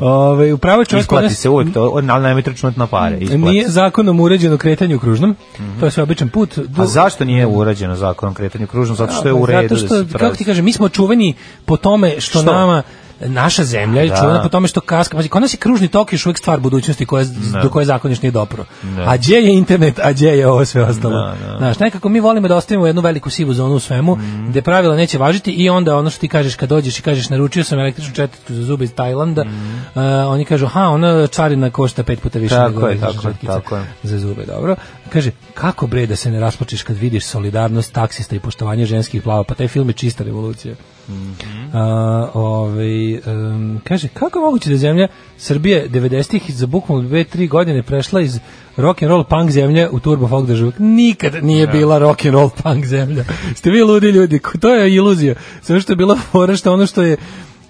Speaker 5: Ove, upravo je čovjek kod
Speaker 6: Isplati
Speaker 5: nas-
Speaker 6: se uvek to, ali nemojte računati na pare. Isplati.
Speaker 5: Nije zakonom uređeno kretanje u kružnom, to je sve običan put. Do-
Speaker 6: A zašto nije urađeno zakonom kretanju kružnom? Zato što je u redu
Speaker 5: Zato što,
Speaker 6: da se pravi.
Speaker 5: kako ti kažem, mi smo čuveni po tome što,
Speaker 6: Što?
Speaker 5: nama naša zemlja je
Speaker 6: Da.
Speaker 5: čuvena po tome što kaska. Pazi, kod nas je kružni tok još uvijek stvar budućnosti koja, do koje zakon još nije dopro. A gdje je internet, a gdje je ovo sve ostalo. Znaš, nekako mi volimo da ostavimo jednu veliku sivu zonu u svemu,
Speaker 6: Mhm.
Speaker 5: gdje gde pravila neće važiti i onda ono što ti kažeš kad dođeš i kažeš naručio sam električnu četvrtku za zube iz Tajlanda,
Speaker 6: Mhm.
Speaker 5: eh, oni kažu, ha, ona čarina košta pet puta više
Speaker 6: Tako
Speaker 5: nego
Speaker 6: je,
Speaker 5: električna
Speaker 6: tako je,
Speaker 5: četkica."
Speaker 6: tako je.
Speaker 5: za zube, dobro. Kaže, kako bre da se ne raspočeš kad vidiš solidarnost taksista i poštovanje ženskih plava, pa taj film je čista revolucija.
Speaker 6: Mhm.
Speaker 5: A, ovaj, em, kaže, kako je moguće da je zemlja Srbije 90-ih za bukvalno 2-3 godine prešla iz rock and roll punk zemlje u turbo folk državu? Nikad nije bila rock and roll punk zemlja. Ste vi ludi ljudi, ko- to je iluzija. Samo što je bila fora što ono što je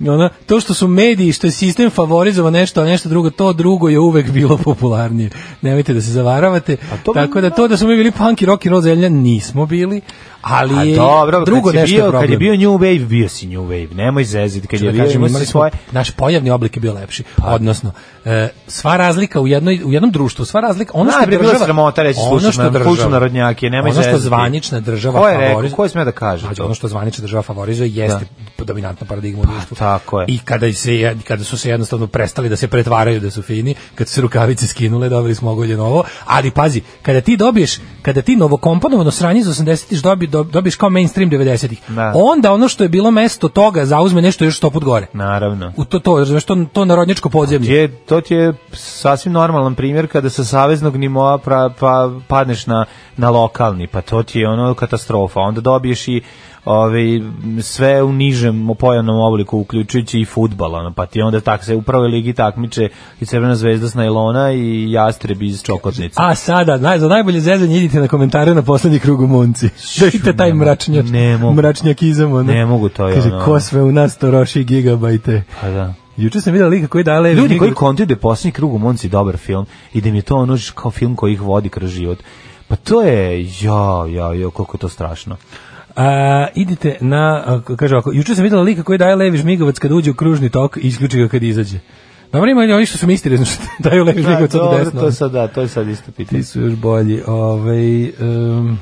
Speaker 5: ona, to što su mediji, što je sistem favorizovao nešto, a nešto drugo, to drugo je uvek bilo popularnije. Nemojte da se zavaravate.
Speaker 6: Pa to bi-
Speaker 5: Tako da to da smo mi bili punk i rock and roll zemlja, nismo bili,
Speaker 6: A
Speaker 5: ali je
Speaker 6: Pa dobro,
Speaker 5: drugo
Speaker 6: kad si
Speaker 5: nešto
Speaker 6: bio,
Speaker 5: je problem.
Speaker 6: Kad je bio New Wave, bio si New Wave. Nemoj zeziti. Kad je
Speaker 5: da
Speaker 6: bio,
Speaker 5: kažem,
Speaker 6: imao
Speaker 5: imali
Speaker 6: si
Speaker 5: smo-
Speaker 6: svoje... Pa.
Speaker 5: naš pojavni oblik je bio lepši. Odnosno, e, sva razlika u jednoj u jednom društvu, sva razlika, ono što
Speaker 6: Najprije
Speaker 5: je
Speaker 6: bilo
Speaker 5: država,
Speaker 6: sramota reći, slušaj, man, pušu narodnjake, nemoj
Speaker 5: ono što
Speaker 6: zezati.
Speaker 5: zvanična država
Speaker 6: Ko je rekao,
Speaker 5: favorizuje-
Speaker 6: ko je smeo da kaže
Speaker 5: Znači,
Speaker 6: to? Pa,
Speaker 5: ono što zvanična država favorizuje jeste dominantna paradigma u društvu.
Speaker 6: tako je.
Speaker 5: I kada se je- kada su se jednostavno prestali da se pretvaraju da su fini, kad su se rukavice skinule, dobili smo ogolje novo, ali pazi, kada ti dobiješ, kada ti novokomponovano sranje iz 80-ih dobi, dob- dobiješ kao mainstream 90-ih,
Speaker 6: Da.
Speaker 5: onda ono što je bilo mesto toga zauzme nešto još sto put gore.
Speaker 6: Naravno.
Speaker 5: U to to, razumeš, to, to narodnjačko podzemlje.
Speaker 6: Je, to ti je sasvim normalan primjer kada sa saveznog nivoa pra, pa, padneš na, na lokalni, pa to ti je ono katastrofa. Onda dobiješ i ovaj, sve u nižem pojavnom obliku, uključujući i futbal, ono, pa ti onda tak se u prvoj ligi takmiče i Crvena zvezda s najlona i Jastreb iz Čokotnice.
Speaker 5: A sada, naj, za najbolje zezanje idite na komentare na poslednji krug u Munci. Šite taj
Speaker 6: ne mogu,
Speaker 5: mračnjak,
Speaker 6: ne mogu.
Speaker 5: mračnjakizam. Ono.
Speaker 6: Ne mogu, to je
Speaker 5: Kaže,
Speaker 6: ono.
Speaker 5: ko sve u nas to roši gigabajte.
Speaker 6: Pa da.
Speaker 5: Juče sam vidio lika koji daje levi
Speaker 6: Ljudi
Speaker 5: igru.
Speaker 6: koji kontuju da je posljednji krug u Monci dobar film i da im je to ono ž- kao film koji ih vodi kroz život, pa to je, ja, ja, ja, koliko je to strašno.
Speaker 5: A, idite na, a, k- kaže ovako, juče sam vidjela lika koji daje levi žmigovac kad uđe u kružni tok i isključi ga kad izađe. Dobro ima i oni što su misterizni što daju levi žmigovac
Speaker 6: Da,
Speaker 5: od
Speaker 6: Pa dobro,
Speaker 5: desno. ono.
Speaker 6: to je sad, da, to je sad isto pitanje.
Speaker 5: Ti su još bolji. Ovaj, em,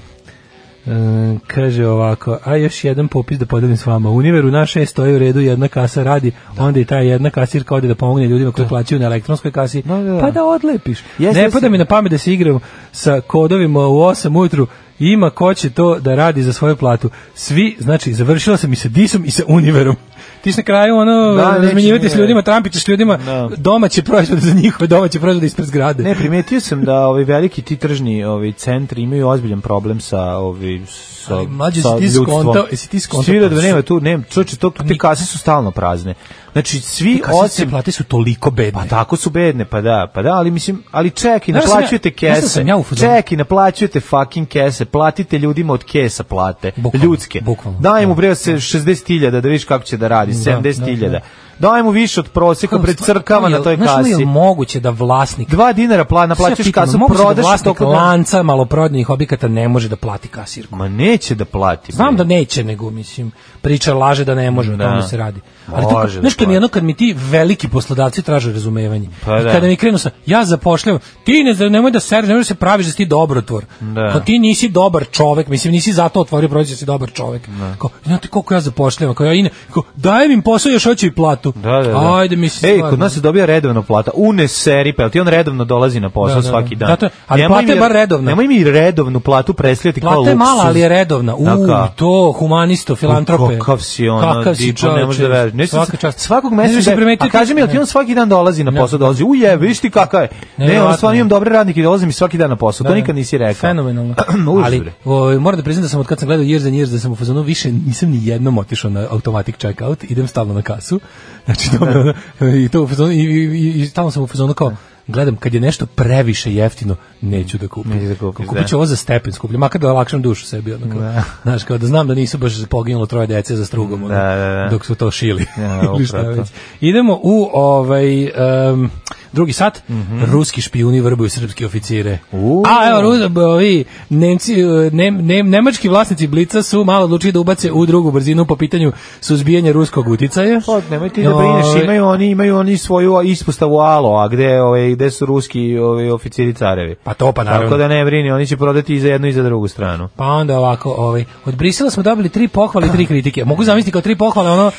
Speaker 5: em, kaže ovako, a još jedan popis da podelim s vama. Univer u naše stoji u redu, jedna kasa radi, onda i ta jedna kasirka ode da pomogne ljudima koji plaćaju na elektronskoj kasi,
Speaker 6: Da, da, da.
Speaker 5: pa da odlepiš.
Speaker 6: Jeste,
Speaker 5: ne
Speaker 6: jeste.
Speaker 5: pada mi na pamet da se igram sa kodovima u 8 ujutru, ima ko će to da radi za svoju platu. Svi, znači, završila sam i sa Disom i sa Univerom. Ti si na kraju ono,
Speaker 6: Da, neće
Speaker 5: razmenjivati s
Speaker 6: nije.
Speaker 5: ljudima, trampićeš s ljudima,
Speaker 6: Da.
Speaker 5: domaće proizvode za njihove, domaće proizvode ispred zgrade.
Speaker 6: Ne, primetio sam da ovi veliki ti tržni ovi centri imaju ozbiljan problem sa ovi sa
Speaker 5: Ali, mlađe,
Speaker 6: sa
Speaker 5: si ti
Speaker 6: ljudstvom.
Speaker 5: skontao- jesi ti skontao
Speaker 6: Svi vidio da
Speaker 5: to?
Speaker 6: nema tu, nema, čoveče, to te kase su stalno prazne. Znači svi
Speaker 5: Osim
Speaker 6: osim
Speaker 5: plate su toliko bedne.
Speaker 6: Pa tako su bedne, pa da, pa da, ali mislim, ali čeki,
Speaker 5: Znaš sam ja-
Speaker 6: naplaćujete
Speaker 5: znaš šta
Speaker 6: kese.
Speaker 5: sam ja u fazonu?
Speaker 6: čeki, naplaćujete fucking kese. Platite ljudima od kesa plate,
Speaker 5: Bukvalno,
Speaker 6: ljudske.
Speaker 5: bukvalno.
Speaker 6: Daj mu bre se 60.000 da vidiš kako će da radi, 70.000. Daj mu više od proseka pred crkama na toj
Speaker 5: Znaš li je
Speaker 6: kasi.
Speaker 5: moguće da vlasnik
Speaker 6: Dva dinara pla,
Speaker 5: Sve
Speaker 6: naplaćaš
Speaker 5: pitam,
Speaker 6: kasu,
Speaker 5: moguće da
Speaker 6: prodaš to
Speaker 5: vlasnik
Speaker 6: kod-
Speaker 5: lanca maloprodajnih objekata ne može da plati kasirku.
Speaker 6: Ma neće da plati.
Speaker 5: Znam da
Speaker 6: bre.
Speaker 5: neće, nego mislim, priča laže da ne može, o tome
Speaker 6: Da.
Speaker 5: se radi. Ali to,
Speaker 6: Može da
Speaker 5: nešto mi je
Speaker 6: plati.
Speaker 5: ono kad mi ti veliki poslodavci traže razumevanje.
Speaker 6: Pa
Speaker 5: I
Speaker 6: da.
Speaker 5: kada mi krenu sa, ja zapošljavam, ti ne, nemoj da seriš, nemoj da se praviš da si ti dobrotvor.
Speaker 6: Da.
Speaker 5: Kao ti nisi dobar čovek, mislim, nisi zato otvorio prođe da si dobar čovek. Kao, znate koliko ja zapošljavam, kao ja ine, kao, dajem im posao, još hoću i platu. platu.
Speaker 6: Da, da, da.
Speaker 5: Ajde, mislim,
Speaker 6: Ej,
Speaker 5: stvarno.
Speaker 6: kod nas se dobija redovno plata. Unese ripel, ti on redovno dolazi na posao
Speaker 5: Da, da, da.
Speaker 6: svaki dan.
Speaker 5: Zato- ali
Speaker 6: Nemoj
Speaker 5: plata je
Speaker 6: mi-
Speaker 5: bar redovna.
Speaker 6: Nemoj mi redovnu platu preslijati kao
Speaker 5: Plata je
Speaker 6: luksuz.
Speaker 5: mala, ali je redovna. U,
Speaker 6: Taka.
Speaker 5: to, humanisto, filantrope.
Speaker 6: Kakav si ono, Kakav si ne može da veruješ. Ne,
Speaker 5: Svaka
Speaker 6: svaka
Speaker 5: čast.
Speaker 6: Svakog
Speaker 5: Ne znam,
Speaker 6: meseca,
Speaker 5: si
Speaker 6: da je-
Speaker 5: primetio
Speaker 6: a
Speaker 5: ti-
Speaker 6: kaži mi, jel ti
Speaker 5: ne.
Speaker 6: on svaki dan dolazi na posao, dolazi, uje, vidiš ti kakav je. Ne, on
Speaker 5: Nevjerovatno.
Speaker 6: stvarno imam dobre radnike, dolazi mi svaki dan na posao, to nikad nisi rekao.
Speaker 5: Fenomenalno.
Speaker 6: Užas,
Speaker 5: Ali
Speaker 6: bre.
Speaker 5: o, moram da priznam da sam od kad sam gledao Years and Years da sam u fazonu više nisam ni jednom otišao na automatic checkout, idem stalno na kasu. Znači to mi je ono- i to u fazonu i, i, i, i stalno sam u fazonu kao gledam kad je nešto previše jeftino neću da kupim.
Speaker 6: Neću da kupiš,
Speaker 5: Kupit ću
Speaker 6: da.
Speaker 5: ovo za stepen skuplje, makar da olakšam dušu sebi ono kao. Znaš, kao da znam da nisu baš poginulo troje dece za strugom ono,
Speaker 6: Da, da, da.
Speaker 5: dok su to šili.
Speaker 6: Ja,
Speaker 5: Ili šta
Speaker 6: upravo to.
Speaker 5: već. Idemo u ovaj em, drugi sat.
Speaker 6: Mhm.
Speaker 5: Ruski špijuni vrbuju srpske oficire.
Speaker 6: U.
Speaker 5: A evo Ru- b- ovi Nemci e, nem, nem, nemački vlasnici Blica su malo odlučili da ubace u drugu brzinu po pitanju suzbijanja ruskog uticaja.
Speaker 6: Pa, nemoj ti da brineš,
Speaker 5: Ovaj,
Speaker 6: imaju oni, imaju oni svoju ispostavu Alo, a gde, ovaj, gde su ruski ovaj, oficiri carevi.
Speaker 5: Pa to pa naravno.
Speaker 6: Tako da ne brini, oni će prodati i za jednu i za drugu stranu.
Speaker 5: Pa onda ovako, ovaj, od Brisela smo dobili tri pohvale i tri kritike. Mogu zamisliti kao tri pohvale, ono,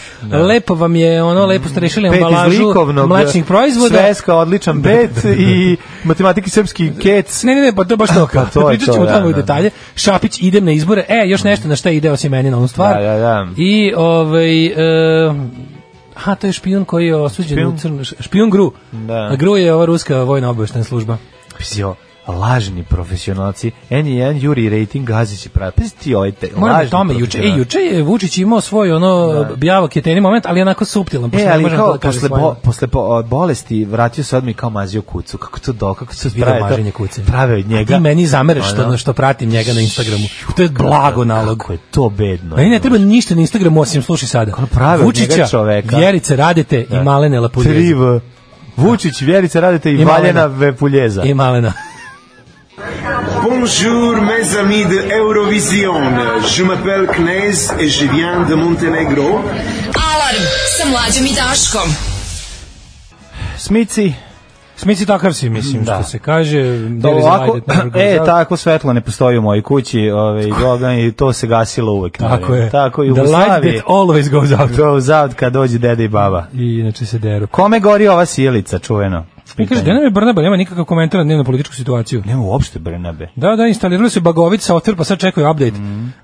Speaker 5: lepo vam je, ono, lepo ste rešili
Speaker 6: Pet iz
Speaker 5: ambalažu
Speaker 6: likovnog,
Speaker 5: mlečnih proizvoda.
Speaker 6: Sveska, odličan pet i matematiki srpski kec.
Speaker 5: Ne, ne, ne, pa to baš to.
Speaker 6: Pa to je
Speaker 5: Pričat ćemo
Speaker 6: to,
Speaker 5: tamo
Speaker 6: da,
Speaker 5: u
Speaker 6: da.
Speaker 5: detalje. Šapić, idem na izbore. E, još nešto na šta ide osim meni na onu stvar.
Speaker 6: Da, da, da.
Speaker 5: I, ovaj... E, aha, to je špijun koji je osuđen
Speaker 6: Špijun?
Speaker 5: u crno... Špijun Gru.
Speaker 6: Da.
Speaker 5: A Gru je ova ruska vojna obaveštajna služba.
Speaker 6: Pizio, lažni profesionalci. N1 Juri rating gazi će pravi. Pazi ti ovaj te,
Speaker 5: Moram o
Speaker 6: lažni
Speaker 5: tome, juče, e,
Speaker 6: profesionalci.
Speaker 5: juče je Vučić imao svoj ono bjavak je teni moment, ali onako suptilan. pošto
Speaker 6: E,
Speaker 5: ne
Speaker 6: ali
Speaker 5: možemo
Speaker 6: kao
Speaker 5: da kažem
Speaker 6: posle,
Speaker 5: svojima.
Speaker 6: bo, posle po, o, bolesti vratio se odmah i kao mazio kucu. Kako to do, kako se
Speaker 5: video
Speaker 6: prave to-
Speaker 5: maženje kuce.
Speaker 6: Prave od njega.
Speaker 5: A ti meni zamereš što,
Speaker 6: Ono,
Speaker 5: što pratim njega na Instagramu. To je blago nalog.
Speaker 6: Kako je to bedno.
Speaker 5: Meni Pa ne treba ništa na Instagramu osim slušaj sada.
Speaker 6: Ono prave od njega čoveka.
Speaker 5: Vjerice Radete i Malene Lapuljeza.
Speaker 6: Tri V. Vučić, Vjerica, radite i,
Speaker 5: I
Speaker 6: Valjena
Speaker 5: Malena.
Speaker 6: Vepuljeza.
Speaker 5: I Malena.
Speaker 11: Bonjour mes amis de Eurovision. Je m'appelle Knez et je viens de Montenegro.
Speaker 4: Alarm sa mlađom i Daškom.
Speaker 6: Smici,
Speaker 5: Smici takav si, mislim,
Speaker 6: Da.
Speaker 5: što se kaže.
Speaker 6: Da,
Speaker 5: There is a light
Speaker 6: ovako,
Speaker 5: that never goes
Speaker 6: e,
Speaker 5: out.
Speaker 6: tako svetlo ne postoji u mojoj kući, ovaj, Gogan, i to se gasilo uvek.
Speaker 5: Tako
Speaker 6: naravno.
Speaker 5: je.
Speaker 6: Tako i u
Speaker 5: The light
Speaker 6: Jugoslaviji.
Speaker 5: that always goes out.
Speaker 6: Goes out kad dođe deda i baba.
Speaker 5: I inače se deru.
Speaker 6: Kome gori ova sijelica, čuveno?
Speaker 5: Mi kaže,
Speaker 6: Pitanje.
Speaker 5: da nam je Brnaba, nema nikakav komentar na dnevno političku situaciju.
Speaker 6: Nema uopšte Brnabe.
Speaker 5: Da, da, instalirali su Bagović software, pa sad čekaju update.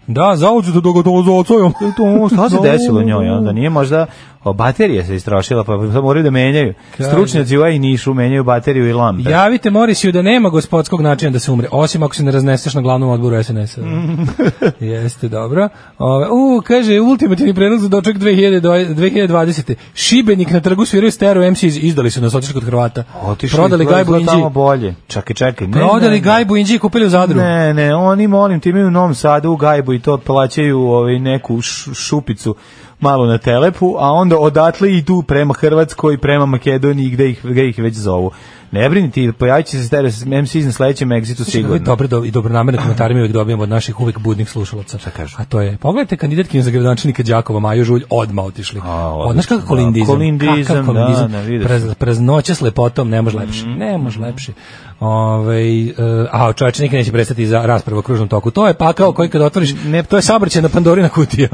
Speaker 5: Da, zaođu do dogotovo za ocojom.
Speaker 6: To, šta se desilo njoj, onda nije možda o, baterija se istrošila, pa pa moraju da menjaju.
Speaker 5: Kaže.
Speaker 6: Stručnjaci u i Nišu menjaju bateriju i lampe.
Speaker 5: Javite Morisiju da nema gospodskog načina da se umre, osim ako se ne razneseš na glavnom odboru SNS-a.
Speaker 6: Mm.
Speaker 5: Jeste, dobro. Ove, u, kaže, ultimativni predlog za doček 2020. 2020. Šibenik na trgu sviraju stereo MCs, izdali su nas, otišli kod Hrvata.
Speaker 6: Otišli,
Speaker 5: Prodali
Speaker 6: izgleda
Speaker 5: gajbu
Speaker 6: tamo
Speaker 5: Inđi.
Speaker 6: bolje. Čekaj, čekaj. ne, ne,
Speaker 5: Prodali
Speaker 6: ne.
Speaker 5: gajbu Inđi i kupili u Zadru.
Speaker 6: Ne, ne, oni molim ti imaju u Novom Sadu u Gajbu i to plaćaju ovaj neku š- šupicu malo na telepu, a onda odatle idu prema Hrvatskoj, prema Makedoniji gde ih, gde ih već zovu. Ne brini ti, pojavit će se stereo MC na sledećem egzitu
Speaker 5: Sigurno.
Speaker 6: sigurno.
Speaker 5: Dobre, do, i dobronamerne komentare mi uvijek dobijamo od naših uvijek budnih slušalaca. Šta A to je, pogledajte kandidatkinu za gradonačelnika Đakova, Maju Žulj, odma otišli.
Speaker 6: A,
Speaker 5: O, Znaš kakav
Speaker 6: odlično,
Speaker 5: kolindizam?
Speaker 6: da. Kolindizam,
Speaker 5: Kakav
Speaker 6: da, ne, vidiš. Mhm.
Speaker 5: Prez- praznoća s lepotom, ne može lepše. Ne može lepše. Ovaj, e, a čovječe nikad neće prestati za raspravu o kružnom toku. To je pakao koji kad otvoriš,
Speaker 6: Ne-
Speaker 5: to je sabrćena Pandorina kutija.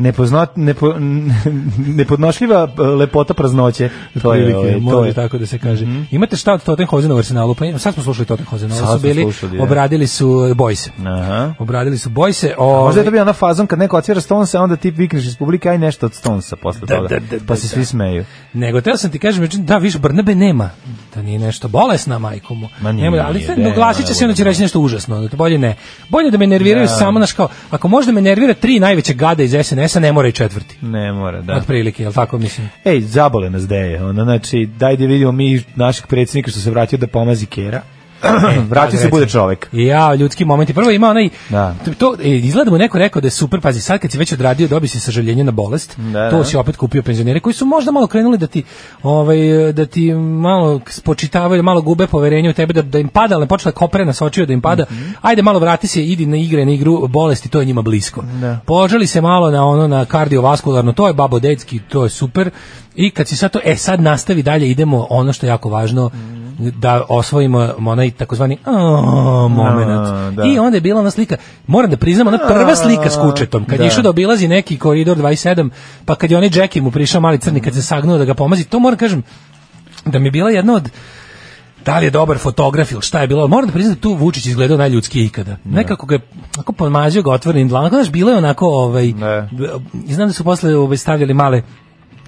Speaker 6: Nepozna, nepo, nepodnošljiva e, lepota praznoće. To je,
Speaker 5: Prilike,
Speaker 6: ovaj, to
Speaker 5: mora
Speaker 6: je.
Speaker 5: tako da se kaže. Imate šta od Tottenhozena u Arsenalu? Pa ima- sad smo slušali Tottenhozena,
Speaker 6: Sad
Speaker 5: ovo su
Speaker 6: smo
Speaker 5: bili,
Speaker 6: slušali, je.
Speaker 5: obradili su Bojse.
Speaker 6: Aha.
Speaker 5: Obradili su Bojse. Ovaj,
Speaker 6: Možda je to bio ona fazon kad neko otvira Stonesa, onda ti vikneš iz publike, aj nešto od Stonesa posle toga.
Speaker 5: da, da,
Speaker 6: pa se svi smeju.
Speaker 5: Nego teo sam ti kažem, međutim, da, više Brnabe nema. Da nije nešto bolesna, majku mu.
Speaker 6: Ma nije,
Speaker 5: Nema, ali
Speaker 6: nije,
Speaker 5: sad
Speaker 6: ne,
Speaker 5: doglasit će
Speaker 6: ne,
Speaker 5: se, onda će
Speaker 6: ne.
Speaker 5: reći nešto užasno. Da to bolje ne. Bolje da me nerviraju samo, naš kao, ako možda me nervira tri najveće gada iz SNS-a, ne mora i četvrti.
Speaker 6: Ne mora, da.
Speaker 5: Otprilike, jel tako mislim?
Speaker 6: Ej, zabole nas deje. Ono, znači, daj da vidimo mi našeg predsjednika što se vratio da pomazi kera. Vrati se,
Speaker 5: recimo.
Speaker 6: bude čovek.
Speaker 5: Ja, ljudski momenti. Prvo ima onaj
Speaker 6: Da.
Speaker 5: to, to e, izgleda mu neko rekao da je super, pazi, sad kad si već odradio, dobi si sažaljenje na bolest.
Speaker 6: Da,
Speaker 5: to
Speaker 6: da.
Speaker 5: si opet kupio penzionere koji su možda malo krenuli da ti ovaj da ti malo spočitavaju, malo gube poverenje u tebe da, da im pada, ali počela je koprena sa očiju da im pada.
Speaker 6: Mhm.
Speaker 5: Ajde malo vrati se, idi na igre, na igru bolesti, to je njima blisko. Požali se malo na ono na kardiovaskularno, to je
Speaker 6: Mhm.
Speaker 5: babodetski, to je super. I kad si sad to, e sad nastavi dalje, idemo ono što je jako važno da osvojimo onaj takozvani "A", momenat.
Speaker 6: da.
Speaker 5: I onda je bila ona slika, moram da priznam, ona prva slika s kučetom, kad
Speaker 6: Da.
Speaker 5: je išao da obilazi neki koridor 27, pa kad je onaj Jackie mu prišao mali crni, kad se sagnuo da ga pomazi, to moram kažem, da mi je bila jedna od da li je dobar fotograf ili šta je bilo, ali moram da priznam da tu Vučić izgledao najljudski ikada. Nekako ga je, ako pomazio ga otvorenim dlanom, znaš, bilo je onako, ovaj,
Speaker 6: Ne.
Speaker 5: i znam da su posle ovaj, stavljali male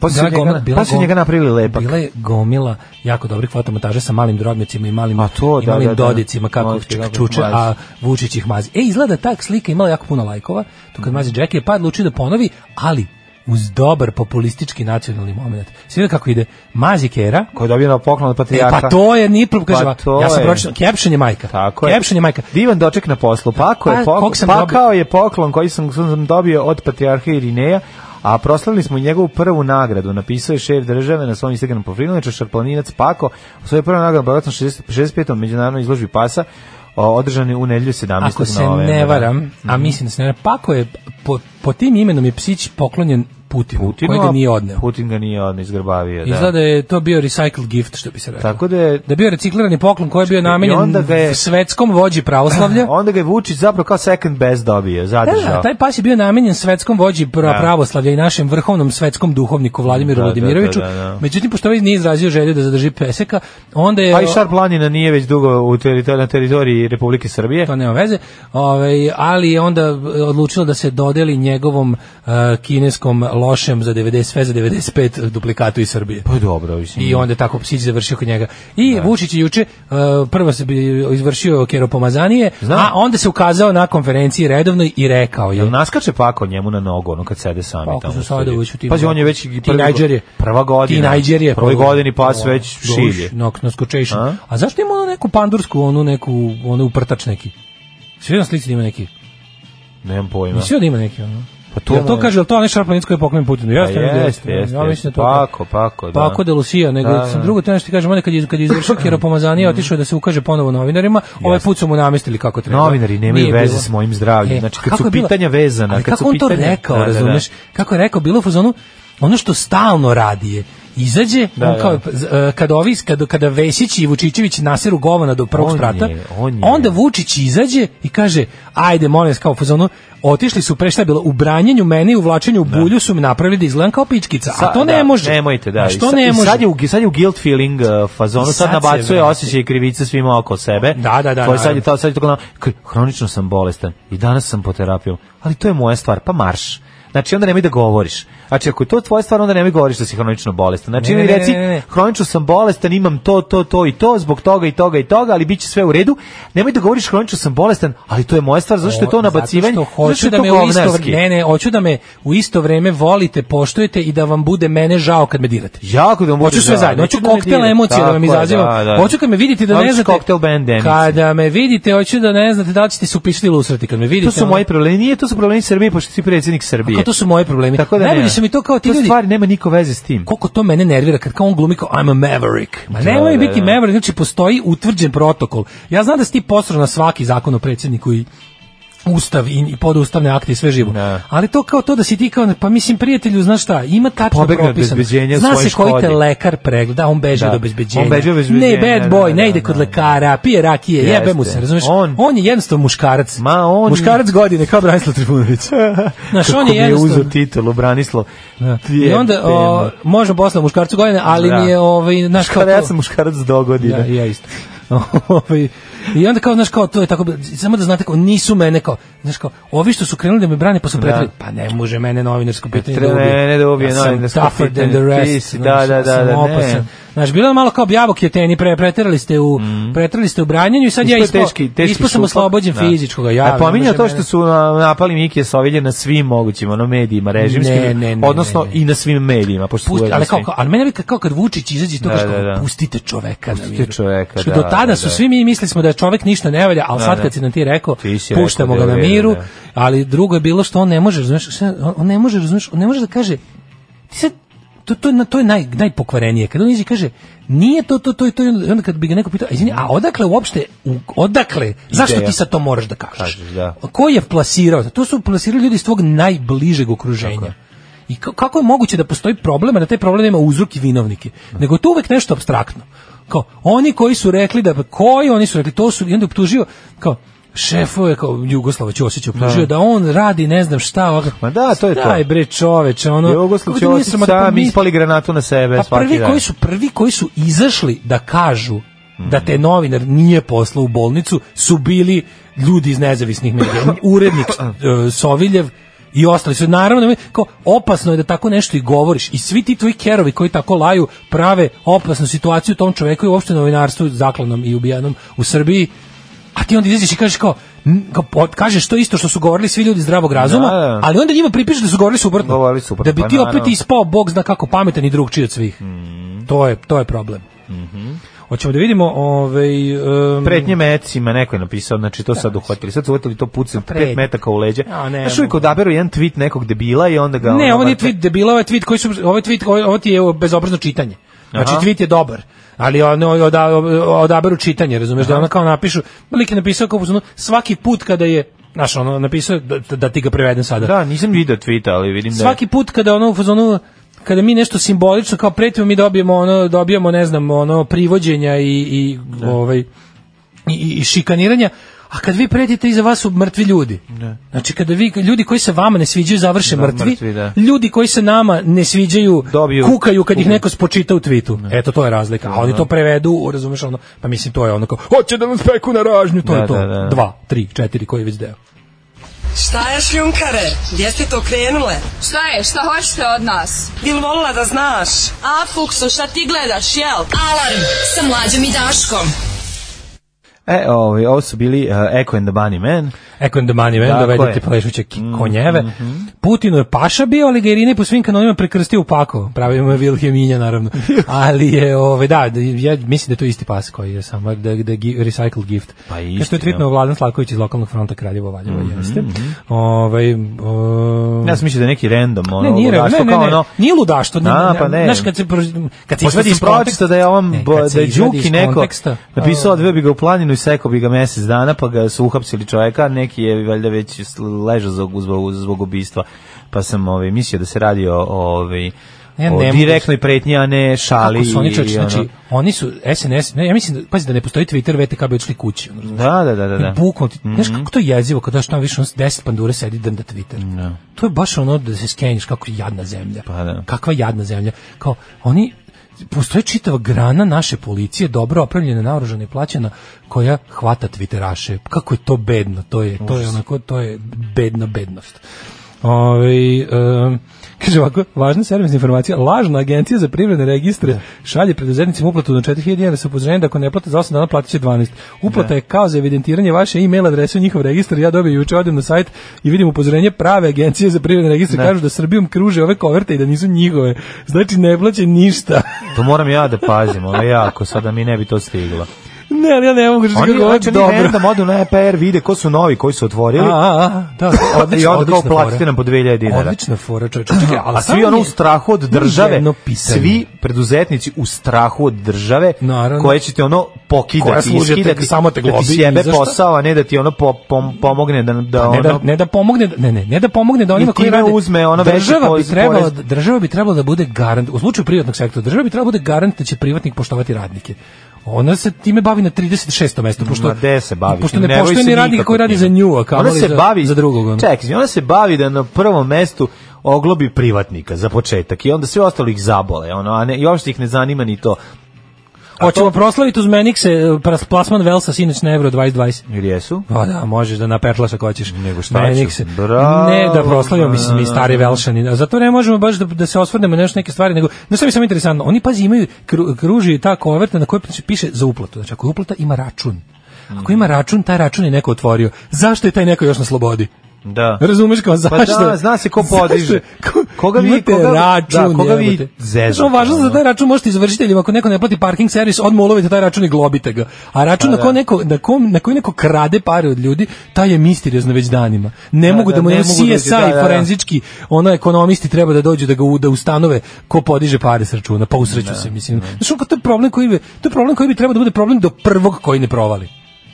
Speaker 6: Poslije
Speaker 5: bila
Speaker 6: njega-
Speaker 5: gomila- bila
Speaker 6: poslije
Speaker 5: gom-
Speaker 6: njega napravili lepak.
Speaker 5: Bila je gomila jako dobrih fotomontaža sa malim drobnjacima i malim,
Speaker 6: A to,
Speaker 5: i
Speaker 6: da,
Speaker 5: malim
Speaker 6: da, da.
Speaker 5: dodicima kako
Speaker 6: Mazi,
Speaker 5: čuk-
Speaker 6: kako
Speaker 5: čuče,
Speaker 6: mazi.
Speaker 5: a Vučić ih mazi. E, izgleda ta slika imala jako puno lajkova, to
Speaker 6: Mhm.
Speaker 5: kad mazi Jackie je pa odlučio da ponovi, ali uz dobar populistički nacionalni moment. Svi kako ide, mazi Kera,
Speaker 6: Koji je dobio na poklon
Speaker 5: E,
Speaker 6: od Patrijaka.
Speaker 5: pa to je ni prvo, kaže,
Speaker 6: Pa
Speaker 5: ovako,
Speaker 6: to
Speaker 5: ja sam
Speaker 6: je.
Speaker 5: pročitao, caption je majka.
Speaker 6: Tako je.
Speaker 5: Caption je majka.
Speaker 6: Divan doček na poslu. Pako
Speaker 5: Pa,
Speaker 6: je
Speaker 5: kog
Speaker 6: poklon,
Speaker 5: sam
Speaker 6: pakao je poklon koji sam, sam dobio od Patriarha Irineja, a proslavili smo i njegovu prvu nagradu. Napisao je šef države na svom Instagram profilu, inače Šarplaninac Pako, u svojoj prvoj nagradu bogatno 65. međunarodnoj izložbi pasa, o, održani u nedelju 17.
Speaker 5: Ako se
Speaker 6: novembra.
Speaker 5: ne varam, a
Speaker 6: Mhm.
Speaker 5: mislim da se ne varam, Pako je, po, po tim imenom je psić poklonjen Putinu,
Speaker 6: Putinu,
Speaker 5: koji ga
Speaker 6: a
Speaker 5: nije odneo.
Speaker 6: Putin ga nije odneo, izgrbavio. Da.
Speaker 5: Izgleda da je to bio recycled gift, što bi se reklo.
Speaker 6: Tako da je
Speaker 5: Da je bio reciklirani poklon koji je bio
Speaker 6: i onda
Speaker 5: namenjen
Speaker 6: ga je-
Speaker 5: svetskom vođi pravoslavlja.
Speaker 6: Onda ga je Vučić zapravo kao second best dobio, zadržao.
Speaker 5: Da, taj pas je bio namenjen svetskom vođi pra-
Speaker 6: Da.
Speaker 5: pravoslavlja i našem vrhovnom svetskom duhovniku Vladimiru
Speaker 6: Da, da,
Speaker 5: Vladimiroviću.
Speaker 6: da, da, da.
Speaker 5: Međutim, pošto ovaj nije izrazio želju da zadrži peseka, onda je...
Speaker 6: Pa i Šarplanina nije već dugo u teritor- na teritoriji Republike Srbije.
Speaker 5: to nema veze, ovaj, ali je onda odlučilo da se dodeli njegovom eh, kineskom lošem za 90, sve za 95 duplikatu iz Srbije.
Speaker 6: Pa dobro, mislim.
Speaker 5: I onda je tako psić završio kod njega. I Vučić je juče eh, prvo se bi izvršio keropomazanije,
Speaker 6: Znam.
Speaker 5: a onda se ukazao na konferenciji redovnoj i rekao je.
Speaker 6: Jel naskače pako njemu na nogu, ono kad sede sami
Speaker 5: Pa, ako
Speaker 6: tamo.
Speaker 5: su
Speaker 6: u
Speaker 5: sada
Speaker 6: studiju?
Speaker 5: već u tim-
Speaker 6: Pazi, on je već i prvi-
Speaker 5: Teenager je.
Speaker 6: Prva godina.
Speaker 5: Teenager je. Ono,
Speaker 6: Prvoj godini pas
Speaker 5: O,
Speaker 6: već
Speaker 5: doš,
Speaker 6: šilje.
Speaker 5: Nok, noskočešan.
Speaker 6: A?
Speaker 5: A? zašto ima ono neku pandursku, onu neku, onu uprtač neki? Svi na slici da ima neki.
Speaker 6: Nemam pojma.
Speaker 5: Mislio da ima neki ono.
Speaker 6: Pa
Speaker 5: To,
Speaker 6: to
Speaker 5: jel to
Speaker 6: mu je-
Speaker 5: kaže, jel to onaj šarplaninsko koji je poklon Putinu? Ja
Speaker 6: Pa jeste, jeste. Pa
Speaker 5: ja mislim da to
Speaker 6: Pako, pako, da.
Speaker 5: Pako de Lucia, nego
Speaker 6: Da,
Speaker 5: sam
Speaker 6: da.
Speaker 5: drugo to nešto ti kažem, onda kad je, kad je izvršio keropomazanije, otišao je da se ukaže ponovo novinarima, ovaj put su mu namestili kako treba.
Speaker 6: Novinari nemaju
Speaker 5: Nije
Speaker 6: veze
Speaker 5: bilo.
Speaker 6: s mojim zdravljem. Znači,
Speaker 5: a
Speaker 6: kad
Speaker 5: kako
Speaker 6: su
Speaker 5: je bilo-
Speaker 6: pitanja vezana,
Speaker 5: ali
Speaker 6: kad
Speaker 5: kako
Speaker 6: su
Speaker 5: on to
Speaker 6: pitanja-
Speaker 5: rekao,
Speaker 6: Da, da, da.
Speaker 5: razumeš? Kako je rekao, bilo u fazonu, ono što stalno radi je, izađe,
Speaker 6: Da,
Speaker 5: on kao,
Speaker 6: da.
Speaker 5: z- e, kada, ovi, kada, kada Vesić i Vučićević naseru govana do prvog
Speaker 6: On
Speaker 5: sprata,
Speaker 6: je, on je.
Speaker 5: onda Vučić izađe i kaže, ajde, molim vas, kao u fazonu, otišli su pre šta je bilo, u branjenju mene i u vlačenju u bulju su mi napravili da izgledam kao pičkica, a
Speaker 6: Sa-
Speaker 5: to ne
Speaker 6: da,
Speaker 5: može.
Speaker 6: Nemojte, da.
Speaker 5: A
Speaker 6: I
Speaker 5: što
Speaker 6: sa-
Speaker 5: ne
Speaker 6: i
Speaker 5: može?
Speaker 6: Sad je, u, sad je u guilt feeling uh, fazonu,
Speaker 5: I
Speaker 6: sad,
Speaker 5: sad se
Speaker 6: nabacuje
Speaker 5: vraća.
Speaker 6: osjećaj krivice svima oko sebe.
Speaker 5: Da, da, da,
Speaker 6: To je sad je
Speaker 5: naravno.
Speaker 6: to, sad je to kao, "K- hronično sam bolestan i danas sam po terapijom, ali to je moja stvar, pa marš. Znači onda nemoj da govoriš. Znači ako je to tvoja stvar, onda nemoj govoriš da si hronično bolestan. Znači
Speaker 5: Ne,
Speaker 6: ili
Speaker 5: ne,
Speaker 6: reci,
Speaker 5: ne, ne, ne.
Speaker 6: hronično sam bolestan, imam to, to, to i to, zbog toga i toga i toga, ali bit će sve u redu. Nemoj da govoriš hronično sam bolestan, ali to je moja stvar, zašto je to
Speaker 5: O,
Speaker 6: nabacivanje?
Speaker 5: Zato što hoću
Speaker 6: Zašto je
Speaker 5: da
Speaker 6: to
Speaker 5: me u isto
Speaker 6: govnarski?
Speaker 5: vreme, ne, ne, hoću da me u isto vreme volite, poštujete i da vam bude mene žao kad me dirate.
Speaker 6: Jako da mu bude
Speaker 5: Hoću sve
Speaker 6: žao.
Speaker 5: zajedno, hoću
Speaker 6: Neću da me
Speaker 5: koktel
Speaker 6: dirate.
Speaker 5: emocija da
Speaker 6: Tako
Speaker 5: vam
Speaker 6: je,
Speaker 5: izazivam.
Speaker 6: da, da.
Speaker 5: Hoću kad me vidite da ne
Speaker 6: Hoćeš
Speaker 5: znate.
Speaker 6: koktel band denice.
Speaker 5: Kada me vidite, hoću da ne znate da li ćete se upišiti ili usrati kad me vidite.
Speaker 6: To su
Speaker 5: ono-
Speaker 6: moji problemi, nije, to su problemi Srbije, pošto si predsjednik Srbije.
Speaker 5: Kako to su moji problemi.
Speaker 6: Tako da
Speaker 5: Najbolje
Speaker 6: ne.
Speaker 5: su mi to kao ti
Speaker 6: to
Speaker 5: ljudi.
Speaker 6: stvari nema niko veze s tim.
Speaker 5: koliko to mene nervira kad kao on glumi kao I'm a maverick. Ma
Speaker 6: Da,
Speaker 5: nemoj
Speaker 6: da,
Speaker 5: biti
Speaker 6: da.
Speaker 5: maverick, znači postoji utvrđen protokol. Ja znam da si ti posro na svaki zakon o predsjedniku i ustav i, i podustavne akte i sve živo.
Speaker 6: Da.
Speaker 5: Ali to kao to da si ti kao, pa mislim prijatelju, znaš šta, ima tačno
Speaker 6: Pobegne od
Speaker 5: propisano.
Speaker 6: obezbeđenja u
Speaker 5: Zna
Speaker 6: svojoj
Speaker 5: se koji te
Speaker 6: škodi.
Speaker 5: lekar pregleda, da, on beži
Speaker 6: Da.
Speaker 5: od obezbeđenja.
Speaker 6: On beži od obezbeđenja,
Speaker 5: Ne, bad
Speaker 6: da,
Speaker 5: boy,
Speaker 6: da,
Speaker 5: ne
Speaker 6: da,
Speaker 5: ide kod
Speaker 6: da.
Speaker 5: lekara, pije rakije,
Speaker 6: Jeste.
Speaker 5: jebe mu se, razumeš?
Speaker 6: On-
Speaker 5: On, je jednostavno muškarac.
Speaker 6: Ma, on-
Speaker 5: Muškarac godine, kao Branislav Trifunović. Znaš,
Speaker 6: Kako
Speaker 5: on
Speaker 6: mi
Speaker 5: je
Speaker 6: je
Speaker 5: jednostavno...
Speaker 6: uzeo titulu, Branislav.
Speaker 5: Da.
Speaker 6: Tije
Speaker 5: I onda o,
Speaker 6: tema.
Speaker 5: možemo posle muškarcu godine, ali
Speaker 6: Da.
Speaker 5: mi je ovaj naš kao
Speaker 6: Kada ja
Speaker 5: to-
Speaker 6: sam muškarac do godine.
Speaker 5: ja, ja isto. Ovaj, I onda kao, znaš, kao, to je tako, bilo. samo da znate, kao, nisu mene, kao, znaš, kao, ovi što su krenuli da me brane, pa su pretrali, pa ne može mene novinarsko pitanje da
Speaker 6: Pa Treba
Speaker 5: ubije.
Speaker 6: mene da ubije
Speaker 5: ja sam
Speaker 6: novinarsko
Speaker 5: tougher than the
Speaker 6: pitanje.
Speaker 5: rest,
Speaker 6: Ti si, da,
Speaker 5: znaš,
Speaker 6: da,
Speaker 5: ja
Speaker 6: da,
Speaker 5: sam
Speaker 6: da, ne.
Speaker 5: opasan. Znaš, bilo je malo kao bjavo kjeteni, pre, preterali ste u, preterali ste u branjenju i sad ja
Speaker 6: Ispao Mhm. je
Speaker 5: ispo,
Speaker 6: teški, teški
Speaker 5: ispo sam
Speaker 6: šupak.
Speaker 5: oslobođen
Speaker 6: Da.
Speaker 5: fizičkog, ja.
Speaker 6: A
Speaker 5: ne
Speaker 6: pominjao
Speaker 5: može
Speaker 6: to
Speaker 5: mene-
Speaker 6: što su a, napali Mikija Sovilje na svim mogućim ono, medijima, režimskim,
Speaker 5: Ne, ne, ne,
Speaker 6: odnosno
Speaker 5: ne, ne.
Speaker 6: i na svim medijima. Pošto su
Speaker 5: Pusti,
Speaker 6: ujedno
Speaker 5: ali kao,
Speaker 6: svi.
Speaker 5: kao- ali mene uvijek kao kad Vučić izađe i to
Speaker 6: Da,
Speaker 5: kaže kao,
Speaker 6: da, da.
Speaker 5: pustite čoveka na
Speaker 6: Pustite
Speaker 5: miru.
Speaker 6: čoveka,
Speaker 5: Što
Speaker 6: da,
Speaker 5: do tada
Speaker 6: da, da.
Speaker 5: su svi mi mislili smo da čovek ništa ne valja, ali
Speaker 6: Da,
Speaker 5: sad
Speaker 6: da.
Speaker 5: kad si nam ti rekao,
Speaker 6: Ti si rekao
Speaker 5: puštamo
Speaker 6: da je
Speaker 5: ga na
Speaker 6: u redu,
Speaker 5: miru,
Speaker 6: da.
Speaker 5: ali drugo je bilo što on ne može, razumeš, šta- on- on ne može, razumeš, on ne može da kaže, ti sad, to, to, je na- to je naj, najpokvarenije. Kad on izi kaže, nije to, to, to i to, i onda kad bi ga neko pitao, "A izvini, a odakle uopšte, u- odakle, zašto
Speaker 6: Ideja.
Speaker 5: ti sad to moraš da kažeš?
Speaker 6: Kažeš, da.
Speaker 5: Ko je plasirao? To su plasirali ljudi iz tvog najbližeg okruženja. I ka- kako je moguće da postoji problem, a da taj problem ima uzrok i vinovnike? Nego je to uvek nešto abstraktno. Kao, oni koji su rekli da, pa koji oni su rekli, to su, i onda je optužio, kao, šefove kao Jugoslava Ćosića optužio da.
Speaker 6: Da.
Speaker 5: on radi ne znam šta ovako.
Speaker 6: Ma da, to je to.
Speaker 5: Daj bre čoveče, ono.
Speaker 6: Jugoslav
Speaker 5: kako da nije
Speaker 6: Ćosić
Speaker 5: sramota? Pa
Speaker 6: sam
Speaker 5: mi-
Speaker 6: ispali granatu na sebe
Speaker 5: pa
Speaker 6: svaki
Speaker 5: prvi
Speaker 6: dan.
Speaker 5: koji su prvi koji su izašli da kažu da te novinar nije poslao u bolnicu su bili ljudi iz nezavisnih medija, urednik e, Soviljev i ostali su naravno kao opasno je da tako nešto i govoriš i svi ti tvoji kerovi koji tako laju prave opasnu situaciju tom čoveku i uopšte novinarstvu zaklanom i ubijanom u Srbiji a ti onda izađeš i kažeš kao, n- kao pot- kažeš to isto što su govorili svi ljudi zdravog razuma,
Speaker 6: Da, da.
Speaker 5: ali onda njima pripišeš da su govorili suprotno.
Speaker 6: Govorili suprotno,
Speaker 5: Da bi
Speaker 6: pa
Speaker 5: ti opet
Speaker 6: naravno. Mhm.
Speaker 5: ispao bog zna kako pametan i drugčiji od svih. To je to je problem. Hoćemo da vidimo ovaj em,
Speaker 6: Pretnje mecima, neko je napisao, znači to sad uhvatili. Sad su uhvatili to pucem
Speaker 5: pretnje.
Speaker 6: 5 metaka u leđa.
Speaker 5: A, ne,
Speaker 6: Znaš, uvijek odaberu jedan tweet nekog debila i onda ga...
Speaker 5: Ne,
Speaker 6: ono
Speaker 5: ovo nije
Speaker 6: vrte.
Speaker 5: tweet debila, ovo je tweet koji su ovo je tweet ovo- ovo ti je bezobrazno čitanje. Znači
Speaker 6: Aha.
Speaker 5: tweet je dobar. Ali ono oda, odaberu čitanje, razumeš, da ono kao napišu, lik je napisao kao u fazonu, svaki put kada je, znaš, ono napisao da, da ti ga prevedem sada.
Speaker 6: Da, nisam video tweeta, ali vidim da... je-
Speaker 5: Svaki put kada ono u fazonu kada mi nešto simbolično kao pretimo mi dobijemo ono dobijamo ne znam ono privođenja i i ovaj i, i- i šikaniranja a kad vi pretite iza vas su mrtvi ljudi. Znači kada vi ljudi koji se vama ne sviđaju završe
Speaker 6: Da,
Speaker 5: mrtvi,
Speaker 6: mrtvi, da.
Speaker 5: ljudi koji se nama ne sviđaju
Speaker 6: Dobiju-
Speaker 5: kukaju kad ih neko spočita u tvitu. Eto to je razlika. A oni to prevedu, razumeš ono, pa mislim to je ono kao hoće da nam speku na ražnju, to
Speaker 6: Da,
Speaker 5: je to.
Speaker 6: da, da.
Speaker 5: Dva, tri, četiri, koji je već deo.
Speaker 12: Šta je šljunkare? Gdje ste to krenule?
Speaker 13: Šta je? Šta hoćete od nas?
Speaker 12: Bil volila da znaš?
Speaker 13: A, Fuksu, šta ti gledaš, jel? Alarm sa mlađom i Daškom.
Speaker 6: E, ovaj, ovo su bili uh, Echo and the Bunny Man.
Speaker 5: Echo and the Bunny Man,
Speaker 6: Tako
Speaker 5: dovedete
Speaker 6: je. Mm, mhm.
Speaker 5: plešuće ki- konjeve. Putinu je paša bio, ali ga je Irina po svim kanonima prekrstio u pako. Pravi mu je Vilhelminja, naravno. Ali je, ove, da, da, ja mislim da je to isti pas koji je samo, da, da je gi- recycled gift.
Speaker 6: Pa
Speaker 5: Kao
Speaker 6: isti,
Speaker 5: što je tvitnuo
Speaker 6: da. Mhm,
Speaker 5: Vladan Slavković iz lokalnog fronta Kraljeva Valjeva, jeste. Ovaj, o,
Speaker 6: Ja sam mislio da je neki random, ono,
Speaker 5: Mm. ne, nije,
Speaker 6: ludaštvo
Speaker 5: ne, ne,
Speaker 6: kao
Speaker 5: ne,
Speaker 6: ono-
Speaker 5: nije ludašto. Ne,
Speaker 6: A,
Speaker 5: ne,
Speaker 6: pa ne.
Speaker 5: Znaš, kad se, prož- kad se
Speaker 6: Pošto
Speaker 5: izvadi
Speaker 6: sam
Speaker 5: iz konteksta,
Speaker 6: pročitao da je on
Speaker 5: Ne,
Speaker 6: bo-
Speaker 5: kad se
Speaker 6: da je
Speaker 5: izvadi iz
Speaker 6: Đuki neko
Speaker 5: konteksta,
Speaker 6: napisao odveo bi ga u planinu i sekao bi ga mjesec dana pa ga su uhapsili čovjeka, neki je valjda već sl- ležao zbog, zbog, zbog ubistva. Pa sam ovaj, mislio da se radi o, ovaj,
Speaker 5: Ja
Speaker 6: o
Speaker 5: ne mogu-
Speaker 6: direktnoj pretnji, a ne šali.
Speaker 5: Kako su oni
Speaker 6: i
Speaker 5: čovječe,
Speaker 6: ono-
Speaker 5: znači, oni su SNS, ne, ja mislim, da, pazi da ne postoji Twitter, VTK bi odšli kući. Ono, razumiješ?
Speaker 6: Da, da, da, da. Mhm. da.
Speaker 5: Bukvalno, ti- znaš kako to je jezivo kada daš tamo više ono 10 pandure sedi dan da Twitter. To je baš ono da se skenjiš kako je jadna zemlja.
Speaker 6: Pa da.
Speaker 5: Kakva jadna zemlja. Kao oni postoji čitava grana naše policije, dobro opremljena, naoružana i plaćena, koja hvata Twitteraše. Kako je to bedno, to je, to je onako, to je bedna bednost. Ovaj em, kaže ovako, važna servisna informacija, lažna agencija za privredne registre šalje preduzetnicima uplatu na 4000 dinara sa upozorenjem da ako ne plate za 8 dana platit će 12. Uplata je kao za evidentiranje vaše e-mail adrese u njihov registar. Ja dobijem juče odem na sajt i vidim upozorenje prave agencije za privredne registre kažu da Srbijom kruže ove koverte i da nisu njihove. Znači ne plaće ništa.
Speaker 6: To moram ja da pazim, ono jako, sada mi ne bi to stiglo.
Speaker 5: ne, ali ja ne mogu
Speaker 6: Oni,
Speaker 5: što
Speaker 6: znači, oni
Speaker 5: govorim dobro.
Speaker 6: random odu na EPR, vide ko su novi, koji su
Speaker 5: A,
Speaker 6: otvorili,
Speaker 5: a, a, da,
Speaker 6: i
Speaker 5: odlično,
Speaker 6: onda kao
Speaker 5: odlična
Speaker 6: platite
Speaker 5: fora.
Speaker 6: nam po 2000 dinara.
Speaker 5: Odlična fora, čovječe. Čekaj, ali
Speaker 6: A
Speaker 5: samo
Speaker 6: svi ono
Speaker 5: mi
Speaker 6: u
Speaker 5: je-
Speaker 6: strahu od
Speaker 5: mi je
Speaker 6: države,
Speaker 5: jedno pitanje.
Speaker 6: svi preduzetnici u strahu od države,
Speaker 5: Naravno.
Speaker 6: koje će ti ono
Speaker 5: Koja
Speaker 6: pokidati,
Speaker 5: služi da te-
Speaker 6: iskidati,
Speaker 5: samo te
Speaker 6: da ti
Speaker 5: globi, ni
Speaker 6: sjebe
Speaker 5: za šta.
Speaker 6: posao, a ne da ti ono po- pom- pomogne da, da
Speaker 5: Pa Ne da,
Speaker 6: ono...
Speaker 5: ne da pomogne ne ne ne da pomogne da onima
Speaker 6: I
Speaker 5: koji
Speaker 6: time
Speaker 5: rade
Speaker 6: uzme ono veći
Speaker 5: država bi
Speaker 6: porez-
Speaker 5: trebala
Speaker 6: porez.
Speaker 5: država bi trebala da bude garant u slučaju privatnog sektora država bi trebala da bude garant da će privatnik poštovati radnike ona se time bavi na 36. mestu pošto
Speaker 6: Ma gde se bavi?
Speaker 5: pošto ne
Speaker 6: bavi
Speaker 5: poštuje
Speaker 6: se
Speaker 5: ni radnika
Speaker 6: nikako
Speaker 5: koji radi
Speaker 6: time.
Speaker 5: za nju a
Speaker 6: Ona
Speaker 5: kamoli
Speaker 6: se
Speaker 5: za,
Speaker 6: bavi,
Speaker 5: za drugog ono.
Speaker 6: Čekaj, izvini, ona se bavi da na prvom mestu oglobi privatnika za početak i onda sve ostalo ih zabole, ono, a ne, i uopšte ih ne zanima ni to.
Speaker 5: hoćemo proslaviti uz Menikse eh, pras- plasman Velsa sinoć na Euro 2020
Speaker 6: Ili jesu?
Speaker 5: Pa da, možeš da napertlaš ako hoćeš.
Speaker 6: Nego šta
Speaker 5: Meni
Speaker 6: ću?
Speaker 5: se-
Speaker 6: Bravo.
Speaker 5: Ne, da proslavimo, mislim, mi stari velšani. A Zato ne možemo baš da, da se osvrnemo na još neke stvari, nego, znaš šta mi je samo interesantno, oni pazi imaju, kru- kruži ta koverta na kojoj piše za uplatu. Znači, ako je uplata, ima račun. Ako ima račun, taj račun je neko otvorio. Zašto je taj neko još na slobodi?
Speaker 6: Da.
Speaker 5: Razumeš kao
Speaker 6: Pa
Speaker 5: zašto?
Speaker 6: da, zna se ko
Speaker 5: Zašto?
Speaker 6: podiže.
Speaker 5: Ko-
Speaker 6: Koga vi-
Speaker 5: imate
Speaker 6: koga-
Speaker 5: račun,
Speaker 6: da, koga vi
Speaker 5: jebote.
Speaker 6: zezate,
Speaker 5: Znaš, ono važno za
Speaker 6: ono.
Speaker 5: taj račun možete izvršiteljima, ako neko ne plati parking servis, odmah ulovite taj račun i globite ga. A
Speaker 6: Pa
Speaker 5: račun na, ko neko, na, kom, na koji neko krade pare od ljudi, taj je misteriozno već danima. Ne
Speaker 6: Da,
Speaker 5: mogu
Speaker 6: da,
Speaker 5: da mu
Speaker 6: ne
Speaker 5: ne
Speaker 6: mogu
Speaker 5: CSI
Speaker 6: doći, da, da, da.
Speaker 5: forenzički, ono ekonomisti treba da dođu da ga u- da ustanove ko podiže pare s računa, pa usreću se, mislim. Znaš, ono, to je problem koji bi, to je problem koji bi trebao da bude problem do prvog koji ne provali.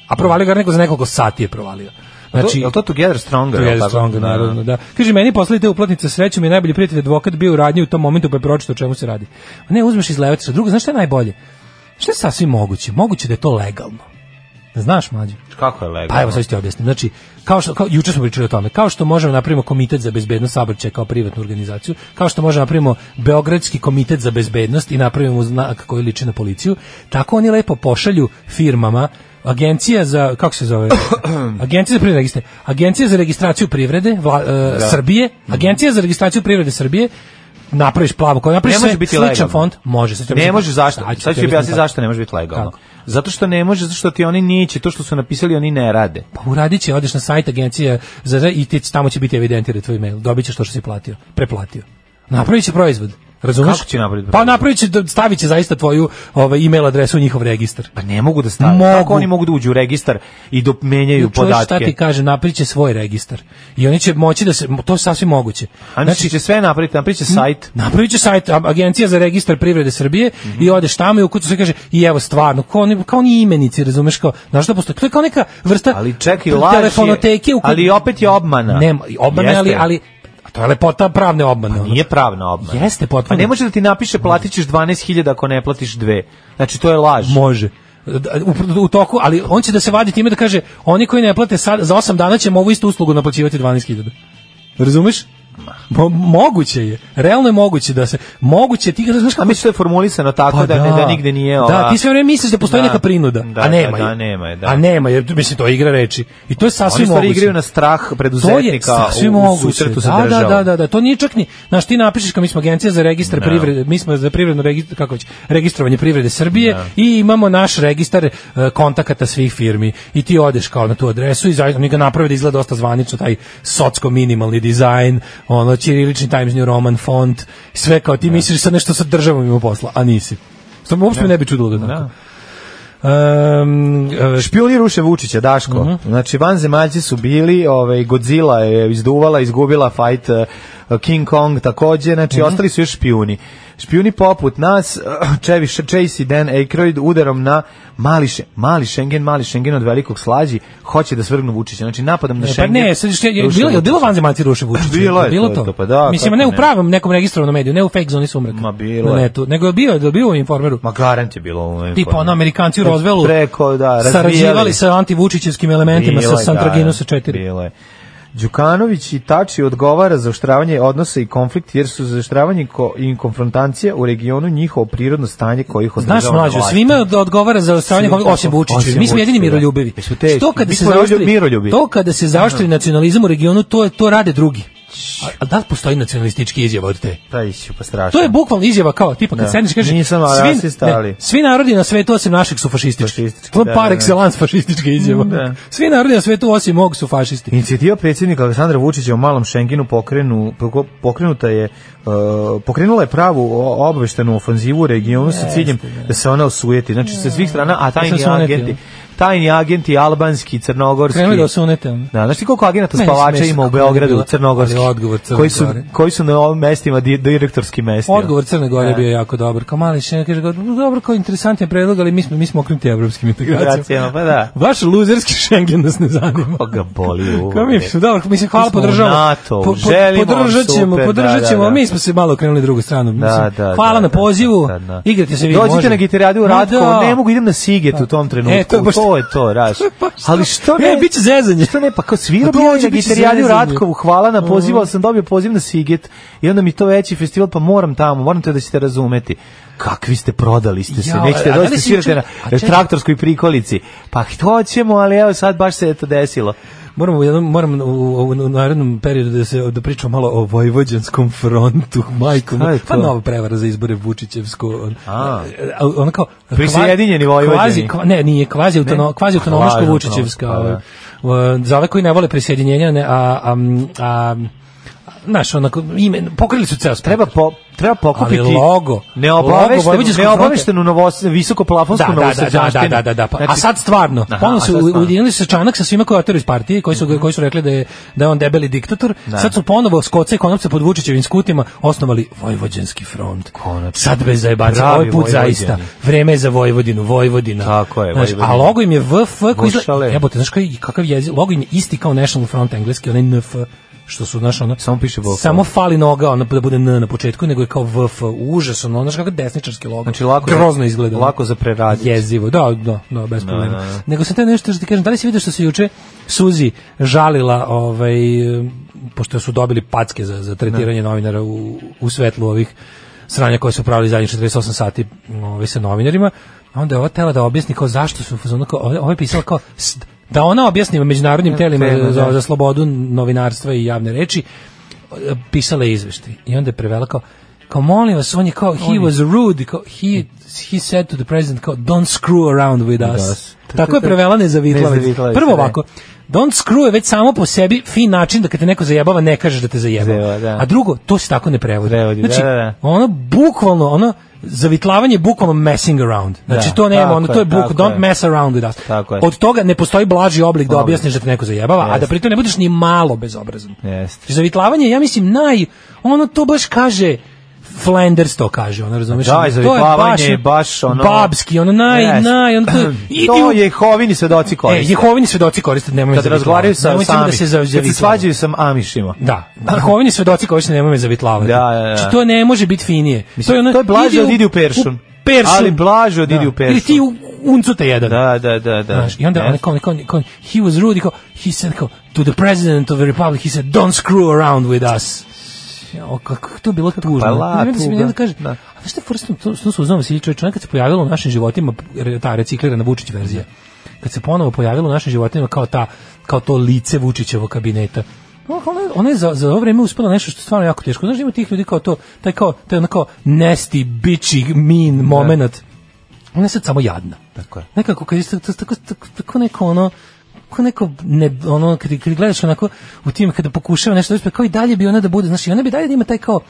Speaker 5: A provalio ga je neko za nekoliko sati je provalio.
Speaker 6: Znači, je li to Together Stronger?
Speaker 5: Together
Speaker 6: jel tako?
Speaker 5: Stronger, naravno, da. Kaže, meni poslite uplatnice, srećom je najbolji prijatelj advokat bio u radnji u tom momentu pa je pročito o čemu se radi. Ne, uzmeš iz levotica. Drugo, znaš šta je najbolje? Šta je sasvim moguće? Moguće da je to legalno. Znaš, mlađe?
Speaker 6: Kako je legalno?
Speaker 5: Pa evo sad ću ti objasniti. Znači, kao što kao juče smo pričali o tome, kao što možemo napravimo komitet za bezbednost saobraćaja kao privatnu organizaciju, kao što možemo napravimo beogradski komitet za bezbednost i napravimo znak koji liči na policiju, tako oni lepo pošalju firmama Agencija za kako se zove? Agencija za privredne registre. Agencija za registraciju privrede vla- e,
Speaker 6: Da. Mhm.
Speaker 5: Srbije, Agencija za registraciju privrede Srbije napraviš plavu koju napraviš
Speaker 6: Ne može
Speaker 5: sve,
Speaker 6: biti
Speaker 5: sličan
Speaker 6: legalno.
Speaker 5: fond može sad ću
Speaker 6: Ne
Speaker 5: objasniti-
Speaker 6: može zašto?
Speaker 5: Sad ću
Speaker 6: Sad
Speaker 5: ti
Speaker 6: ću objasniti
Speaker 5: objasniti
Speaker 6: zašto ne može biti legalno.
Speaker 5: Kako?
Speaker 6: Zato što ne može, zato što ti oni neće, to što su napisali oni ne rade.
Speaker 5: Pa uradit će, odeš na sajt agencije za re- i ti, tamo će biti evidentiran tvoj mail. Dobit ćeš to što si platio, preplatio. Napravit će proizvod. Razumeš?
Speaker 6: Kako će napraviti
Speaker 5: Pa
Speaker 6: proizvod?
Speaker 5: napravit će, da- stavit će zaista tvoju ovaj, e-mail adresu u njihov registar.
Speaker 6: Pa ne mogu da stave.
Speaker 5: Mogu.
Speaker 6: Kako oni mogu da uđu u registar i da menjaju
Speaker 5: Čuješ šta
Speaker 6: podatke?
Speaker 5: ti kaže, napravit će svoj registar. I oni će moći da se, to je sasvim moguće.
Speaker 6: A znači će sve napraviti, napravit će sajt.
Speaker 5: Napravit će sajt a- Agencija za registar privrede Srbije
Speaker 6: Mhm.
Speaker 5: i odeš tamo i u kucu se kaže i evo stvarno, kao oni, kao oni imenici, razumeš kao, znaš šta postoji, to je kao neka vrsta
Speaker 6: Ali čekaj, laž je,
Speaker 5: telefonoteke u kojoj-
Speaker 6: ali opet je obmana.
Speaker 5: Nema, i obmana,
Speaker 6: Jeste. Pa
Speaker 5: ali, ali a to je lepota pravne obmane. ono.
Speaker 6: Nije pravna obmana.
Speaker 5: Jeste
Speaker 6: Pa
Speaker 5: potpuno.
Speaker 6: ne može da ti napiše platit ćeš 12.000 ako ne platiš dve. Znači to je laž.
Speaker 5: Može. Da, U, u toku, ali on će da se vadi time da kaže oni koji ne plate sad, za 8 dana ćemo ovu istu uslugu naplaćivati 12.000. Razumeš? Mo- moguće je. Realno je moguće da se moguće je, ti znaš
Speaker 6: A
Speaker 5: kako
Speaker 6: mislim da je formulisano tako
Speaker 5: Pa
Speaker 6: da, ne, da nigde nije ova...
Speaker 5: Da, ti sve vreme misliš da postoji
Speaker 6: Da.
Speaker 5: neka prinuda,
Speaker 6: Da,
Speaker 5: a
Speaker 6: da,
Speaker 5: nema.
Speaker 6: da,
Speaker 5: je.
Speaker 6: nema je, da.
Speaker 5: A nema, jer mislim to je igra reči. I to je sasvim
Speaker 6: Oni stvari
Speaker 5: moguće.
Speaker 6: igraju na strah preduzetnika
Speaker 5: To je sasvim
Speaker 6: u- u
Speaker 5: moguće.
Speaker 6: susretu sa
Speaker 5: da,
Speaker 6: državom.
Speaker 5: Da, da, da, da, to nije čak ni, znaš, ti napišeš kao mi smo agencija za registar
Speaker 6: Da.
Speaker 5: privrede, mi smo za privredno registr, kako već, registrovanje privrede Srbije i imamo naš registar e, kontakata svih firmi i ti odeš kao na tu adresu i zaista mi ga naprave da izgleda dosta zvanično taj socko minimalni dizajn, ono ćirilični Times New Roman font, sve kao ti misliš sad nešto sa državom ima posla, a nisi. Što me uopšte ne, bi čudilo da je tako. Ehm, e,
Speaker 6: Špioni ruše Vučića, Daško.
Speaker 5: Mhm.
Speaker 6: Znači, vanzemaljci su bili, ovaj, Godzilla je izduvala, izgubila fight eh, King Kong takođe, znači,
Speaker 5: Mhm.
Speaker 6: ostali su još špijuni. Špijuni poput nas, Čeviš, Chase i Dan Aykroyd udarom na mali, Še- mali Schengen, mali Schengen od velikog slađi, hoće da svrgnu Vučića. Znači, napadom na
Speaker 5: E, Pa
Speaker 6: Schengen.
Speaker 5: ne, sad što je,
Speaker 6: ruše
Speaker 5: bilo je bilo
Speaker 6: Vučića.
Speaker 5: vanzemaljci ruše Vučića.
Speaker 6: Bilo je to, to, pa da,
Speaker 5: Mislim
Speaker 6: kako
Speaker 5: ne u
Speaker 6: ne.
Speaker 5: pravom nekom registrovanom mediju, ne u fake zoni sumraka.
Speaker 6: Ma, bilo
Speaker 5: Na
Speaker 6: je.
Speaker 5: netu, nego je bio, je bio u informeru.
Speaker 6: Ma garant je bilo u ovom
Speaker 5: Tipa
Speaker 6: informu.
Speaker 5: ono Amerikanci u Rozvelu
Speaker 6: Preko, da, pa, razvijali
Speaker 5: sarađivali sa antivučićevskim elementima
Speaker 6: Bilo
Speaker 5: sa
Speaker 6: je,
Speaker 5: Santraginu
Speaker 6: da,
Speaker 5: sa 4.
Speaker 6: Bilo je. Đukanović i Tači odgovara za oštravanje odnosa i konflikt, jer su za oštravanje ko- i konfrontacija u regionu njihovo prirodno stanje kojih održava
Speaker 5: Znaš mlađo, svima od- odgovara za stranje
Speaker 6: Svima,
Speaker 5: osim
Speaker 6: tako,
Speaker 5: Vučiću.
Speaker 6: osim
Speaker 5: Mi smo jedini
Speaker 6: Vučića, da.
Speaker 5: miroljubivi.
Speaker 6: Mi smo teški,
Speaker 5: To kada
Speaker 6: mi
Speaker 5: se
Speaker 6: smo
Speaker 5: zaoštri,
Speaker 6: miroljubi.
Speaker 5: to kada se zaoštri nacionalizam u regionu, to je to rade drugi. A, a da li postoji nacionalistički izjava od te?
Speaker 6: Taj ću pa strašno.
Speaker 5: To je bukvalno izjava kao tipa kad
Speaker 6: Da.
Speaker 5: sedneš i kažeš
Speaker 6: Nisam rasista,
Speaker 5: ne,
Speaker 6: ali-
Speaker 5: svi narodi na svetu osim naših su fašistički.
Speaker 6: Fašistički,
Speaker 5: To je
Speaker 6: da,
Speaker 5: par
Speaker 6: da, da.
Speaker 5: excellence fašistička izjava.
Speaker 6: Mm, da.
Speaker 5: Svi narodi na svetu osim mog su fašisti.
Speaker 6: Inicijativa predsjednika Aleksandra Vučića u malom Šenginu pokrenu, poko- pokrenuta je, uh, pokrenula je pravu o- obaveštenu ofanzivu u regionu sa ciljem da se ona osujeti. Znači, sa svih strana, a tajni
Speaker 5: sam unetio.
Speaker 6: agenti, tajni agenti albanski, crnogorski,
Speaker 5: Krenuli da osunete. ono.
Speaker 6: Da, znaš ti koliko agenata
Speaker 5: Meni je
Speaker 6: spavača
Speaker 5: smešno
Speaker 6: ima u
Speaker 5: kako je
Speaker 6: Beogradu,
Speaker 5: bilo,
Speaker 6: u Crnogorski,
Speaker 5: ali odgovor Crne
Speaker 6: koji, su,
Speaker 5: Gore.
Speaker 6: koji su na ovim mestima di, direktorski mesti?
Speaker 5: Odgovor Crne Gore je bio jako dobar. Kao mali šen, kaže, kao, dobro, kao interesantan predlog, ali mi smo, mi smo okrenuti evropskim integracijama.
Speaker 6: Integracijama, pa da.
Speaker 5: Vaš luzerski Schengen nas ne zanima.
Speaker 6: Koga boli u...
Speaker 5: Kao mi smo, dobro, mislim, hvala,
Speaker 6: Mi smo u
Speaker 5: podržavamo.
Speaker 6: NATO-u,
Speaker 5: Po- po-
Speaker 6: želimo vam
Speaker 5: podržat ćemo,
Speaker 6: super,
Speaker 5: podržat
Speaker 6: da,
Speaker 5: ćemo,
Speaker 6: da, da.
Speaker 5: mi smo se malo okrenuli drugu stranu.
Speaker 6: Da,
Speaker 5: Mislim,
Speaker 6: da,
Speaker 5: hvala
Speaker 6: da,
Speaker 5: na
Speaker 6: da,
Speaker 5: pozivu,
Speaker 6: da, da.
Speaker 5: igrate se vi.
Speaker 6: Dođite
Speaker 5: može.
Speaker 6: na gitaradu
Speaker 5: Ma
Speaker 6: Ratko,
Speaker 5: da.
Speaker 6: ne mogu, idem na Siget u tom trenutku.
Speaker 5: E, to
Speaker 6: to,
Speaker 5: je baš-
Speaker 6: je to, raš.
Speaker 5: Pa šta?
Speaker 6: Ali što ne?
Speaker 5: E, bit će zezanje.
Speaker 6: Što ne, pa kao svira
Speaker 5: Pa
Speaker 6: bio
Speaker 5: dođe,
Speaker 6: na
Speaker 5: bit će
Speaker 6: gitaradu
Speaker 5: zezanje. Mm.
Speaker 6: Ratkovu, hvala na pozivu, ali sam dobio poziv na Siget i onda mi to veći festival, pa moram tamo, moram to da ćete razumeti. Kakvi ste prodali ste se,
Speaker 5: Jao,
Speaker 6: nećete
Speaker 5: a
Speaker 6: doći
Speaker 5: danas
Speaker 6: svirate
Speaker 5: juče-
Speaker 6: na
Speaker 5: a čekaj.
Speaker 6: traktorskoj prikolici. Pa hoćemo, ali evo sad baš se je to desilo.
Speaker 5: Moramo, u jednom, moram u, u, u narednom periodu da se da pričamo malo o vojvođanskom frontu, majkom.
Speaker 6: Šta je
Speaker 5: Pa
Speaker 6: to?
Speaker 5: nova prevara za izbore Vučićevsko. on-
Speaker 6: A.
Speaker 5: a, Ono kao kva-
Speaker 6: Prisjedinjeni Vojvođani.
Speaker 5: Kvazi, kva- ne, nije kvazi, autono,
Speaker 6: Ne?
Speaker 5: kvazi autonomijsko
Speaker 6: Kvazi pa
Speaker 5: Vučićevska.
Speaker 6: autonomijska,
Speaker 5: ovaj. Uh, Za ove koji ne vole prisjedinjenja, ne, a, a, a, znaš, onako, ime, pokrili su ceo spektar.
Speaker 6: Treba, po, treba pokupiti
Speaker 5: Ali logo, logo
Speaker 6: neobaveštenu,
Speaker 5: Vojvođanskog
Speaker 6: neobaveštenu novos, visoko plafonsku
Speaker 5: da, da, da, da, da, da, da,
Speaker 6: Znači,
Speaker 5: pa. a sad stvarno,
Speaker 6: Aha,
Speaker 5: ponovno
Speaker 6: a sad
Speaker 5: su
Speaker 6: stvarno.
Speaker 5: ujedinili se čanak sa svima koji oteruju iz partije, koji su, ga- koji su rekli da je, da je on debeli diktator,
Speaker 6: Da.
Speaker 5: sad su ponovo skoce i konopce pod Vučićevim skutima osnovali Vojvođanski front. Sad bez zajebanca,
Speaker 6: Pravi
Speaker 5: ovaj put
Speaker 6: Vojvođani.
Speaker 5: zaista. Vreme je za Vojvodinu, Vojvodina.
Speaker 6: Tako je,
Speaker 5: Znaš,
Speaker 6: Vojvodina.
Speaker 5: a logo im je VF, koji izgleda,
Speaker 6: Vušale.
Speaker 5: jebote, znaš koji, kakav jezi, logo im je isti kao National Front engleski, onaj NF, što su, znaš, ono,
Speaker 6: samo piše VF.
Speaker 5: samo fali noga, ono, da bude N na početku, nego je kao VF, užasno, ono, znaš, kakav desničarski logo.
Speaker 6: Znači, lako,
Speaker 5: grozno izgleda. ono
Speaker 6: Lako za preraditi.
Speaker 5: jezivo. Da, da, da, bez
Speaker 6: Da,
Speaker 5: problema.
Speaker 6: da, da.
Speaker 5: Nego sam te nešto što ti kažem, da li si vidio što se juče Suzi žalila, ovaj, pošto su dobili packe za, za tretiranje novinara u, u svetlu ovih sranja koje su pravili zadnjih 48 sati ovaj, sa novinarima, a onda je ova tela da objasni kao zašto su, u fazonu kao, ovo ovo je pisala kao, st- da ona objasni međunarodnim telima
Speaker 6: E, tema,
Speaker 5: za,
Speaker 6: da.
Speaker 5: za slobodu novinarstva i javne reči, e, pisala je izveštaj. I onda je prevela kao, kao molim vas, on je kao, he
Speaker 6: On je-
Speaker 5: was rude, kao, he, he said to the president, kao, don't screw around with
Speaker 6: With
Speaker 5: us.
Speaker 6: us.
Speaker 5: Tako je prevela Nezavitlavac.
Speaker 6: Nezavitlavac,
Speaker 5: Prvo
Speaker 6: da.
Speaker 5: ovako, don't screw je već samo po sebi fin način da kad te neko zajebava ne kažeš da te zajebava.
Speaker 6: Zajebava, da.
Speaker 5: A drugo, to se tako ne prevodi.
Speaker 6: Prevodi,
Speaker 5: znači,
Speaker 6: da, da, da.
Speaker 5: ono bukvalno, ono, zavitlavanje je bukvalno messing around. Znači
Speaker 6: Da,
Speaker 5: to nema,
Speaker 6: tako
Speaker 5: ono,
Speaker 6: je,
Speaker 5: to je buk,
Speaker 6: tako
Speaker 5: don't
Speaker 6: je.
Speaker 5: mess around with us.
Speaker 6: Tako je.
Speaker 5: Od toga ne postoji blaži oblik da
Speaker 6: Oblik.
Speaker 5: objasniš da te neko zajebava, a da
Speaker 6: Jeste.
Speaker 5: pritom ne budeš ni malo bezobrazan.
Speaker 6: Jeste.
Speaker 5: Zavitlavanje, je, ja mislim, naj... Ono to baš kaže... Flanders to kaže, ono razumeš?
Speaker 6: Da,
Speaker 5: Ono, to je
Speaker 6: zavitlavanje je baš ono-
Speaker 5: Babski, ono naj,
Speaker 6: Jeste.
Speaker 5: naj, ono to...
Speaker 6: to
Speaker 5: idi u-
Speaker 6: Jehovini svedoci
Speaker 5: E,
Speaker 6: koriste.
Speaker 5: Jehovini svedoci koriste, nemoj me
Speaker 6: kad
Speaker 5: zavitlavati.
Speaker 6: razgovaraju sa
Speaker 5: Nemoj samo
Speaker 6: sami,
Speaker 5: da se
Speaker 6: kad se
Speaker 5: zavitlavaju.
Speaker 6: svađaju sa Amišima.
Speaker 5: Da, Jehovini svedoci koriste, nemoj me zavitlavati.
Speaker 6: Da, da, da.
Speaker 5: Znači, to ono- ne može biti finije.
Speaker 6: Mislim, to je blaže od idi u Peršun.
Speaker 5: Peršun.
Speaker 6: Ali blaže od
Speaker 5: Da.
Speaker 6: idi u Peršun.
Speaker 5: Ili ti u uncu te jedan.
Speaker 6: Da, da, da, da.
Speaker 5: Znaš, I onda on
Speaker 6: Jeste.
Speaker 5: kao, kao, kao, he was rude, kao, he said kao, to the president of the republic, he said, don't screw around with us. Ja, o, kako je to bilo tužno.
Speaker 6: pa la,
Speaker 5: Ne, ne, ne, ne, ne,
Speaker 6: tuga.
Speaker 5: da kaže,
Speaker 6: Da.
Speaker 5: a znaš što je first, to, što su uzmano Vasilij čovjek, kad se pojavila u našim životima re- ta reciklirana Vučić verzija, kad se ponovo pojavila u našim životima kao, ta, kao to lice Vučićevog kabineta, Ona- Ona, je- ona je za, za ovo vreme uspela nešto što je stvarno jako teško. Znaš, ima tih ljudi kao to, taj kao, taj ono kao nasty, bitchy, mean moment. Ona je sad samo jadna.
Speaker 6: Tako je.
Speaker 5: Nekako kad je to- to- tako, tako, tako neko ono kako neko ne ono kad, kad gledaš onako u tim kada pokušava nešto da uspe kao i dalje bi ona da bude znači ona bi dalje da ima taj kao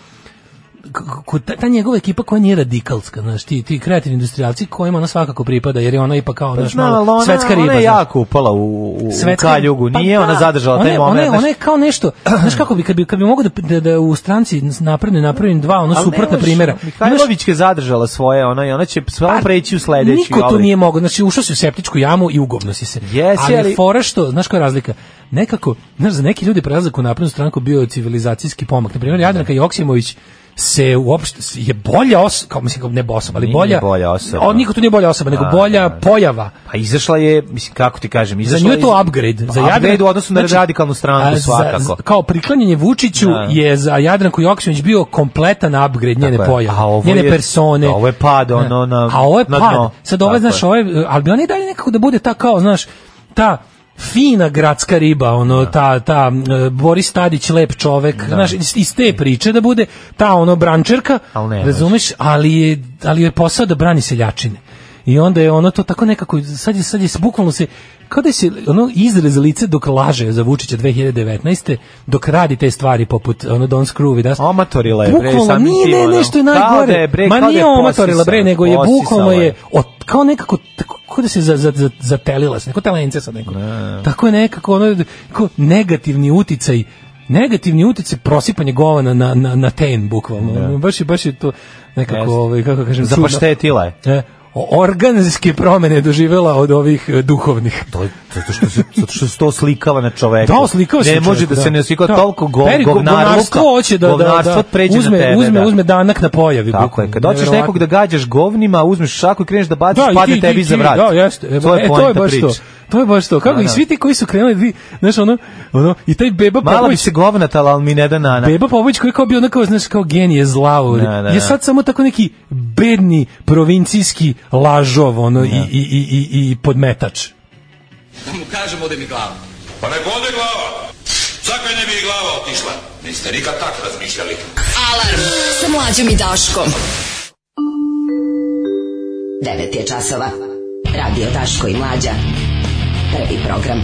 Speaker 5: k- k- ta, ta njegova ekipa koja nije radikalska, znaš, ti, ti kreativni industrijalci kojima ona svakako pripada, jer je ona ipak kao, znaš,
Speaker 6: Pa Znam, ali
Speaker 5: malo
Speaker 6: ona,
Speaker 5: svetska riba.
Speaker 6: ona je
Speaker 5: znaš.
Speaker 6: jako upala u, u, u
Speaker 5: Svetska-
Speaker 6: kaljugu,
Speaker 5: pa
Speaker 6: nije
Speaker 5: da.
Speaker 6: ona zadržala
Speaker 5: Ona
Speaker 6: taj
Speaker 5: je-
Speaker 6: moment.
Speaker 5: Ona je,
Speaker 6: znaš.
Speaker 5: ona je kao nešto, znaš kako bi, kad bi, kad bi mogo da, da, da u stranci napravim, napravim dva, ono
Speaker 6: Ali
Speaker 5: suprotna
Speaker 6: nemaš,
Speaker 5: primjera.
Speaker 6: Mihajlovićka je zadržala svoje, ona, i ona će
Speaker 5: Pa,
Speaker 6: samo preći u sledeći.
Speaker 5: Niko to
Speaker 6: oblik.
Speaker 5: nije mogao. Znači, ušao si u septičku jamu i ugobno si se.
Speaker 6: Jesi,
Speaker 5: ali,
Speaker 6: ali-
Speaker 5: fora što, znaš koja je razlika? Nekako, znaš, za neki ljudi prelazak u naprednu stranku bio je civilizacijski pomak. Na primjer, Jadranka Joksimović se uopšte je bolja osoba, kao mislim kao ne osoba, ali
Speaker 6: Nije
Speaker 5: bolja,
Speaker 6: bolja osoba.
Speaker 5: On, niko tu nije bolja osoba, nego
Speaker 6: Da,
Speaker 5: bolja
Speaker 6: da, da.
Speaker 5: pojava.
Speaker 6: Pa izašla je, mislim, kako ti kažem,
Speaker 5: Za
Speaker 6: izašla
Speaker 5: nju je to
Speaker 6: iz-
Speaker 5: upgrade.
Speaker 6: Pa,
Speaker 5: Za
Speaker 6: upgrade
Speaker 5: Jadran-
Speaker 6: u odnosu na
Speaker 5: znači,
Speaker 6: radikalnu
Speaker 5: a,
Speaker 6: stranku
Speaker 5: za-
Speaker 6: svakako.
Speaker 5: za- kao priklanjanje Vučiću
Speaker 6: Da.
Speaker 5: je za Jadranku Joksimović bio kompletan upgrade njene
Speaker 6: Tako je.
Speaker 5: pojave,
Speaker 6: A ovo
Speaker 5: njene
Speaker 6: je-
Speaker 5: persone.
Speaker 6: da, ovo je pad, ono, na-
Speaker 5: A ovo je
Speaker 6: na
Speaker 5: pad.
Speaker 6: dno.
Speaker 5: Sad ovo je,
Speaker 6: Tako
Speaker 5: znaš,
Speaker 6: je.
Speaker 5: ovo je, ali bi ona i dalje nekako da bude ta kao, znaš, ta fina gradska riba, ono, ta, ta e, Boris Tadić, lep čovek, znaš, iz, iz te priče da bude ta, ono, brančerka,
Speaker 6: Al ne može.
Speaker 5: razumeš, ali je, ali je posao da brani seljačine. I onda je ono to tako nekako, sad je, sad je bukvalno se, kao da se ono izrez lice dok laže za Vučića 2019. dok radi te stvari poput ono Don Screw i da
Speaker 6: Omatorila je, bre,
Speaker 5: bukvalno
Speaker 6: samim
Speaker 5: nije
Speaker 6: tim,
Speaker 5: ne,
Speaker 6: ono.
Speaker 5: nešto je
Speaker 6: Kao da
Speaker 5: najgore.
Speaker 6: je, bre,
Speaker 5: Ma
Speaker 6: kao da
Speaker 5: nije
Speaker 6: je
Speaker 5: omatorila bre,
Speaker 6: posisala,
Speaker 5: nego je bukvalno
Speaker 6: posisala
Speaker 5: je
Speaker 6: je.
Speaker 5: od, kao nekako tako kao da se za, za, za, zatelila se, neko telence sad neko. Tako je nekako ono kao negativni uticaj negativni uticaj prosipanje govana na, na, na ten bukvalno. Ono, Baš, je, baš je to nekako,
Speaker 6: Jeste.
Speaker 5: ovaj, kako kažem, čudno.
Speaker 6: Zapaštetila je.
Speaker 5: E, o- organske promene je doživela od ovih e, duhovnih.
Speaker 6: To je, zato što se zato što se to slikava na čoveku.
Speaker 5: Da, oslikao se
Speaker 6: E, pa, Ne
Speaker 5: čovjek,
Speaker 6: može da, se ne oslikava toliko go,
Speaker 5: Peri go-
Speaker 6: govnarluka.
Speaker 5: govnarstvo hoće da, da, da,
Speaker 6: govnarstvo pređe
Speaker 5: uzme,
Speaker 6: na tebe.
Speaker 5: uzme,
Speaker 6: da.
Speaker 5: uzme danak na pojavi.
Speaker 6: Tako
Speaker 5: bukvalno,
Speaker 6: je, kad hoćeš
Speaker 5: nevjerovatno.
Speaker 6: nekog da gađaš govnima, uzmeš šaku i kreneš da baciš,
Speaker 5: i
Speaker 6: padne
Speaker 5: ti-
Speaker 6: tebi
Speaker 5: ti-
Speaker 6: za
Speaker 5: ti,
Speaker 6: vrat.
Speaker 5: Da, jeste. E,
Speaker 6: To je
Speaker 5: e, to je
Speaker 6: poenta
Speaker 5: baš to.
Speaker 6: priče.
Speaker 5: To je baš to. Kako
Speaker 6: Da,
Speaker 5: i
Speaker 6: da.
Speaker 5: svi ti koji su krenuli, vi, znaš, ono, ono, i taj Beba
Speaker 6: Mala bi
Speaker 5: Popović,
Speaker 6: se govnatala, ali mi ne da nana.
Speaker 5: Beba Popović koji je kao bio onako, znaš, kao genije zla, ovaj,
Speaker 6: Da, da,
Speaker 5: je
Speaker 6: da.
Speaker 5: sad samo tako neki bedni provincijski lažov, ono, i, i, i, i, i podmetač.
Speaker 14: Da mu kažem, ode mi glava.
Speaker 15: Pa nek ode glava. Zakaj ne bi i glava otišla? Niste nikad tak razmišljali.
Speaker 4: Alarm sa mlađom i Daškom.
Speaker 10: 9 je časova. Radio Daško i Mlađa. Prvi program.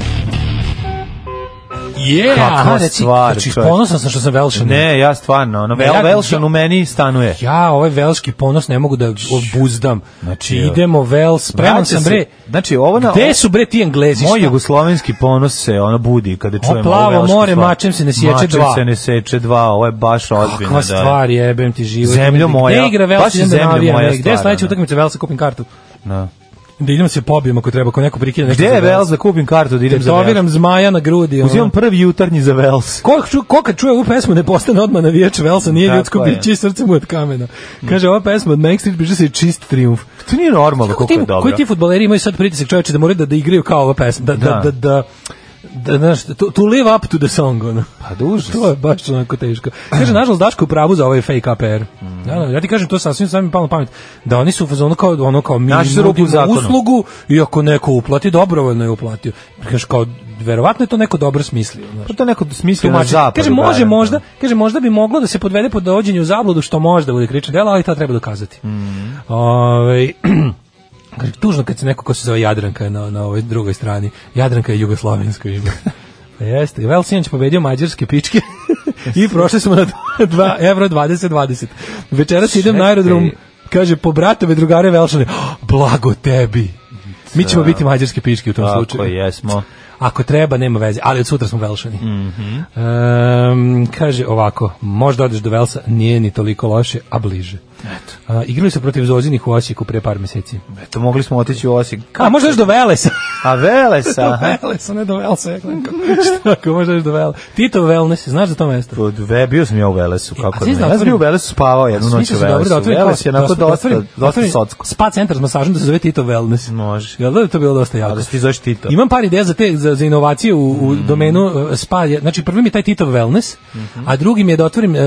Speaker 5: Yeah,
Speaker 6: Kakva
Speaker 5: aha, reci,
Speaker 6: stvar,
Speaker 5: znači,
Speaker 6: čoveče.
Speaker 5: ponosan sam što sam Velšan.
Speaker 6: Ne, ja stvarno, ono, Vel,
Speaker 5: Ja-
Speaker 6: Velšan u meni stanuje.
Speaker 5: Ja ovaj velski ponos ne mogu da obuzdam. Znači, idemo vel, spreman
Speaker 6: Vraća
Speaker 5: sam
Speaker 6: se-
Speaker 5: bre.
Speaker 6: znači, ovo na-
Speaker 5: Gde su bre ti Englezi?
Speaker 6: Moj
Speaker 5: Šta?
Speaker 6: jugoslovenski ponos se ono budi kada čujem ovo
Speaker 5: plavo
Speaker 6: velšku
Speaker 5: more,
Speaker 6: stvar.
Speaker 5: mačem se ne sječe
Speaker 6: Mačem
Speaker 5: dva.
Speaker 6: se ne seče dva, ovo je baš ozbiljno.
Speaker 5: Kakva stvar, jebem ti život.
Speaker 6: Zemljo
Speaker 5: Gde
Speaker 6: moja,
Speaker 5: igra
Speaker 6: baš
Speaker 5: Vels?
Speaker 6: je
Speaker 5: Idem da
Speaker 6: zemljo
Speaker 5: navijam,
Speaker 6: moja
Speaker 5: ej, Gde je
Speaker 6: stvarno,
Speaker 5: sledeća
Speaker 6: da.
Speaker 5: utakmica Velsa? Kupim kartu.
Speaker 6: Da.
Speaker 5: Da idemo se pobijem ako treba, ako neko prikine nešto.
Speaker 6: Gde
Speaker 5: za
Speaker 6: je
Speaker 5: Wales.
Speaker 6: Vels da kupim kartu da idem za Vels?
Speaker 5: Tetoviram zmaja na grudi. ono.
Speaker 6: Uzimam prvi jutarnji za Vels.
Speaker 5: Ko, ču- ko kad čuje ovu pesmu ne postane odmah navijač Velsa, nije
Speaker 6: Tako
Speaker 5: ljudsko
Speaker 6: je.
Speaker 5: biće i srce mu je Mm. od kamena. Kaže, ova pesma od Mank Street biže se čist triumf.
Speaker 6: To nije normalno koliko je dobro.
Speaker 5: Koji ti fudbaleri imaju sad pritisak čoveče da moraju da, da igraju kao ova pesma, da, da, da,
Speaker 6: Da.
Speaker 5: da da, znaš, to, to live up to the song, ono.
Speaker 6: Pa da užas.
Speaker 5: To je baš onako teško. Kaže, nažalost, Daško je u pravu za ovaj fake APR. Da, da, ja ti kažem, to sasvim sam mi palo na pamet. Da oni su u fazonu kao, ono kao, mi
Speaker 6: Našli su rupu u
Speaker 5: nudimo
Speaker 6: zakonu.
Speaker 5: uslugu i ako neko uplati, dobrovoljno je uplatio. Kaže, kao, verovatno je to neko dobro smislio. Znaš.
Speaker 6: Pa to neko smisli na
Speaker 5: Tumači.
Speaker 6: zapadu.
Speaker 5: Kaže može
Speaker 6: barem.
Speaker 5: možda, kaže možda bi moglo da se podvede pod dovođenje u zabludu što možda bude krivično delo, ali to treba dokazati.
Speaker 6: Mhm.
Speaker 5: Ovaj, kaže, tužno kad se neko ko se zove Jadranka na, na ovoj drugoj strani. Jadranka je jugoslovensko ime. Pa jeste. Vel Sinoć pobedio mađarske pičke i prošli smo na 2 evro 20 20. Večeras idem na aerodrom, kaže po bratove drugare Velšane, "Oh, blago tebi. Mi ćemo biti mađarske pičke u tom
Speaker 6: Tako
Speaker 5: slučaju.
Speaker 6: jesmo.
Speaker 5: Ako treba, nema veze, ali od sutra smo velšani.
Speaker 6: Mhm.
Speaker 5: Ehm, kaže ovako, možda odeš do Velsa, nije ni toliko loše, a bliže. Eto. igrali su protiv Zozinih u Osijeku pre par meseci.
Speaker 6: Eto, mogli smo otići u Osijek.
Speaker 5: A možda još do Velesa.
Speaker 6: A Velesa.
Speaker 5: do
Speaker 6: aha.
Speaker 5: Velesa, ne do Velsa. Ja gledam kao, šta ako možda još do Velesa. Tito Wellness, znaš za to mesto?
Speaker 6: Pod ve, bio sam ja u Velesu, kako
Speaker 5: a ti
Speaker 6: ne.
Speaker 5: znaš,
Speaker 6: Ja sam bio u
Speaker 5: otvorim-
Speaker 6: Velesu, spavao jednu noć u
Speaker 5: Smislio sam dobro
Speaker 6: Velesu.
Speaker 5: da otvorim
Speaker 6: Veles je
Speaker 5: kao-
Speaker 6: onako
Speaker 5: da
Speaker 6: dosta,
Speaker 5: otvorim-
Speaker 6: dosta
Speaker 5: otvorim
Speaker 6: socko.
Speaker 5: Spa centar s masažom da se zove Tito Wellness.
Speaker 6: Može.
Speaker 5: Jel da je to bilo dosta jako?
Speaker 6: A da si ti zoveš Tito.
Speaker 5: Imam par ideja za te za, za inovacije u, u
Speaker 6: Mm.
Speaker 5: domenu e, spa. je- Znači prvi mi je taj Titov wellness,
Speaker 6: Mhm.
Speaker 5: a drugi mi je da otvorim e,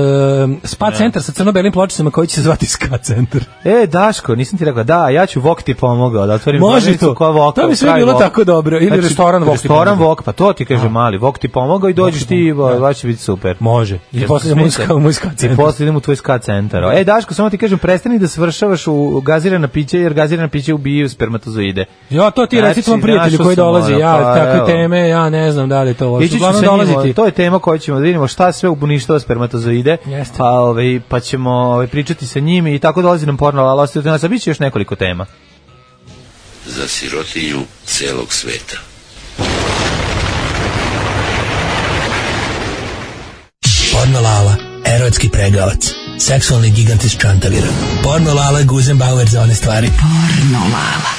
Speaker 5: spa centar sa crno-belim pločicama koji će se zvati ska centar.
Speaker 6: E, Daško, nisam ti rekao, da, ja ću Vok ti pomogao da otvorim
Speaker 5: Može
Speaker 6: prodavnicu
Speaker 5: to.
Speaker 6: koja Voka,
Speaker 5: To bi sve
Speaker 6: pravi
Speaker 5: bilo
Speaker 6: Vok.
Speaker 5: tako dobro. Ili restoran Vok ti
Speaker 6: Restoran
Speaker 5: pomogao.
Speaker 6: Vok, pa to ti kaže mali, Vok ti pomogao i dođeš ti, ba- baš će biti super.
Speaker 5: Može. I
Speaker 6: Jel
Speaker 5: posle
Speaker 6: to
Speaker 5: idemo u
Speaker 6: smisao?
Speaker 5: ska- u ska
Speaker 6: I
Speaker 5: centar.
Speaker 6: posle idemo u tvoj ska centar. E, Daško, samo ti kažem, prestani da svršavaš u gazirana pića, jer gazirana pića ubijaju spermatozoide.
Speaker 5: Ja, to ti
Speaker 6: Znači,
Speaker 5: reci tvom prijatelju
Speaker 6: našao
Speaker 5: koji
Speaker 6: sam
Speaker 5: dolazi,
Speaker 6: ono,
Speaker 5: ja,
Speaker 6: pa evo.
Speaker 5: takve teme, ja ne znam da li je to loše.
Speaker 6: Ići
Speaker 5: Pa
Speaker 6: ću
Speaker 5: Uglavnom
Speaker 6: sa njim,
Speaker 5: dolazi ti.
Speaker 6: to je tema koju ćemo da vidimo šta sve uništava spermatozoide,
Speaker 5: Jeste.
Speaker 6: pa, ovaj, pa ćemo ovaj, pričati sa njim i tako dolazi nam porno, ali ostavite nas, a bit će još nekoliko tema.
Speaker 15: Za sirotinju celog sveta.
Speaker 16: Pornolala, erotski pregavac, seksualni gigant iz Čantavira. Pornolala je Guzenbauer za one stvari. Pornolala.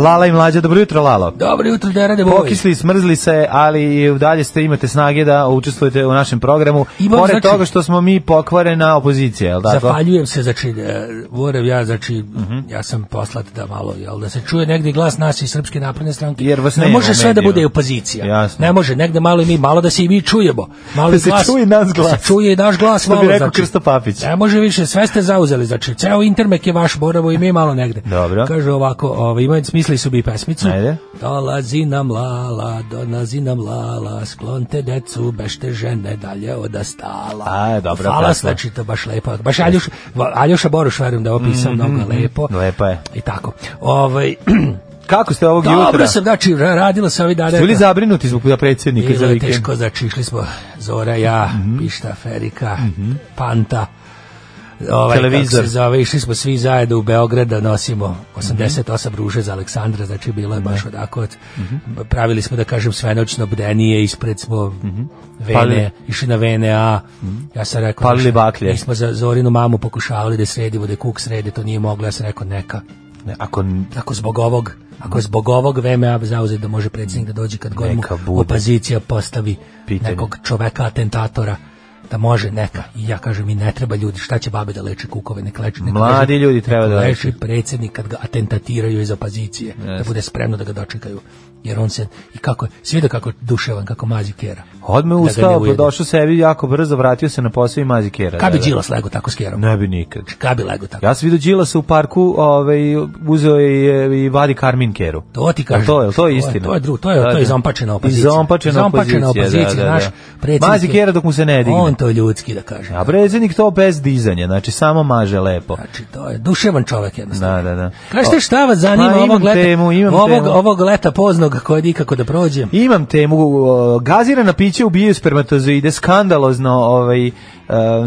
Speaker 6: Lala i mlađa, dobro jutro, Lalo.
Speaker 5: Dobro jutro, Derade Boy.
Speaker 6: Pokisli, smrzli se, ali i dalje ste imate snage da učestvujete u našem programu.
Speaker 5: Imam,
Speaker 6: Pored
Speaker 5: znači-
Speaker 6: toga što smo mi pokvarena opozicija, jel da?
Speaker 5: Zahvaljujem se, znači, e, Vorev, ja, znači,
Speaker 6: Mhm.
Speaker 5: ja sam poslat da malo, jel, da se čuje negdje glas nas i Srpske napredne stranke.
Speaker 6: Jer vas
Speaker 5: ne
Speaker 6: nema
Speaker 5: može
Speaker 6: u
Speaker 5: sve da
Speaker 6: medijima.
Speaker 5: bude opozicija.
Speaker 6: Jasno.
Speaker 5: Ne može, negdje malo i mi, malo da se i mi čujemo. Malo
Speaker 6: Da
Speaker 5: i
Speaker 6: se
Speaker 5: glas,
Speaker 6: čuje i naš glas.
Speaker 5: Da se čuje i naš glas.
Speaker 6: Što bi
Speaker 5: malo, znači.
Speaker 6: rekao Krsto Papić.
Speaker 5: Ne može više, sve ste zauzeli, znači, ceo intermek je vaš, Borevo, i mi malo negdje.
Speaker 6: Dobro.
Speaker 5: Kaže ovako, ovaj, imaju smisli su bi pesmicu.
Speaker 6: Ajde.
Speaker 5: Dolazi nam lala, dolazi nam lala, sklonte decu, bešte žene dalje odastala.
Speaker 6: A, dobra
Speaker 5: Hvala,
Speaker 6: pesma.
Speaker 5: znači, to baš lepo. Baš Aljuš, Aljuša Boruš, verujem da je opisao
Speaker 6: Mhm,
Speaker 5: mnogo lepo.
Speaker 6: Lepa je.
Speaker 5: I tako. Ovaj,
Speaker 6: Kako ste ovog
Speaker 5: dobro
Speaker 6: jutra?
Speaker 5: sam, znači, ra- radila sam ovih dana.
Speaker 6: Ste bili zabrinuti zbog da predsjednika za
Speaker 5: Bilo je
Speaker 6: vikend?
Speaker 5: teško, znači, išli smo Zora, ja,
Speaker 6: Mhm.
Speaker 5: Pišta, Ferika, Panta, ovaj,
Speaker 6: Televizor. Mhm.
Speaker 5: Televizor. se zove, išli smo svi zajedno u Beograd da nosimo 88 ruže za Aleksandra, znači bilo je baš onako, od-
Speaker 6: Mhm.
Speaker 5: pravili smo, da kažem, svenočno bdenije, ispred smo vene,
Speaker 6: Mhm. Palili- Mhm.
Speaker 5: išli na vene, a ja sam rekao,
Speaker 6: Palili
Speaker 5: znaš,
Speaker 6: baklje.
Speaker 5: mi smo za Zorinu mamu pokušavali da sredimo, da je kuk srede, to nije moglo, ja sam rekao, neka,
Speaker 6: Ne, Ako
Speaker 5: ako zbog ovog, ako zbog ovog VMA zauzet da može predsjednik da dođe kad god mu
Speaker 6: Neka bude.
Speaker 5: opozicija postavi
Speaker 6: Pitanje.
Speaker 5: nekog čoveka atentatora da može neka. I ja kažem i ne treba ljudi, šta će babe da leče kukove, nek leče. Nek
Speaker 6: Mladi
Speaker 5: leže-
Speaker 6: ljudi treba
Speaker 5: nek
Speaker 6: da
Speaker 5: leži predsjednik kad ga atentatiraju iz opozicije, da bude spremno da ga dočekaju. Jer on se, i kako, je- svi da kako je duševan, kako mazi kjera.
Speaker 6: odme
Speaker 5: Da ga ne
Speaker 6: ustao, pa
Speaker 5: ujede.
Speaker 6: došao sebi jako brzo, vratio se na posao i mazi kjera.
Speaker 5: Kad bi
Speaker 6: da, da.
Speaker 5: Đilas lego tako s kjerom?
Speaker 6: Ne bi nikad.
Speaker 5: Kad bi lego tako?
Speaker 6: Ja sam vidio Đilasa u parku, ovaj, uzeo je i- i vadi Karmin Keru.
Speaker 5: To ti kažem.
Speaker 6: Jel To je, jel to je istina.
Speaker 5: To je, drugo, to je,
Speaker 6: Da,
Speaker 5: to
Speaker 6: da.
Speaker 5: je izompačena opozicija.
Speaker 6: Izompačena
Speaker 5: Izompačena
Speaker 6: opozicija, da, da, da.
Speaker 5: naš predsjednik
Speaker 6: Mazi
Speaker 5: je-
Speaker 6: Kera dok mu se ne digne.
Speaker 5: On to ljudski da kažem.
Speaker 6: A predsjednik to bez dizanja, znači samo maže lepo.
Speaker 5: Znači to je duševan čovjek jednostavno.
Speaker 6: Da, da, da.
Speaker 5: Kažete
Speaker 6: O,
Speaker 5: šta vas zanima
Speaker 6: pa, imam
Speaker 5: ovog leta,
Speaker 6: temu, imam
Speaker 5: ovog,
Speaker 6: temu.
Speaker 5: ovog leta poznog koje nikako da prođem?
Speaker 6: Imam temu, o, gazirana pića ubijaju spermatozoide, skandalozno ovaj, e,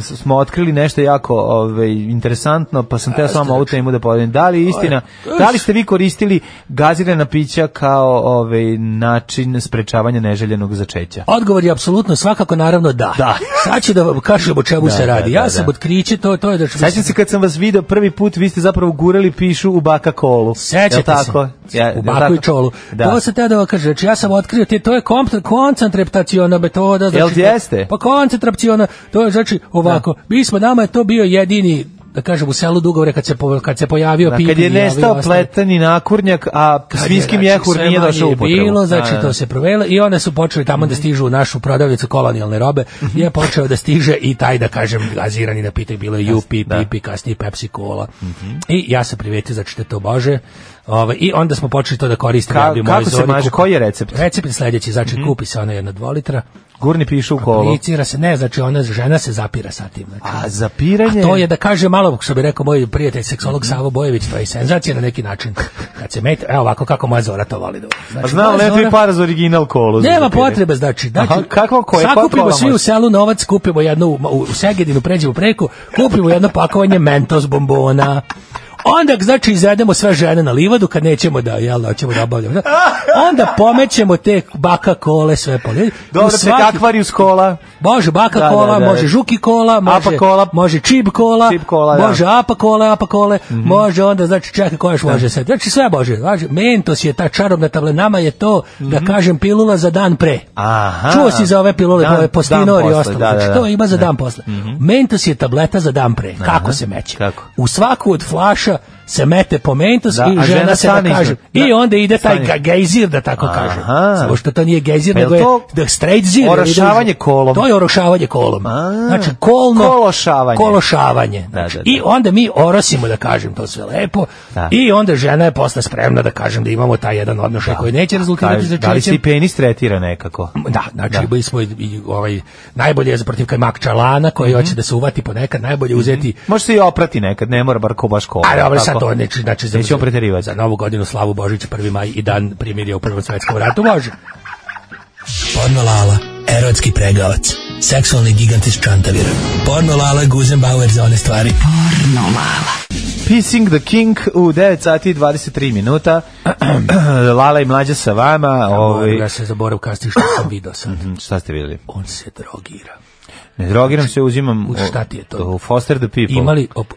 Speaker 6: s- smo otkrili nešto jako ovaj, interesantno, pa sam teo s vama ovu temu da povedem. Da li je istina,
Speaker 5: Aj,
Speaker 6: da li ste vi koristili gazirana pića kao ovaj, način sprečavanja neželjenog začeća?
Speaker 5: Odgovor je apsolutno svakako naravno da. da. Sad ću da vam kažem o čemu
Speaker 6: Da,
Speaker 5: se
Speaker 6: da,
Speaker 5: radi.
Speaker 6: da,
Speaker 5: ja
Speaker 6: da.
Speaker 5: sam otkriće, to, to je da...
Speaker 6: Sećam se kad sam vas video prvi put, vi ste zapravo gurali pišu u baka kolu. Jel
Speaker 5: Sećate se.
Speaker 6: tako? Ja,
Speaker 5: u
Speaker 6: jel
Speaker 5: baku
Speaker 6: tako?
Speaker 5: i čolu.
Speaker 6: Da.
Speaker 5: To se te da vam kaže, znači ja sam otkrio, te, to je komp- koncentraciona metoda. Znači,
Speaker 6: Jel ti jeste?
Speaker 5: Pa koncentraciona, to je znači ovako, mi smo, nama je to bio jedini da kažem, u selu Dugovre kad se, po, kad se pojavio
Speaker 6: Da,
Speaker 5: Pipin
Speaker 6: kad je
Speaker 5: i ovi
Speaker 6: nestao
Speaker 5: ostali.
Speaker 6: pletani nakurnjak, a
Speaker 5: Kad je,
Speaker 6: svinjski
Speaker 5: znači,
Speaker 6: mjehur
Speaker 5: sve
Speaker 6: nije
Speaker 5: manje
Speaker 6: došao u
Speaker 5: je
Speaker 6: upotrebu.
Speaker 5: Bilo, znači
Speaker 6: Da, da, Mhm.
Speaker 5: to se provele i one su počeli tamo da stižu u našu prodavnicu kolonijalne robe. Je počeo da stiže i taj da kažem gazirani napitak bilo je UP, Pipi, kasnije Pepsi Cola.
Speaker 6: Mhm.
Speaker 5: I ja sam privetio znači da to bože. Ovaj i onda smo počeli to da koristimo.
Speaker 6: Ka-
Speaker 5: ja bi u mojoj
Speaker 6: kako se
Speaker 5: zoni
Speaker 6: maže?
Speaker 5: kupio-
Speaker 6: Koji je recept? Mhm.
Speaker 5: Recept je sledeći, znači kupi se ona jedna 2 litra,
Speaker 6: Gurni pišu u kolo.
Speaker 5: aplicira se, ne, znači ona žena se zapira sa tim. Znači.
Speaker 6: A zapiranje...
Speaker 5: A to je da kaže malo, što bi rekao moj prijatelj seksolog Savo Bojević, to je senzacija na neki način. Kad se mete, evo ovako kako moja Zora to voli da uradi.
Speaker 6: A
Speaker 5: Znači,
Speaker 6: Pa znam,
Speaker 5: moja
Speaker 6: lepo i
Speaker 5: Zora-
Speaker 6: para za original kolu. za
Speaker 5: Nema
Speaker 6: zapiranje.
Speaker 5: potrebe, znači, znači
Speaker 6: Aha, kako, koje,
Speaker 5: sakupimo svi u selu novac, kupimo jednu u, u Segedinu, pređemo preko, kupimo jedno pakovanje Mentos bombona. Onda, znači, izvedemo sve žene na livadu kad nećemo da, jel, da, hoćemo da obavljamo. Onda pomećemo te baka kole, sve po livadu.
Speaker 6: Dobro
Speaker 5: U
Speaker 6: se
Speaker 5: svaki-
Speaker 6: kakvarius kola.
Speaker 5: Može baka
Speaker 6: Da, da,
Speaker 5: kola,
Speaker 6: da, da.
Speaker 5: može žuki kola, može
Speaker 6: Apa kola.
Speaker 5: može čib kola,
Speaker 6: Čib kola, da. Mhm.
Speaker 5: može apa kola, apa kole, može onda znači čeka koja još može se. Znači sve može. Znači Mentos je ta čarobna tabla, nama je to
Speaker 6: Mhm.
Speaker 5: da kažem pilula za dan pre.
Speaker 6: Aha.
Speaker 5: Čuo si za ove pilule
Speaker 6: Dan-
Speaker 5: koje postinor
Speaker 6: dan
Speaker 5: i
Speaker 6: posle,
Speaker 5: ostalo.
Speaker 6: da, Mhm. da,
Speaker 5: Znači
Speaker 6: da.
Speaker 5: to ima za
Speaker 6: Da.
Speaker 5: dan posle. Mentos je tableta za dan pre. Kako se meće? U svaku od flaša se mete po Mentos
Speaker 6: Da,
Speaker 5: i
Speaker 6: a
Speaker 5: žena
Speaker 6: žena
Speaker 5: se da
Speaker 6: stane
Speaker 5: kaže.
Speaker 6: iznad.
Speaker 5: I
Speaker 6: Da.
Speaker 5: onda ide taj
Speaker 6: Stane.
Speaker 5: ga- gejzir da tako kažem.
Speaker 6: Aha.
Speaker 5: Samo što to nije gejzir,
Speaker 6: Pa je
Speaker 5: nego je
Speaker 6: to
Speaker 5: da straight zir. ili da-
Speaker 6: Orošavanje kolom.
Speaker 5: To je orošavanje kolom.
Speaker 6: A,
Speaker 5: Znači kolno
Speaker 6: Kološavanje.
Speaker 5: kološavanje.
Speaker 6: Da, da,
Speaker 5: Znači,
Speaker 6: da.
Speaker 5: I onda mi orosimo da kažem to sve lepo
Speaker 6: Da.
Speaker 5: i onda žena je posle spremna da kažem da imamo taj jedan odnošaj koji neće rezultirati
Speaker 6: Kaže, da li
Speaker 5: začećem.
Speaker 6: si penis tretira nekako?
Speaker 5: Da, znači bili smo i, i, ovaj najbolje je za protiv kajmak čalana koji
Speaker 6: Mhm.
Speaker 5: hoće da se uvati ponekad, najbolje je uzeti
Speaker 6: Može se i oprati nekad, ne mora bar ko baš kola.
Speaker 5: A dobro,
Speaker 6: Pa, tako?
Speaker 5: sad to neće, znači za,
Speaker 6: Nećemo preterivati.
Speaker 5: za novu godinu slavu Božića, 1. maj i dan primirja u Prvom svetskom ratu može.
Speaker 16: Pornolala, erotski pregavac, seksualni gigant iz Čantavira. Pornolala Guzenbauer za one stvari. Pornolala.
Speaker 6: Pissing the King u 9 sati i 23 minuta. Lala i mlađa sa vama.
Speaker 5: Ovaj.
Speaker 6: Ovaj,
Speaker 5: Ja se zaborav kasnije što sam video sad.
Speaker 6: šta ste vidjeli?
Speaker 5: On se drogira.
Speaker 6: Ne drogiram se, uzimam...
Speaker 5: U
Speaker 6: o-
Speaker 5: šta ti je to?
Speaker 6: o Foster the people.
Speaker 5: Imali, op,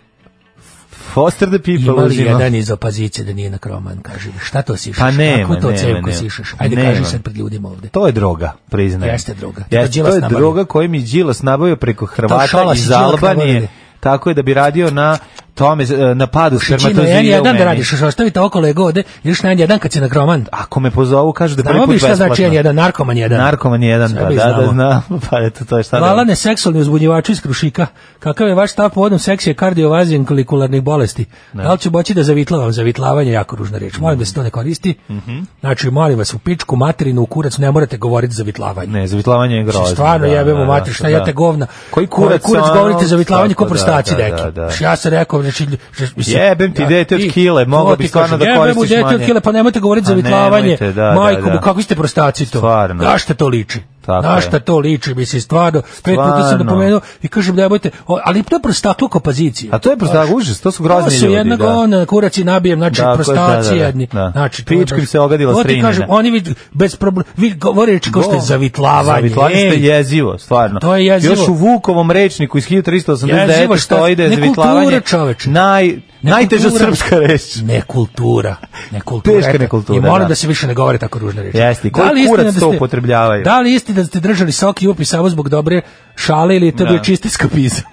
Speaker 6: Foster the people
Speaker 5: imali
Speaker 6: uzimam.
Speaker 5: jedan iz opozicije da nije na kroman, kaže, šta to sišaš?
Speaker 6: Pa nema,
Speaker 5: Kako to
Speaker 6: nema,
Speaker 5: cevku
Speaker 6: nema.
Speaker 5: sišaš? Ajde,
Speaker 6: Nema. Pa,
Speaker 5: kaži sad pred ljudima ovde.
Speaker 6: To je droga, priznajem.
Speaker 5: Jeste droga. To
Speaker 6: Jeste,
Speaker 5: Đilas
Speaker 6: to je
Speaker 5: nabavio.
Speaker 6: droga koju mi Đilas nabavio preko Hrvata
Speaker 5: Šalas
Speaker 6: iz
Speaker 5: i Đilak
Speaker 6: Albanije.
Speaker 5: nabavili.
Speaker 6: Tako je da bi radio na tome, e, na padu
Speaker 5: Čino,
Speaker 6: spermatozoida
Speaker 5: ja
Speaker 6: u
Speaker 5: Znači, jedan
Speaker 6: meni.
Speaker 5: da radiš, što ostavite okolo je gode, ideš na jedan kad si na kroman.
Speaker 6: Ako me pozovu, kažu da je prvi
Speaker 5: Znamo
Speaker 6: put
Speaker 5: bi šta
Speaker 6: besplatno.
Speaker 5: znači jedan, narkoman jedan.
Speaker 6: Narkoman jedan,
Speaker 5: Sve
Speaker 6: pa
Speaker 5: bi
Speaker 6: da, da
Speaker 5: znamo.
Speaker 6: znam. Pa eto, to je šta da-
Speaker 5: Lala ne seksualni uzbunjivači iz krušika. Kakav je vaš stav povodom seksije kardiovazije kolikularnih bolesti? Da li ću moći da zavitlavam? Zavitlavanje je jako ružna reč. Molim da se to ne koristi.
Speaker 6: Mhm.
Speaker 5: Znači, molim vas, u pičku, materinu, u kurac, ne morate govoriti zavitlavanje.
Speaker 6: Ne, zavitlavanje je grozno.
Speaker 5: Znači, Stvarno
Speaker 6: da,
Speaker 5: jebemo
Speaker 6: da,
Speaker 5: mater, šta
Speaker 6: da.
Speaker 5: jete govna.
Speaker 6: Koji
Speaker 5: Koji
Speaker 6: kurac,
Speaker 5: kurac
Speaker 6: ono,
Speaker 5: govorite za vitlavanje ko
Speaker 6: tako,
Speaker 5: prostaci
Speaker 6: da,
Speaker 5: neki.
Speaker 6: da, da.
Speaker 5: Ja sam rekao, znači, lj- znači,
Speaker 6: Jebem ti
Speaker 5: da,
Speaker 6: dete od
Speaker 5: i-
Speaker 6: kile,
Speaker 5: to
Speaker 6: mogao
Speaker 5: ti
Speaker 6: bi stvarno
Speaker 5: kažem,
Speaker 6: da
Speaker 5: jebem mu
Speaker 6: koristiš
Speaker 5: dete od
Speaker 6: manje.
Speaker 5: kile, pa nemojte govoriti za
Speaker 6: A
Speaker 5: vitlavanje.
Speaker 6: nemojte, da, da,
Speaker 5: Majko,
Speaker 6: da.
Speaker 5: mu, kako ste prostaci to?
Speaker 6: Stvarno.
Speaker 5: Na šta to liči?
Speaker 6: Tako
Speaker 5: Na
Speaker 6: je.
Speaker 5: šta to liči, mislim, stvarno. Pet puta sam
Speaker 6: Stvarno.
Speaker 5: napomenuo i kažem da jebojte, o, ali to je prostakluk opozicije.
Speaker 6: A to je prosto užas, to su
Speaker 5: To
Speaker 6: grozni
Speaker 5: su
Speaker 6: ljudi.
Speaker 5: jedna
Speaker 6: da.
Speaker 5: govna, kurac i nabijem, znači
Speaker 6: Tako je, da, da,
Speaker 5: prostaci
Speaker 6: da.
Speaker 5: jedni.
Speaker 6: Da.
Speaker 5: Znači, to je
Speaker 6: Pičkom
Speaker 5: baš-
Speaker 6: se ogadila
Speaker 5: To ti
Speaker 6: strina,
Speaker 5: kažem,
Speaker 6: da.
Speaker 5: oni vid, bez problema, vi govorite kao što je
Speaker 6: Go-
Speaker 5: zavitlavanje.
Speaker 6: Zavitlavanje što je
Speaker 5: ej.
Speaker 6: jezivo, stvarno.
Speaker 5: To je jezivo.
Speaker 6: Još u Vukovom rečniku iz 1389
Speaker 5: Jezivo, šta-
Speaker 6: stoji da je
Speaker 5: nekultura,
Speaker 6: zavitlavanje
Speaker 5: čoveče.
Speaker 6: naj, najteža
Speaker 5: Nekultura.
Speaker 6: srpska reč.
Speaker 5: Nekultura. Nekultura.
Speaker 6: Teška
Speaker 5: eto.
Speaker 6: nekultura,
Speaker 5: I molim
Speaker 6: da.
Speaker 5: da. se više ne govore tako ružne reči.
Speaker 6: Jeste, i koji
Speaker 5: li je
Speaker 6: kurac
Speaker 5: istina da
Speaker 6: to
Speaker 5: ste-
Speaker 6: upotrebljavaju?
Speaker 5: Da li je istina da ste držali soki upi samo zbog dobre šale ili je to
Speaker 6: Da.
Speaker 5: bio čisti skapizam?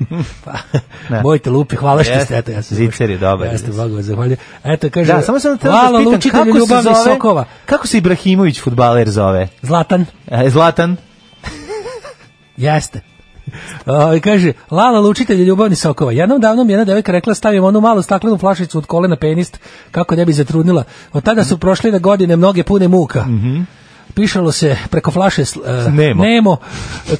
Speaker 5: pa,
Speaker 6: Ne.
Speaker 5: mojte lupi, hvala što
Speaker 6: Jeste,
Speaker 5: ste, eto, ja sam
Speaker 6: Zicer je dobar.
Speaker 5: Jeste, Bogu vas zahvaljujem. Eto, kaže,
Speaker 6: Da, samo sam te
Speaker 5: "Lalo,
Speaker 6: da vas pitam
Speaker 5: lučitelju
Speaker 6: kako se
Speaker 5: ljubavnih
Speaker 6: zove,
Speaker 5: sokova.
Speaker 6: kako se Ibrahimović futbaler zove?
Speaker 5: Zlatan,
Speaker 6: E, Zlatan?
Speaker 5: jeste. O, i kaže, Lala lučitelj ljubavni sokova. Jednom davnom jedna devojka rekla stavim onu malu staklenu flašicu od kole na penist kako ne bi zatrudnila. Od tada su prošle na godine mnoge pune muka. Pišalo se preko flaše uh,
Speaker 6: Nemo.
Speaker 5: Nemo.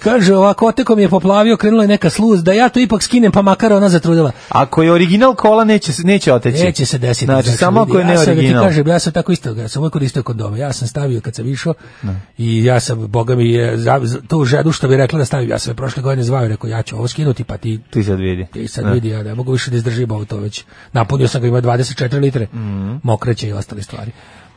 Speaker 5: Kaže, ovako, oteko mi je poplavio, krenula je neka sluz, da ja to ipak skinem, pa makar ona zatrudila.
Speaker 6: Ako je original kola, neće, se- neće oteći.
Speaker 5: Neće se desiti.
Speaker 6: Znači, samo
Speaker 5: ljudi,
Speaker 6: ako je
Speaker 5: ja sam da ti
Speaker 6: neoriginal.
Speaker 5: kažem, ja sam tako isto, ja sam uvijek koristio kondome. Ja sam stavio kad sam išao
Speaker 6: Ne.
Speaker 5: i ja sam, boga mi je, za, za- to u žedu što bi rekla da stavim. Ja sam je prošle godine zvao i rekao, ja ću ovo skinuti, pa ti,
Speaker 6: Ti sad vidi.
Speaker 5: ti sad
Speaker 6: Da.
Speaker 5: vidi, ja ne mogu više da izdržim ovo to već. Napunio sam ga, ima 24 litre,
Speaker 6: Mhm.
Speaker 5: mokraće i ostale stvari.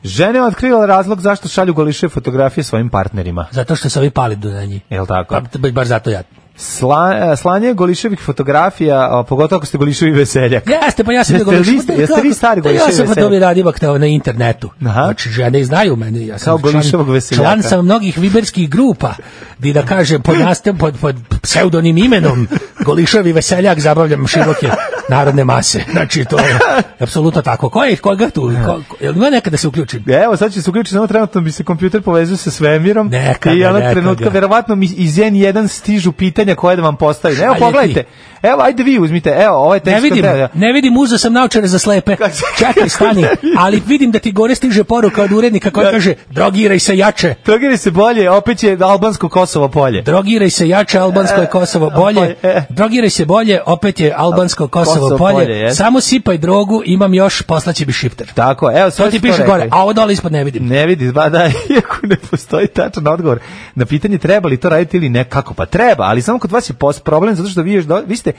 Speaker 6: Žena je otkrila razlog zašto šalju goliše fotografije svojim partnerima.
Speaker 5: Zato što se ovi pali do na njih.
Speaker 6: Jel tako?
Speaker 5: Ba- Baš zato ja.
Speaker 6: Sla, e, slanje goliševih fotografija, a pogotovo ako ste goliševi veseljak.
Speaker 5: Jeste, pa ja sam
Speaker 6: Jeste
Speaker 5: nego-
Speaker 6: vi-
Speaker 5: Pa
Speaker 6: jeste
Speaker 5: kako?
Speaker 6: vi stari
Speaker 5: Pa Ja
Speaker 6: goliševi
Speaker 5: sam pa dobio
Speaker 6: veseljak?
Speaker 5: radimak na, na internetu. Znači, žene i znaju mene. Ja sam
Speaker 6: Kao
Speaker 5: član-
Speaker 6: Goliševog veseljaka.
Speaker 5: Član sam mnogih viberskih grupa, gdje da kažem, pod, nastem, pod, pod pseudonim imenom Goliševi veseljak zabavljam široke narodne mase. Znači, to je apsolutno tako. Ko je, koga tu? Ko, ko, jel ima nekada se uključim?
Speaker 6: Evo, sad će se uključiti, samo trenutno bi se kompjuter povezao sa svemirom.
Speaker 5: Neka
Speaker 6: I
Speaker 5: ga,
Speaker 6: onog
Speaker 5: neka
Speaker 6: trenutka,
Speaker 5: ga.
Speaker 6: verovatno mi iz N1 stižu pitanja koje da vam postavim. Evo,
Speaker 5: Šalje ti.
Speaker 6: pogledajte. Evo, ajde vi uzmite. Evo, ovaj tekst.
Speaker 5: Ne
Speaker 6: od
Speaker 5: vidim,
Speaker 6: tebe.
Speaker 5: ne vidim, uzeo sam naučare za slepe. Čekaj, stani, ali vidim da ti gore stiže poruka od urednika koja kaže drogiraj se jače.
Speaker 6: Drogiraj se bolje, opet će albansko Kosovo polje.
Speaker 5: Drogiraj se jače, albansko
Speaker 6: E,
Speaker 5: je Kosovo bolje. Drogiraj se bolje, opet je albansko Kosovo,
Speaker 6: Kosovo
Speaker 5: polje.
Speaker 6: polje, je.
Speaker 5: Samo sipaj drogu, imam još, poslaće bi šipter.
Speaker 6: Tako, evo, sad
Speaker 5: To ti
Speaker 6: si to
Speaker 5: piše
Speaker 6: rekao.
Speaker 5: gore, a ovo dole ispod ne vidim.
Speaker 6: Ne vidi, ba da, iako ne postoji tačan odgovor na pitanje treba li to raditi ili ne, kako pa treba, ali samo kod vas je pos problem zato što vi, još do, vi ste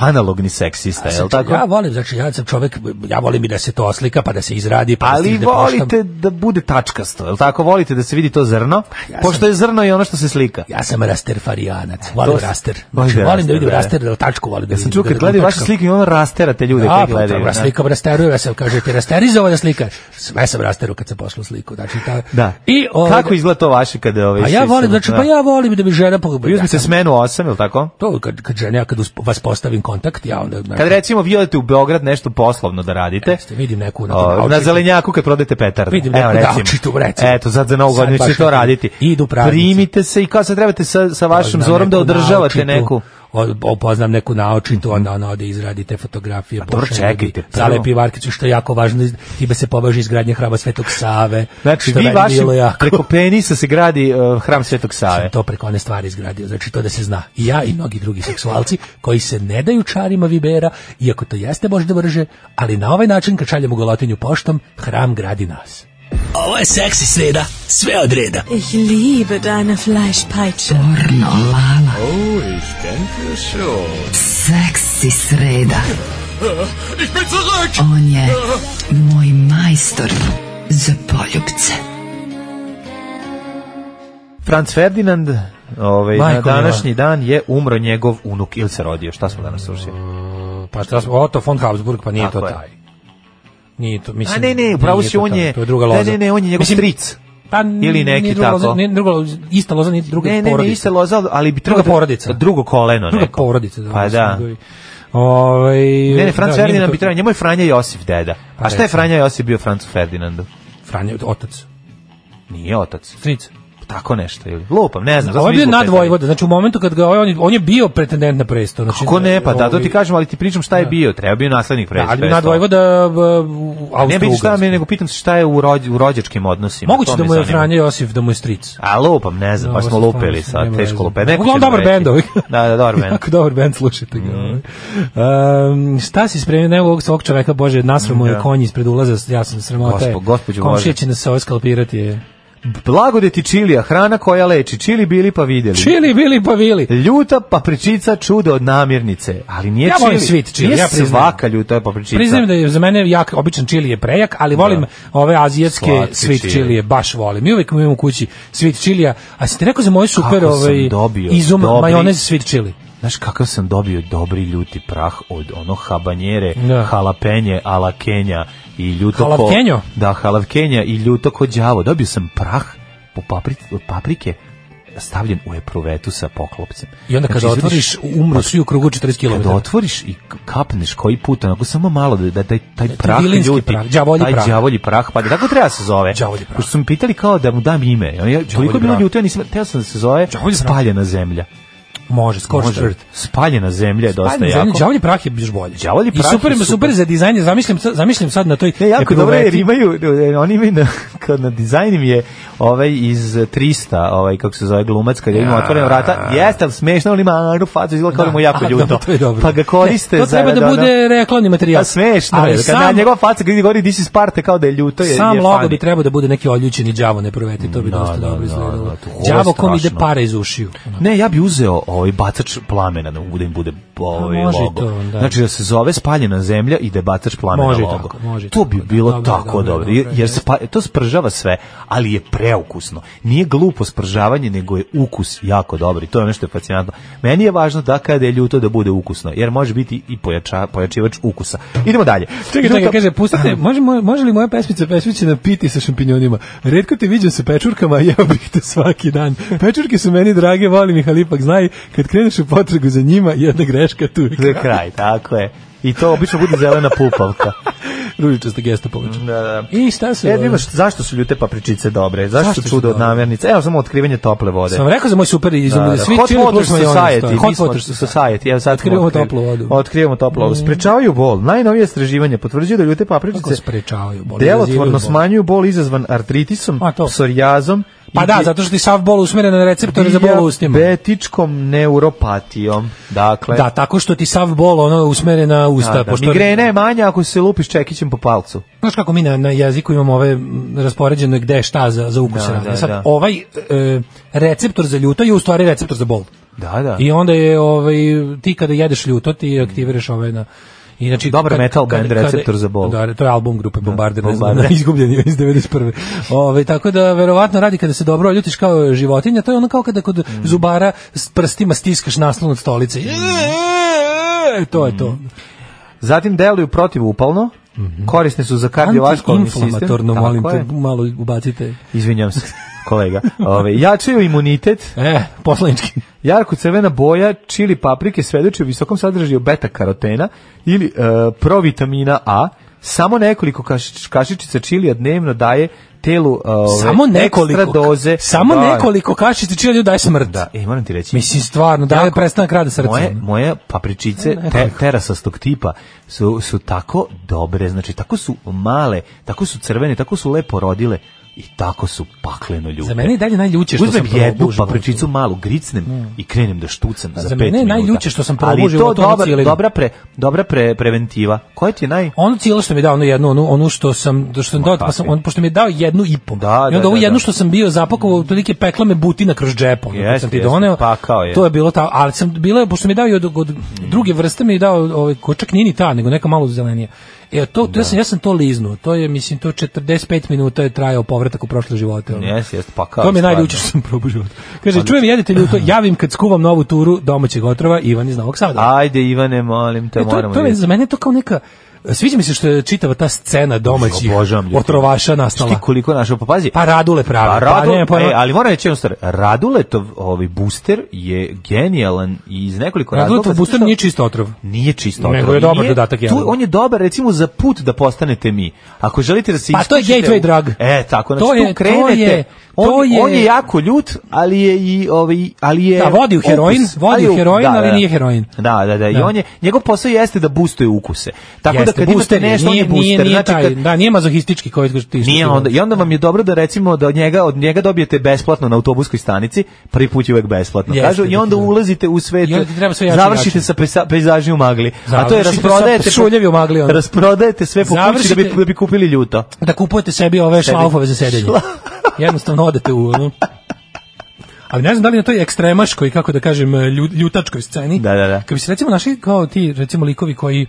Speaker 6: analogni seksista, je li
Speaker 5: Znači,
Speaker 6: tako?
Speaker 5: Ja volim, znači ja sam čovjek, ja volim i da se to oslika, pa da se izradi, pa da
Speaker 6: ali
Speaker 5: stigne poštom.
Speaker 6: volite da bude tačkasto, je li tako? Volite da se vidi to zrno, pošto je zrno i ono što se slika.
Speaker 5: Pa Ja sam rasterfarijanac, volim
Speaker 6: E, To s-
Speaker 5: raster.
Speaker 6: Volim
Speaker 5: Znači, volim da vidim
Speaker 6: da.
Speaker 5: raster, da tačku volim da
Speaker 6: Ja sam
Speaker 5: vidim,
Speaker 6: čuo
Speaker 5: da-
Speaker 6: kad
Speaker 5: da
Speaker 6: gledaju vaše
Speaker 5: tačkam.
Speaker 6: slike, ono rasterate ljude
Speaker 5: A,
Speaker 6: kad
Speaker 5: pa,
Speaker 6: gledaju.
Speaker 5: dobro,
Speaker 6: da.
Speaker 5: slikam, rasterujem, ja sam, kaže, ti rasterizovala slika. Sve sam rasteru kad sam poslao sliku. Znači, ta,
Speaker 6: Da.
Speaker 5: I, ovaj,
Speaker 6: Kako izgleda to vaše kada ove
Speaker 5: A ja volim, znači, pa ja volim da bi žena pogubila.
Speaker 6: Vi uzmite smenu 8, je li tako?
Speaker 5: To kad kad žena ja kad usp- vas postavim kontakt, ja onda znači,
Speaker 6: Kad recimo vi odete u Beograd nešto poslovno da radite.
Speaker 5: vidim neku na
Speaker 6: O,
Speaker 5: tom
Speaker 6: na
Speaker 5: outfitu.
Speaker 6: zelenjaku kad prodajete petarde.
Speaker 5: Vidim
Speaker 6: Evo,
Speaker 5: neku
Speaker 6: recimo.
Speaker 5: davčitu, recimo.
Speaker 6: Eto, sad za novu
Speaker 5: Sad
Speaker 6: godinu
Speaker 5: baš
Speaker 6: ćete to
Speaker 5: neki
Speaker 6: raditi.
Speaker 5: idu pravnici.
Speaker 6: Primite se i kao sad trebate sa, sa vašim
Speaker 5: Poznam
Speaker 6: zorom da
Speaker 5: neku
Speaker 6: održavate
Speaker 5: naočitu,
Speaker 6: neku.
Speaker 5: od- Opoznam neku naočitu, onda ona ode izradi te fotografije.
Speaker 6: dobro,
Speaker 5: pošalje mi,
Speaker 6: čekajte, prvo.
Speaker 5: Zalepi varkicu, što je jako važno, iz- time se považi izgradnja hrama Svetog Save.
Speaker 6: Znači,
Speaker 5: što
Speaker 6: vi
Speaker 5: meni
Speaker 6: vašim
Speaker 5: bilo jako.
Speaker 6: preko penisa se gradi uh, hram Svetog Save.
Speaker 5: to preko one stvari izgradio, znači to da se zna. I ja i mnogi drugi seksualci koji se ne daju čarima Vibera, iako to jeste možda vrže, ali na ovaj način kad šaljemo golotinju poštom, hram gradi nas.
Speaker 16: Ovo je seksi sreda, sve od reda.
Speaker 17: Ich liebe deine Fleischpeitsche.
Speaker 16: Pornolala.
Speaker 17: Oh, ich denke schon.
Speaker 4: Seksi sreda.
Speaker 17: Ich bin zurück!
Speaker 4: On je moj majstor za poljubce.
Speaker 6: Franz Ferdinand ovaj, na
Speaker 5: Majko mila.
Speaker 6: današnji dan je umro njegov unuk ili se rodio. Šta smo danas slušali?
Speaker 5: Pa šta smo, Otto von Habsburg, pa nije
Speaker 6: Tako
Speaker 5: to
Speaker 6: je.
Speaker 5: taj. Nije to, mislim,
Speaker 6: A ne, ne, upravo
Speaker 5: nije
Speaker 6: si
Speaker 5: to
Speaker 6: on
Speaker 5: taj,
Speaker 6: je,
Speaker 5: to je druga
Speaker 6: ne,
Speaker 5: loza.
Speaker 6: ne, ne, on je njegov
Speaker 5: Mislim,
Speaker 6: stric.
Speaker 5: Pa,
Speaker 6: Ili neki
Speaker 5: nije druga
Speaker 6: tako.
Speaker 5: Loza, nije druga loza, ista loza, nije druga
Speaker 6: Ne, ne, ne,
Speaker 5: porodica.
Speaker 6: iste loza, ali bi
Speaker 5: druga
Speaker 6: trebalo da-
Speaker 5: porodica.
Speaker 6: Drugo koleno
Speaker 5: Druga
Speaker 6: neko.
Speaker 5: porodica. Da,
Speaker 6: Pa da.
Speaker 5: Ovaj
Speaker 6: Ne, ne, Franz
Speaker 5: da, nije
Speaker 6: Ferdinand
Speaker 5: to- Pa
Speaker 6: bi trebao, njemu je Franja Josif deda. A šta je
Speaker 5: recimo.
Speaker 6: Franja Josif bio Francu Ferdinandu?
Speaker 5: Franjo, otac.
Speaker 6: Nije otac.
Speaker 5: Stric.
Speaker 6: Tako nešto ili lupam, ne znam. zato
Speaker 5: Ovo je
Speaker 6: sam
Speaker 5: bio
Speaker 6: izlupetao.
Speaker 5: nadvojvoda, znači u momentu kad ga ovaj- on je, on je bio pretendent na presto. Znači,
Speaker 6: Kako ne, pa da, to
Speaker 5: ovaj-
Speaker 6: ti kažem, ali ti pričam šta je
Speaker 5: Da.
Speaker 6: bio, treba bio naslednik
Speaker 5: Da,
Speaker 6: prestola.
Speaker 5: ali bi nadvojvoda
Speaker 6: Ne pitam šta
Speaker 5: Austro-Ugarska.
Speaker 6: mi je, nego pitam se šta je u, rođ, u rođačkim odnosima.
Speaker 5: Moguće
Speaker 6: to
Speaker 5: da
Speaker 6: me
Speaker 5: mu je
Speaker 6: zanima.
Speaker 5: Franja Josif, da mu je stric.
Speaker 6: A lupam, ne znam,
Speaker 5: Da,
Speaker 6: baš
Speaker 5: ovo
Speaker 6: smo
Speaker 5: su
Speaker 6: lupili
Speaker 5: stvarno stvarno
Speaker 6: sad,
Speaker 5: nema
Speaker 6: teško
Speaker 5: veze.
Speaker 6: lupet. Neko
Speaker 5: Uglavnom
Speaker 6: će nam
Speaker 5: dobar
Speaker 6: reći.
Speaker 5: bend ovaj.
Speaker 6: Da, da, dobar Mhm. bend.
Speaker 5: Jako dobar band, slušajte ga. ovaj. Em, šta si spremio, ne ovog svog čoveka, bože, nasramo je
Speaker 6: Da.
Speaker 5: konj ispred ulaza, ja sam sramota. je.
Speaker 6: Gospo- gospođo
Speaker 5: Komšija
Speaker 6: Bože.
Speaker 5: će nas ovo skalpirati. je.
Speaker 6: Blagodeti Čilija, hrana koja leči. Čili bili pa vidjeli.
Speaker 5: Čili, bili pa vili.
Speaker 6: Ljuta papričica čudo od namirnice, ali nije
Speaker 5: Ja
Speaker 6: čili.
Speaker 5: volim sweet chili,
Speaker 6: Nije
Speaker 5: ja priznajem.
Speaker 6: svaka ljuta papričica.
Speaker 5: Priznajem da je za mene jak, običan čili je prejak, ali volim ove azijatske
Speaker 6: Slatki
Speaker 5: sweet
Speaker 6: čili.
Speaker 5: čilije, baš volim. I uvijek imam u kući sweet čilija, a si ti rekao za moju super
Speaker 6: Kako sam
Speaker 5: ovaj,
Speaker 6: dobio
Speaker 5: izum
Speaker 6: dobri-
Speaker 5: majonez sweet čili.
Speaker 6: Znaš kakav sam dobio dobri ljuti prah od ono habanjere,
Speaker 5: Da.
Speaker 6: halapenje, alakenja i ljuto ko-
Speaker 5: Jalapenjo?
Speaker 6: Da, halavkenja i ljuto ko đavo. Dobio sam prah po papri- od paprike stavljen u epruvetu sa poklopcem.
Speaker 5: I onda kada
Speaker 6: Znači,
Speaker 5: otvoriš, umru svi u krugu 40 km.
Speaker 6: Kada otvoriš i k- kapneš koji put, onako samo malo da, da taj, taj prah
Speaker 5: vilinski
Speaker 6: ljuti,
Speaker 5: prah, đavolji
Speaker 6: taj
Speaker 5: prah.
Speaker 6: đavolji prah, pa da tako treba se zove. Đavolji prah. Pošto su mi pitali kao da mu dam ime. Ja, ja, koliko je bilo
Speaker 5: prah.
Speaker 6: ljuto, ja nisam, teo sam da se zove spaljena zemlja.
Speaker 5: Može, scorched
Speaker 6: Može.
Speaker 5: earth.
Speaker 6: Spaljena zemlja je dosta
Speaker 5: Ajde,
Speaker 6: jako.
Speaker 5: zemlji, Pa đavolji prah je još bolje.
Speaker 6: Đavolji prah
Speaker 5: I super,
Speaker 6: je
Speaker 5: je super
Speaker 6: super.
Speaker 5: za dizajn, zamislim, zamislim sad na toj
Speaker 6: Ne, jako dobro, jer
Speaker 5: epruveti.
Speaker 6: imaju, oni imaju na, kad na dizajn mi je ovaj iz 300, ovaj kako se zove glumac kad je ima otvorena vrata. Jeste, ali smešno ali ima aru facu izgleda kao da mu je jako
Speaker 5: A,
Speaker 6: ljuto.
Speaker 5: dobro, to je dobro.
Speaker 6: Pa ga koriste
Speaker 5: Ne, to treba
Speaker 6: za-
Speaker 5: da bude reklamni materijal.
Speaker 6: Pa smešno
Speaker 5: Ali
Speaker 6: je. Kad
Speaker 5: sam-
Speaker 6: na njegova faca gdje govori this is Sparta kao da je ljuto je.
Speaker 5: Sam
Speaker 6: je
Speaker 5: logo
Speaker 6: funny.
Speaker 5: bi trebao da bude neki oljućeni đavo ne proveti, to bi
Speaker 6: Da,
Speaker 5: dosta
Speaker 6: da, da,
Speaker 5: dobro
Speaker 6: da,
Speaker 5: izgledalo.
Speaker 6: to je
Speaker 5: Đavo kom ide
Speaker 6: strašno.
Speaker 5: para iz ušiju.
Speaker 6: Ne, ja bi uzeo ovaj bacač plamena da mu bude, bude ovaj
Speaker 5: A Pa može i
Speaker 6: logo.
Speaker 5: to, da.
Speaker 6: Znači da se zove spaljena zemlja i da je bacač plamena
Speaker 5: Može i
Speaker 6: logo.
Speaker 5: tako, može i
Speaker 6: to bi bilo
Speaker 5: Dobro,
Speaker 6: tako
Speaker 5: dobro,
Speaker 6: dobro, jer, jer se pa- to spržava sve, ali je preukusno. Nije glupo spržavanje, nego je ukus jako dobar i to je ono što je fascinantno. Meni je važno da kada je ljuto da bude ukusno, jer može biti i pojača, pojačivač ukusa. Idemo dalje.
Speaker 5: Čekaj, čekaj, kaže, pustite, može, moj- može li moja pesmica pesmićena piti sa šampinjonima? Redko te viđam sa pečurkama, a jeo bih te svaki dan. Pečurke su meni drage, volim ih, ali ipak znaj, kad kreneš u potragu za njima, jedna greška tu je
Speaker 6: Za kraj, tako je. I to obično bude zelena pupavka.
Speaker 5: Ružičasta gesta poveća.
Speaker 6: Da, da.
Speaker 5: I šta su?
Speaker 6: E, vidiš, zašto su ljute papričice dobre? Zašto,
Speaker 5: ono- Zašto su
Speaker 6: čudo od
Speaker 5: dobre?
Speaker 6: namirnice? Evo samo otkrivanje tople vode.
Speaker 5: Sam rekao za moj super izum, da, svi
Speaker 6: Hot
Speaker 5: čili
Speaker 6: Water
Speaker 5: plus majonez, to
Speaker 6: Society.
Speaker 5: je.
Speaker 6: mi
Speaker 5: Hot
Speaker 6: smo
Speaker 5: Water
Speaker 6: Society. Evo sad
Speaker 5: Otkrivamo
Speaker 6: smo otkri-
Speaker 5: toplu vodu. Mm.
Speaker 6: Otkrivamo toplu vodu. Sprečavaju bol. Najnovije istraživanje potvrđuje da ljute
Speaker 5: Kako
Speaker 6: papričice
Speaker 5: sprečavaju bol? Izazivaju
Speaker 6: delotvorno
Speaker 5: bol.
Speaker 6: smanjuju bol izazvan artritisom, psorijazom
Speaker 5: Pa da, zato što ti sav bol usmeren na receptore za bol u ustima.
Speaker 6: Betičkom neuropatijom. Dakle,
Speaker 5: Da, tako što ti sav bol ono usmeren na usta.
Speaker 6: da, da.
Speaker 5: pošto-
Speaker 6: migrena je manja ako se lupiš čekićem po palcu.
Speaker 5: Znaš kako mi na, na jeziku imamo ove m, raspoređeno je gde šta za, za ukuse.
Speaker 6: Da,
Speaker 5: razne.
Speaker 6: da,
Speaker 5: Sad,
Speaker 6: da.
Speaker 5: ovaj e, receptor za ljuto je u stvari receptor za bol.
Speaker 6: Da, da.
Speaker 5: I onda je ovaj, ti kada jedeš ljuto, ti aktiviraš ove na... I znači,
Speaker 6: Dobar
Speaker 5: kad-
Speaker 6: metal
Speaker 5: kad-
Speaker 6: band
Speaker 5: kad-
Speaker 6: receptor za bol.
Speaker 5: Da, to je album grupe Bombarder, ne znam,
Speaker 6: Bombarder.
Speaker 5: izgubljeni iz 91. Ove, tako da verovatno radi kada se dobro oljutiš kao životinja, to je ono kao kada kod zubara s prstima stiskaš naslon od
Speaker 6: Mm.
Speaker 5: stolice. E, to je to.
Speaker 6: Zatim deluju protivupalno, korisne su za kardiovaskularni sistem.
Speaker 5: Mhm. Antiinflamatorno,
Speaker 6: Tako
Speaker 5: molim te,
Speaker 6: je.
Speaker 5: malo ubacite.
Speaker 6: Izvinjam se, kolega. Ove, jačaju imunitet.
Speaker 5: E, poslanički.
Speaker 6: Jarko crvena boja, čili paprike svedoči o visokom sadržaju beta-karotena ili e, provitamina A. Samo nekoliko kašič- kašičica čilija dnevno daje telu e, ove,
Speaker 5: Samo nekoliko.
Speaker 6: ekstra doze.
Speaker 5: Samo
Speaker 6: Da.
Speaker 5: nekoliko kašica čiliju daje smrt. Da,
Speaker 6: E, moram ti reći.
Speaker 5: Mislim, stvarno, da je prestanak rada srca.
Speaker 6: Moje, moje papričice te, terasastog tipa su, su tako dobre, znači tako su male, tako su crvene, tako su lepo rodile i tako su pakleno ljute.
Speaker 5: Za mene je dalje najljuće što
Speaker 6: Uzmem
Speaker 5: sam probao
Speaker 6: jednu pa
Speaker 5: u životu.
Speaker 6: papričicu malu, gricnem i krenem da štucam za,
Speaker 5: Mm. Za
Speaker 6: pet
Speaker 5: mene je
Speaker 6: minuta.
Speaker 5: najljuće što sam probao
Speaker 6: Ali
Speaker 5: u
Speaker 6: je to
Speaker 5: životu, ono
Speaker 6: dobra,
Speaker 5: cijelinu.
Speaker 6: dobra, pre, dobra pre, preventiva. Koja ti je naj...
Speaker 5: Ono cijelo što mi je dao, ono jedno, ono, ono što sam, što sam dao, pa sam,
Speaker 6: kakvi.
Speaker 5: on, pošto mi je dao jednu i po. I onda
Speaker 6: da,
Speaker 5: ovo
Speaker 6: da,
Speaker 5: jedno
Speaker 6: da.
Speaker 5: što sam bio zapakovao, otprilike pekla me butina kroz džep, ono, kad
Speaker 6: Jeste,
Speaker 5: sam ti
Speaker 6: jeste,
Speaker 5: doneo.
Speaker 6: pakao je.
Speaker 5: To je bilo ta, ali sam bilo, je, pošto mi je dao i od, od druge vrste, mi je dao, ovaj, ko čak nije ni ta, nego neka malo zelenija. E, to, to ja, sam, ja sam to liznuo, to je, mislim, to 45 minuta je trajao povratak u prošle živote. ono.
Speaker 6: Jes, jes, pa kao...
Speaker 5: to mi je
Speaker 6: stvarno. Pa,
Speaker 5: najljuće što sam probao u životu. Kaže, čujem jedete ljuto, javim kad skuvam novu turu domaćeg otrova, Ivan iz Novog Sada.
Speaker 6: Ajde, Ivane, molim te,
Speaker 5: E, to,
Speaker 6: moramo...
Speaker 5: to je,
Speaker 6: vidjeti.
Speaker 5: za mene je to kao neka sviđa mi se što je čitava ta scena domaćih
Speaker 6: Obožavam ljude.
Speaker 5: otrovaša nastala.
Speaker 6: Ti koliko našao, pa pazi.
Speaker 5: Pa Radule pravi.
Speaker 6: Pa Radu,
Speaker 5: ne, pa-
Speaker 6: e, ali moram reći jednu stvar, Raduletov ovaj booster je genijalan i iz nekoliko razloga.
Speaker 5: Raduletov
Speaker 6: zato
Speaker 5: booster
Speaker 6: što
Speaker 5: nije čist otrov.
Speaker 6: Nije čisto.
Speaker 5: Nego
Speaker 6: otrov,
Speaker 5: je dobar
Speaker 6: nije-
Speaker 5: dodatak, ja.
Speaker 6: Tu, on je dobar recimo za put da postanete mi. Ako želite da se
Speaker 5: Pa to je
Speaker 6: iskušite
Speaker 5: gateway
Speaker 6: u-
Speaker 5: drug.
Speaker 6: E, tako,
Speaker 5: To
Speaker 6: znači
Speaker 5: je- to
Speaker 6: tu krenete.
Speaker 5: je-
Speaker 6: on,
Speaker 5: to je-
Speaker 6: on je jako ljut, ali je i ovaj ali je
Speaker 5: Da, vodi u heroin,
Speaker 6: opus.
Speaker 5: vodi u
Speaker 6: je-
Speaker 5: heroin,
Speaker 6: da,
Speaker 5: ali
Speaker 6: da.
Speaker 5: nije heroin.
Speaker 6: Da, da, da. I
Speaker 5: Da.
Speaker 6: on je njegov posao jeste da boostuje ukuse. Tako da
Speaker 5: Jeste,
Speaker 6: kad imate
Speaker 5: booster je,
Speaker 6: nešto on je
Speaker 5: nije- nije-
Speaker 6: booster.
Speaker 5: nije
Speaker 6: Znači,
Speaker 5: taj,
Speaker 6: kad-
Speaker 5: da, nije mazohistički koji ti što ti
Speaker 6: Nije onda, I onda vam je dobro da recimo da od njega, od njega dobijete besplatno na autobuskoj stanici, prvi put je uvek besplatno.
Speaker 5: Jeste,
Speaker 6: kažu, I onda
Speaker 5: da.
Speaker 6: ulazite u svet,
Speaker 5: I onda ti treba sve jače i
Speaker 6: završite
Speaker 5: jače.
Speaker 6: sa pejsa- pejzaži u magli. A to je
Speaker 5: Završite sa
Speaker 6: rasprodajete,
Speaker 5: šuljevi u magli, ono.
Speaker 6: rasprodajete sve po kući da bi,
Speaker 5: Završite-
Speaker 6: da bi kupili ljuto.
Speaker 5: da kupujete sebi ove šlaufove za sedenje. Jednostavno odete u ono. Ali ne znam da li na toj ekstremaškoj, kako da kažem, lju- ljutačkoj sceni.
Speaker 6: Da, da, da.
Speaker 5: Kad bi se recimo našli kao ti, recimo likovi koji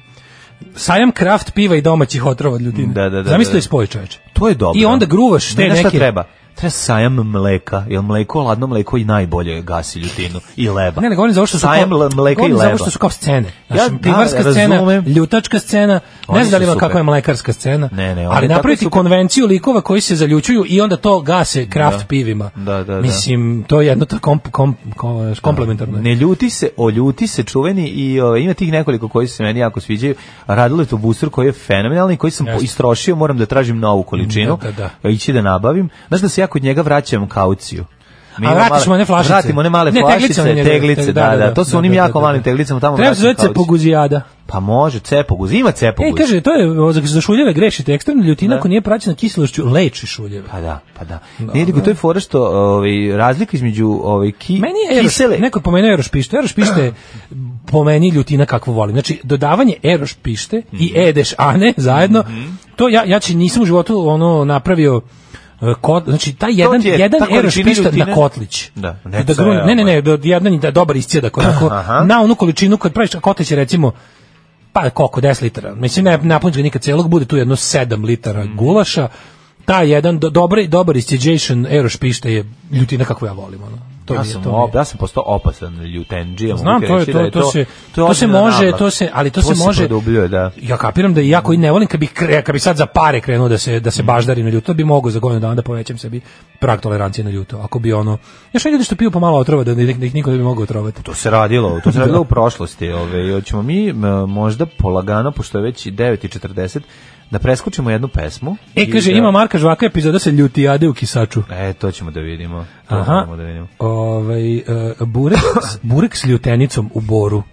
Speaker 5: sajam kraft piva i domaćih otrova od ljudine.
Speaker 6: Da, da, da, da,
Speaker 5: Zamisli to
Speaker 6: da.
Speaker 5: i spoj, čoveče.
Speaker 6: To je dobro.
Speaker 5: I onda gruvaš te
Speaker 6: Ne, znaš
Speaker 5: neke...
Speaker 6: šta treba? Treba sajam mleka, jer mleko, ladno mleko i najbolje gasi ljutinu i leba.
Speaker 5: Pa Ne, ne govorim za ovo što su
Speaker 6: sajam
Speaker 5: kao,
Speaker 6: l- mleka i
Speaker 5: govorim za ovo
Speaker 6: leba.
Speaker 5: što su kao scene.
Speaker 6: Ja,
Speaker 5: Znači,
Speaker 6: da,
Speaker 5: pivarska scena,
Speaker 6: razumem.
Speaker 5: ljutačka scena,
Speaker 6: Oni
Speaker 5: ne znam da li
Speaker 6: su
Speaker 5: ima
Speaker 6: super.
Speaker 5: kakva je mlekarska scena,
Speaker 6: Ne, ne, oni
Speaker 5: ali
Speaker 6: tako
Speaker 5: napraviti
Speaker 6: super.
Speaker 5: konvenciju likova koji se zaljučuju i onda to gase kraft
Speaker 6: Da.
Speaker 5: pivima.
Speaker 6: Da, da, da.
Speaker 5: Mislim, to je jedno ta komp, komp, ko- komplementarno. je.
Speaker 6: Ne ljuti se, oljuti se čuveni i ovaj, ima tih nekoliko koji se meni jako sviđaju. Radilo je to booster koji je fenomenalni, koji sam
Speaker 5: Jeste.
Speaker 6: istrošio, moram da tražim novu količinu,
Speaker 5: Da, da,
Speaker 6: ići da nabavim. Znaš da se ja kod njega vraćam kauciju. Mi
Speaker 5: A
Speaker 6: imamo
Speaker 5: vratiš
Speaker 6: male-
Speaker 5: mu one flašice.
Speaker 6: Vratimo one male
Speaker 5: Ne, teglice
Speaker 6: flašice,
Speaker 5: one njegove,
Speaker 6: teglice, da, da, to su onim jako malim teglicama tamo.
Speaker 5: Treba
Speaker 6: vratiš
Speaker 5: se zove
Speaker 6: kao iz-
Speaker 5: cepoguzijada.
Speaker 6: Pa može, cepoguz, ima
Speaker 5: E,
Speaker 6: cepoguz.
Speaker 5: kaže, to je, o, za, za šuljeve greši tekstom, ljutina ako nije praćena kiselošću, leči šuljeve.
Speaker 6: Pa da, pa da. Ne, nego to je fora što ovaj, razlika između ovaj, ki,
Speaker 5: Meni je Eroš,
Speaker 6: kisele...
Speaker 5: neko pomenuo Eroš pište, Eroš pište je po meni ljutina kakvu volim. Znači, dodavanje Eroš pište i
Speaker 6: Mhm.
Speaker 5: Edeš Ane zajedno, to ja, ja će nisam u životu ono napravio e, Kot, znači taj jedan
Speaker 6: ti je
Speaker 5: jedan
Speaker 6: ta
Speaker 5: eroš
Speaker 6: količina
Speaker 5: pišta
Speaker 6: ljutine-
Speaker 5: na kotlić.
Speaker 6: Da, ovaj.
Speaker 5: ne,
Speaker 6: ne,
Speaker 5: da
Speaker 6: to
Speaker 5: grun,
Speaker 6: je,
Speaker 5: ne, ne, ne, da jedan da dobar iscijedak onako na onu količinu kad praviš a kotlić je recimo pa koliko 10 litara. Mislim ne napuniš ga nikad celog, bude tu jedno 7 litara
Speaker 6: Mhm.
Speaker 5: gulaša. Ta jedan do, dobar dobar iscijeđation eroš pišta je ljutina kakvu ja volim ono. To
Speaker 6: ja,
Speaker 5: mi je-
Speaker 6: sam,
Speaker 5: to mi je.
Speaker 6: op, ja sam postao opasan ljutendžija. mogu
Speaker 5: Znam,
Speaker 6: ti
Speaker 5: to je
Speaker 6: reći
Speaker 5: to,
Speaker 6: da je
Speaker 5: to, se to, se
Speaker 6: ozbiljna
Speaker 5: može,
Speaker 6: nabava.
Speaker 5: to se, ali to,
Speaker 6: To
Speaker 5: se
Speaker 6: se
Speaker 5: može.
Speaker 6: produbljuje, da.
Speaker 5: Ja kapiram da i ja koji ne volim kad bi kre- kad bi sad za pare krenuo da se da se baždari na ljuto, bi mogao za godinu dana da povećam sebi prag tolerancije na ljuto. Ako bi ono, još oni ljudi što piju pomalo otrova da, da ih da ih niko ne bi mogao otrovati.
Speaker 6: To se radilo, to se
Speaker 5: Da.
Speaker 6: radilo u prošlosti. Ove, hoćemo mi m, možda polagano, pošto je već i 9.40, da preskočimo jednu pesmu.
Speaker 5: E
Speaker 6: i
Speaker 5: kaže
Speaker 6: da-
Speaker 5: ima Marka Žvaka epizoda se ljutijade u kisaču.
Speaker 6: E, to ćemo da vidimo. To
Speaker 5: Aha.
Speaker 6: moramo Da vidimo.
Speaker 5: Ovaj e, burek, s- burek s ljutenicom u boru.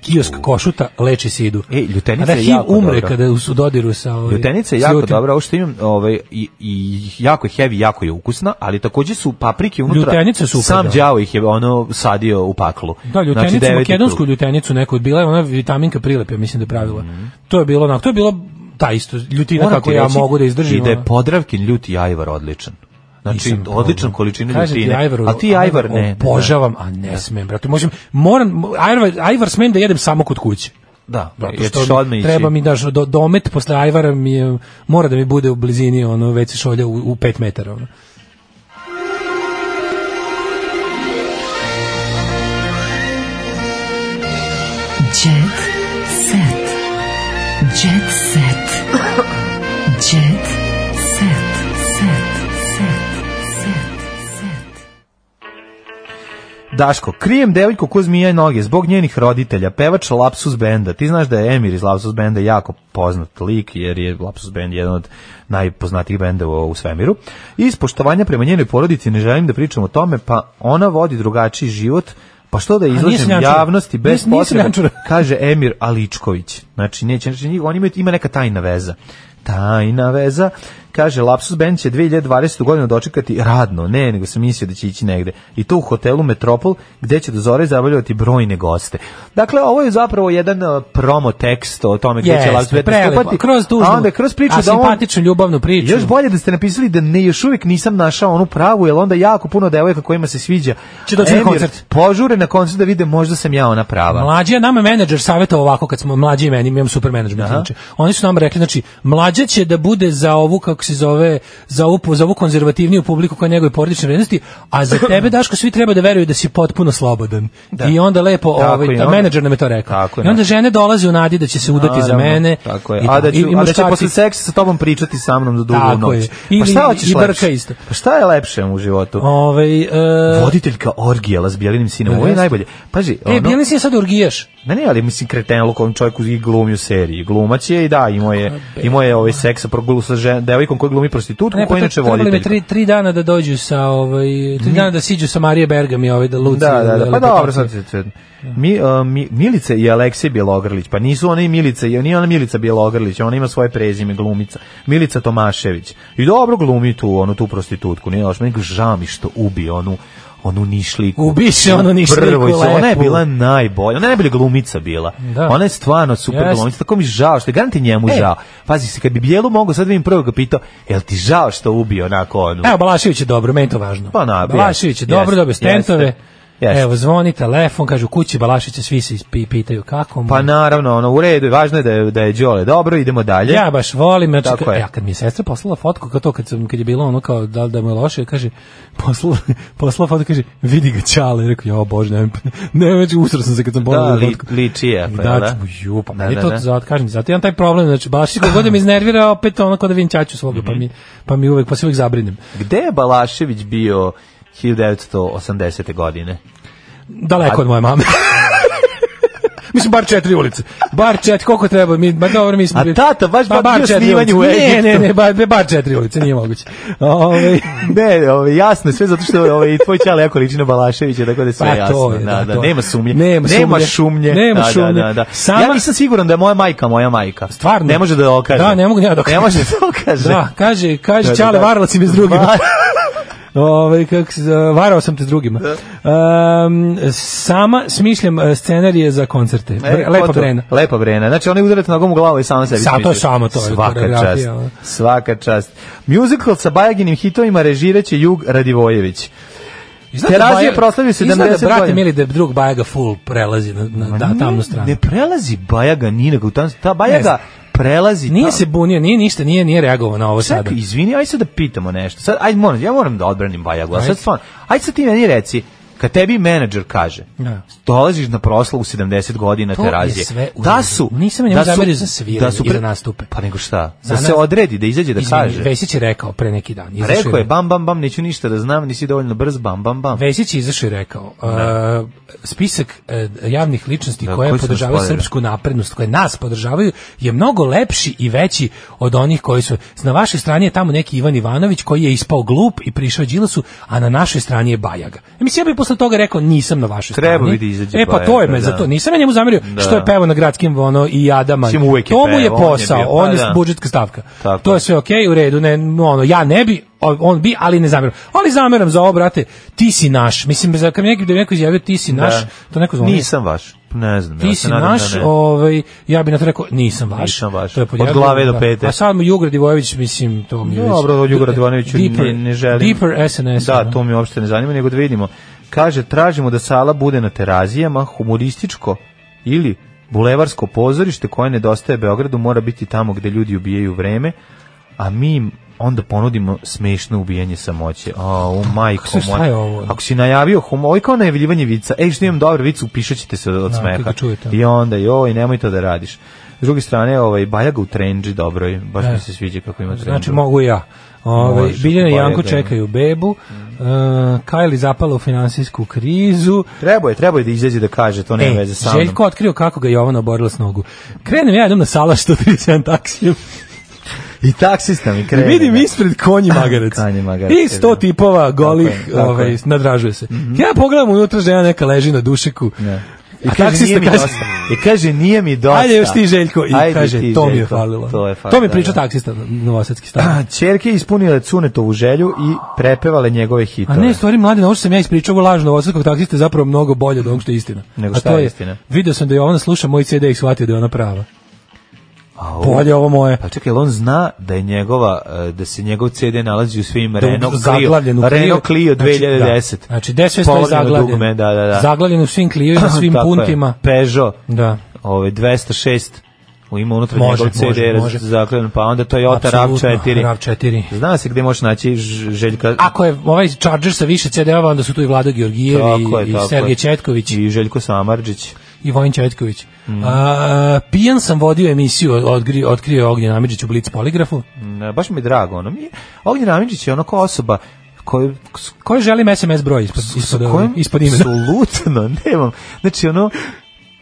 Speaker 5: Kiosk košuta leči sidu.
Speaker 6: E, ljutenica
Speaker 5: A da
Speaker 6: je
Speaker 5: HIV
Speaker 6: jako
Speaker 5: umre
Speaker 6: dobra.
Speaker 5: kada su u dodiru sa ovaj,
Speaker 6: Ljutenica je
Speaker 5: s
Speaker 6: jako
Speaker 5: ljutim.
Speaker 6: dobra, ovo što imam, ovaj, i, i jako je heavy, jako je ukusna, ali takođe su paprike unutra.
Speaker 5: Ljutenice su
Speaker 6: Sam
Speaker 5: super, da.
Speaker 6: đavo ih je ono sadio u paklu. Znači,
Speaker 5: Da, ljutenicu,
Speaker 6: deveti
Speaker 5: makedonsku
Speaker 6: krug.
Speaker 5: ljutenicu neku, bila je ona vitaminka prilep, ja mislim da je pravila. To je bilo onako, to je bilo ta isto ljutina
Speaker 6: Moram
Speaker 5: kako
Speaker 6: ti
Speaker 5: ja
Speaker 6: reći
Speaker 5: mogu da izdržim.
Speaker 6: I da je
Speaker 5: ono.
Speaker 6: Podravkin ljuti ajvar odličan. Znači,
Speaker 5: Nisam
Speaker 6: odličan
Speaker 5: probao.
Speaker 6: količina
Speaker 5: Kažem ti,
Speaker 6: ljutine.
Speaker 5: ajvaru-
Speaker 6: ali ti ajvar ne. ne,
Speaker 5: Obožavam, a ne smem, brate. Možem, moram, ajvar, ajvar smem da jedem samo kod kuće.
Speaker 6: Da, da
Speaker 5: Zato
Speaker 6: jer
Speaker 5: što
Speaker 6: ćeš odmah ići.
Speaker 5: treba mi daš do, domet posle ajvara mi je, mora da mi bude u blizini ono već se šolja u, u 5 metara ono.
Speaker 4: Jet set. Jet set. Jet set. Set. Set. Set.
Speaker 6: Daško, krijem devojku ko zmija i noge zbog njenih roditelja, pevač Lapsus Benda. Ti znaš da je Emir iz Lapsus Benda jako poznat lik, jer je Lapsus Bend jedan od najpoznatijih benda u, u svemiru. I iz poštovanja prema njenoj porodici ne želim da pričam o tome, pa ona vodi drugačiji život, pa što da
Speaker 5: nije
Speaker 6: izlažem
Speaker 5: seljančura.
Speaker 6: javnosti bez
Speaker 5: Nis- nije
Speaker 6: potrebe,
Speaker 5: seljančura.
Speaker 6: kaže Emir Aličković. Znači, neće, znači, njih- oni imaju, ima neka tajna veza. Tajna veza. Kaže, Lapsus Band će 2020. godinu dočekati radno, ne, nego sam mislio da će ići negde. I to u hotelu Metropol, gde će do zore zabavljati brojne goste. Dakle, ovo je zapravo jedan uh, promo tekst o tome gde će Lapsus
Speaker 5: Jeste,
Speaker 6: Band
Speaker 5: prelepo,
Speaker 6: nastupati.
Speaker 5: kroz tužnu,
Speaker 6: a onda kroz priču
Speaker 5: a
Speaker 6: da on...
Speaker 5: simpatičnu ljubavnu priču.
Speaker 6: Još bolje da ste napisali da ne još uvijek nisam našao onu pravu, jer onda jako puno devojka kojima se sviđa.
Speaker 5: Će doći na
Speaker 6: Emir,
Speaker 5: koncert.
Speaker 6: Požure na koncert da vide možda sam ja ona prava.
Speaker 5: Mlađi je nama menadžer savjetovao ovako kad smo mlađi i meni, mi imamo super menadžment
Speaker 6: Aha.
Speaker 5: inače. Oni su nam rekli znači mlađa će da bude za ovu kako se zove, za ovu za ovu konzervativniju publiku koja njegove porodične vrednosti, a za tebe Daško svi treba da veruju da si potpuno slobodan. I onda lepo
Speaker 6: Tako
Speaker 5: ovaj
Speaker 6: je,
Speaker 5: ta
Speaker 6: onda-
Speaker 5: menadžer nam je to rekao.
Speaker 6: Tako je,
Speaker 5: I onda
Speaker 6: znači.
Speaker 5: žene dolaze u nadi da će se udati za
Speaker 6: Naravno,
Speaker 5: mene.
Speaker 6: Tako je.
Speaker 5: I,
Speaker 6: a da
Speaker 5: i-
Speaker 6: ću,
Speaker 5: i
Speaker 6: a da će
Speaker 5: muškarci-
Speaker 6: posle seksa sa tobom pričati sa mnom za dugu
Speaker 5: Tako
Speaker 6: noć.
Speaker 5: je. Ili-
Speaker 6: pa šta hoćeš
Speaker 5: i brka
Speaker 6: lepše?
Speaker 5: isto.
Speaker 6: Pa šta je lepše u životu?
Speaker 5: Ovaj e,
Speaker 6: Voditeljka orgije Lazbijelinim sinom, ovo je
Speaker 5: Jeste.
Speaker 6: najbolje. Paži,
Speaker 5: E, Bjelin sin je sad orgijaš.
Speaker 6: Ne, ne, ali mislim kreten lukom čovjeku i glumi u seriji. Glumac je i da, imao je, imao je ovaj seks sa progulu sa žen, devojkom koja glumi prostitutku,
Speaker 5: Ne,
Speaker 6: koja
Speaker 5: pa
Speaker 6: je inače
Speaker 5: to- trebali bi
Speaker 6: voditeljka.
Speaker 5: tri, tri dana da dođu sa ovaj tri dana da siđu sa Marije Bergam i ovaj da Luci.
Speaker 6: Da, da, da, pa dobro,
Speaker 5: Lepotaki.
Speaker 6: sad se sve- Mi, uh, mi, Milice i Aleksej Bjelogrlić, pa nisu ona i Milica, je- nije ona Milica Bjelogrlić, ona ima svoje prezime, glumica, Milica Tomašević. I dobro glumi tu, onu tu prostitutku, nije loš, meni žao mi što ubi onu onu nišliku.
Speaker 5: Ubiše onu nišliku,
Speaker 6: Prvojicu, Ona je
Speaker 5: lepu.
Speaker 6: bila najbolja, ona je najbolja glumica bila.
Speaker 5: Da.
Speaker 6: Ona je stvarno super
Speaker 5: Jeste.
Speaker 6: glumica, tako mi žao što je, garanti njemu
Speaker 5: E.
Speaker 6: žao. Pazi se, kad bi Bjelu mogao, sad bi im prvo ga pitao, jel ti žao što ubi onako onu?
Speaker 5: Evo, Balašević je dobro, meni je to važno.
Speaker 6: Pa na,
Speaker 5: Balašević je
Speaker 6: jeste,
Speaker 5: dobro, dobio
Speaker 6: jeste,
Speaker 5: stentove.
Speaker 6: jeste.
Speaker 5: Evo, zvoni telefon, kažu kući Balaševića, svi se ispi- pitaju kako mu.
Speaker 6: Pa naravno, ono u redu, je, važno je da je da je Đole dobro, idemo dalje.
Speaker 5: Ja baš volim, znači,
Speaker 6: Tako
Speaker 5: ka-
Speaker 6: je.
Speaker 5: ja kad mi je sestra poslala fotku, kao to kad, sam, kad je bilo ono kao da, li da mu je loše, kaže, poslala, poslala fotku, kaže, vidi ga čale, rekao, jo bože, ne, ne, već usro sam se kad sam
Speaker 6: da
Speaker 5: pogledala
Speaker 6: li,
Speaker 5: fotku.
Speaker 6: liči je, pa,
Speaker 5: da,
Speaker 6: da,
Speaker 5: ću mu, ju, pa
Speaker 6: Da,
Speaker 5: meni
Speaker 6: da,
Speaker 5: to
Speaker 6: da.
Speaker 5: zato, kažem, zato imam taj problem, znači, Balašević kako god da me iznervira, opet ono kao da vidim ćaću svoga,
Speaker 6: Mhm.
Speaker 5: pa, mi, pa mi uvek, pa se uvek zabrinem.
Speaker 6: Gde je Balašević bio 1980. godine?
Speaker 5: Daleko od moje mame. Mislim, bar četiri ulice. Bar četiri, koliko treba? Mi, ma dobro, mi smo...
Speaker 6: A tata baš
Speaker 5: Pa, bar
Speaker 6: bio
Speaker 5: četiri
Speaker 6: snimanje
Speaker 5: ulice.
Speaker 6: u
Speaker 5: Ne, ne,
Speaker 6: Egiptu.
Speaker 5: ne, bar, bar četiri ulice, nije moguće. Ove,
Speaker 6: ne, ove, jasno, je sve zato što ove, i tvoj čale jako liči na Balaševića, tako da je sve
Speaker 5: Pa, to
Speaker 6: jasno.
Speaker 5: je,
Speaker 6: da,
Speaker 5: da,
Speaker 6: da,
Speaker 5: to je.
Speaker 6: nema sumnje.
Speaker 5: Nema sumnje.
Speaker 6: šumnje.
Speaker 5: Nema
Speaker 6: da,
Speaker 5: šumnje.
Speaker 6: Da, da, da. Ja
Speaker 5: Sama-
Speaker 6: nisam siguran da je moja majka moja majka.
Speaker 5: Stvarno?
Speaker 6: Ne može da okaže.
Speaker 5: Da, ne mogu ja da
Speaker 6: Ne može da okaže.
Speaker 5: Da, kaže, kaže,
Speaker 6: Da, da,
Speaker 5: čale,
Speaker 6: da.
Speaker 5: varalac i bez drugim.
Speaker 6: Var-
Speaker 5: Ove, kak, se zove, varao sam te s drugima. Um, sama smišljam e, scenarije za koncerte.
Speaker 6: E,
Speaker 5: Bre-
Speaker 6: ko
Speaker 5: lepa
Speaker 6: to?
Speaker 5: Brena.
Speaker 6: Lepa Brena. Znači, ona je udarat nogom u glavu i sama sebi
Speaker 5: Sa- to je
Speaker 6: smišlja.
Speaker 5: samo to, je
Speaker 6: Svaka
Speaker 5: koreografija,
Speaker 6: čast.
Speaker 5: ono.
Speaker 6: Svaka čast. Musical sa Bajaginim hitovima režiraće Jug Radivojević.
Speaker 5: Znate,
Speaker 6: Terazije
Speaker 5: Bajaga-
Speaker 6: proslavio
Speaker 5: I
Speaker 6: 70
Speaker 5: znate, brate,
Speaker 6: godina.
Speaker 5: mili, da je drug Bajaga full prelazi na, na da, tamnu stranu.
Speaker 6: Ne prelazi Bajaga ni nego ta, ta
Speaker 5: Ne
Speaker 6: Bajaga
Speaker 5: znam.
Speaker 6: prelazi
Speaker 5: Nije se bunio, nije ništa, nije nije reagovao na ovo sada.
Speaker 6: Čekaj, izvini, aj sad da pitamo nešto. Sad, aj moram, ja moram da odbranim Bajagu, a sad stvarno, aj sad ti meni reci, kad tebi menadžer kaže,
Speaker 5: Da.
Speaker 6: dolaziš na proslavu 70 godina
Speaker 5: To
Speaker 6: terazije,
Speaker 5: je sve u
Speaker 6: da
Speaker 5: redu.
Speaker 6: su...
Speaker 5: Nisam ja njemu zamerio za sviranje i za nastupe.
Speaker 6: Pa nego šta? Da
Speaker 5: Za
Speaker 6: se
Speaker 5: nas-
Speaker 6: odredi, da izađe da
Speaker 5: Izvini,
Speaker 6: kaže.
Speaker 5: Vesić je rekao pre neki dan. izašao
Speaker 6: Rekao je,
Speaker 5: rekao.
Speaker 6: bam, bam, bam, neću ništa da znam, nisi dovoljno brz, bam, bam, bam.
Speaker 5: Vesić je izašao i rekao uh, spisak uh, javnih ličnosti
Speaker 6: Da, koji
Speaker 5: koje
Speaker 6: su nas
Speaker 5: podržavaju
Speaker 6: podržali.
Speaker 5: srpsku naprednost, koje nas podržavaju, je mnogo lepši i veći od onih koji su... Na vašoj strani je tamo neki Ivan Ivanović koji je ispao glup i prišao Đilasu, a na našoj strani je Bajaga. E, mislim, ja bih posle toga rekao, nisam na vašoj
Speaker 6: Trebao
Speaker 5: strani.
Speaker 6: bi da izađe
Speaker 5: E, pa to je
Speaker 6: Bajaga,
Speaker 5: me
Speaker 6: da.
Speaker 5: za to. Nisam ja njemu zamerio
Speaker 6: Da.
Speaker 5: što je pevao na gradskim ono i Adama.
Speaker 6: Mislim, uvek je
Speaker 5: To mu je
Speaker 6: pevao, on je
Speaker 5: posao,
Speaker 6: bio-
Speaker 5: on
Speaker 6: pa
Speaker 5: je
Speaker 6: da.
Speaker 5: budžetska stavka.
Speaker 6: Tako
Speaker 5: To
Speaker 6: je.
Speaker 5: je sve okej, u redu, ne, ono, ja ne bi, o- on bi, ali ne zameram. Ali zameram za ovo, brate, ti si naš. Mislim, za kad mi neki, da mi neko izjavio ti si naš,
Speaker 6: Da.
Speaker 5: to neko zvoni.
Speaker 6: Nisam vaš, ne znam. ja
Speaker 5: Ti
Speaker 6: se
Speaker 5: si
Speaker 6: nadam da
Speaker 5: naš,
Speaker 6: ne.
Speaker 5: ovaj, ja bi na to rekao, nisam vaš.
Speaker 6: Nisam vaš.
Speaker 5: To je pod
Speaker 6: Od
Speaker 5: jednom,
Speaker 6: glave do
Speaker 5: da.
Speaker 6: pete.
Speaker 5: A sad mu Jugra Divojević, mislim, to mi je već-
Speaker 6: Dobro, od Jugora Ivanoviću
Speaker 5: Deeper-
Speaker 6: ne, ne želim.
Speaker 5: Deeper SNS.
Speaker 6: Da,
Speaker 5: ono.
Speaker 6: to mi uopšte ne zanima, nego da vidimo. Kaže, tražimo da sala bude na terazijama, humorističko ili bulevarsko pozorište koje nedostaje Beogradu, mora biti tamo gde ljudi ubijaju vreme, a mi im onda ponudimo smešno ubijanje samoće. A, u majko
Speaker 5: Kako se, šta
Speaker 6: moja.
Speaker 5: je ovo?
Speaker 6: Ako si najavio humor, ovo je kao najavljivanje vica. Ej, što imam dobru vicu, upišat ćete se od
Speaker 5: Da, kad
Speaker 6: smeha.
Speaker 5: ga čujete.
Speaker 6: I onda, joj, nemoj to da radiš. S druge strane, ovaj, Bajaga u trenđi dobro je. Baš
Speaker 5: E.
Speaker 6: mi se sviđa kako ima trenđu.
Speaker 5: Znači mogu i ja. Ove,
Speaker 6: Može,
Speaker 5: Biljana i
Speaker 6: pa je
Speaker 5: Janko
Speaker 6: da. Mm.
Speaker 5: čekaju bebu. Uh, Kylie zapala u finansijsku krizu.
Speaker 6: Treba je, treba je da izađe da kaže, to nema veze sa mnom.
Speaker 5: E, Željko otkrio kako ga Jovana oborila s nogu. Krenem ja, idem na sala 137 taksijem.
Speaker 6: I taksista mi
Speaker 5: I
Speaker 6: krene.
Speaker 5: vidim
Speaker 6: E, da.
Speaker 5: ispred konji magarac.
Speaker 6: Konji magarac,
Speaker 5: I sto
Speaker 6: da.
Speaker 5: tipova
Speaker 6: Tako
Speaker 5: golih
Speaker 6: je, tako
Speaker 5: ovaj,
Speaker 6: je. Mhm.
Speaker 5: nadražuje se. Ja pogledam unutra žena neka leži na dušeku.
Speaker 6: I
Speaker 5: A
Speaker 6: kaže,
Speaker 5: taksista
Speaker 6: nije mi
Speaker 5: kaže-
Speaker 6: dosta. I kaže, nije mi dosta.
Speaker 5: Ajde još ti Željko. I
Speaker 6: Ajde
Speaker 5: kaže,
Speaker 6: ti,
Speaker 5: to mi je
Speaker 6: Željko.
Speaker 5: falilo.
Speaker 6: To, je
Speaker 5: mi priča taksista novosadski stan.
Speaker 6: Čerke ispunile Cunetovu želju i prepevale njegove
Speaker 5: A
Speaker 6: hitove.
Speaker 5: ne, stvari mlade, ovo što sam ja ispričao, ovo lažno novosadskog taksista je zapravo mnogo bolje od onog što je istina.
Speaker 6: Nego
Speaker 5: A
Speaker 6: šta
Speaker 5: to
Speaker 6: je istina?
Speaker 5: Video sam da je ona sluša moj CD i shvatio da je ona prava.
Speaker 6: A ovo-
Speaker 5: Bolje ovo moje.
Speaker 6: Pa čekaj, jel on zna da je njegova, e, da se njegov CD nalazi u svim
Speaker 5: Da je
Speaker 6: Renault Clio,
Speaker 5: zaglavljen u Clio.
Speaker 6: Renault Clio
Speaker 5: Znači,
Speaker 6: 2010.
Speaker 5: da. Znači, gde sve stoji
Speaker 6: Polovljeno
Speaker 5: zaglavljen?
Speaker 6: Dugme, da, da, da.
Speaker 5: Zaglavljen u svim Clio, na svim
Speaker 6: Tako je.
Speaker 5: puntima.
Speaker 6: Peugeot.
Speaker 5: Da.
Speaker 6: Ove 206 u ima unutra
Speaker 5: Može,
Speaker 6: njegov CD
Speaker 5: može, može.
Speaker 6: zaglavljen, pa onda Toyota
Speaker 5: Apsolutno,
Speaker 6: RAV4.
Speaker 5: RAV4.
Speaker 6: Zna se gde možeš naći Ž- Željka
Speaker 5: Ako je ovaj Charger sa više CD-ova, onda su tu i Vlado Georgijev
Speaker 6: Tako je,
Speaker 5: i, i
Speaker 6: tako
Speaker 5: Sergej
Speaker 6: je.
Speaker 5: Četković
Speaker 6: i Mm. Željko Samarđić.
Speaker 5: i Vojin Četković. A, pijan sam vodio emisiju, odgri, otkrio je Ognjen Amidžić u Blitz poligrafu.
Speaker 6: Ne, baš mi je drago. Ono. Mi, Ognjen Amidžić je ono kao osoba koju, s
Speaker 5: Koji želim SMS broj ispod, ispod, ove- ispod imena?
Speaker 6: Absolutno, nemam. Znači, ono,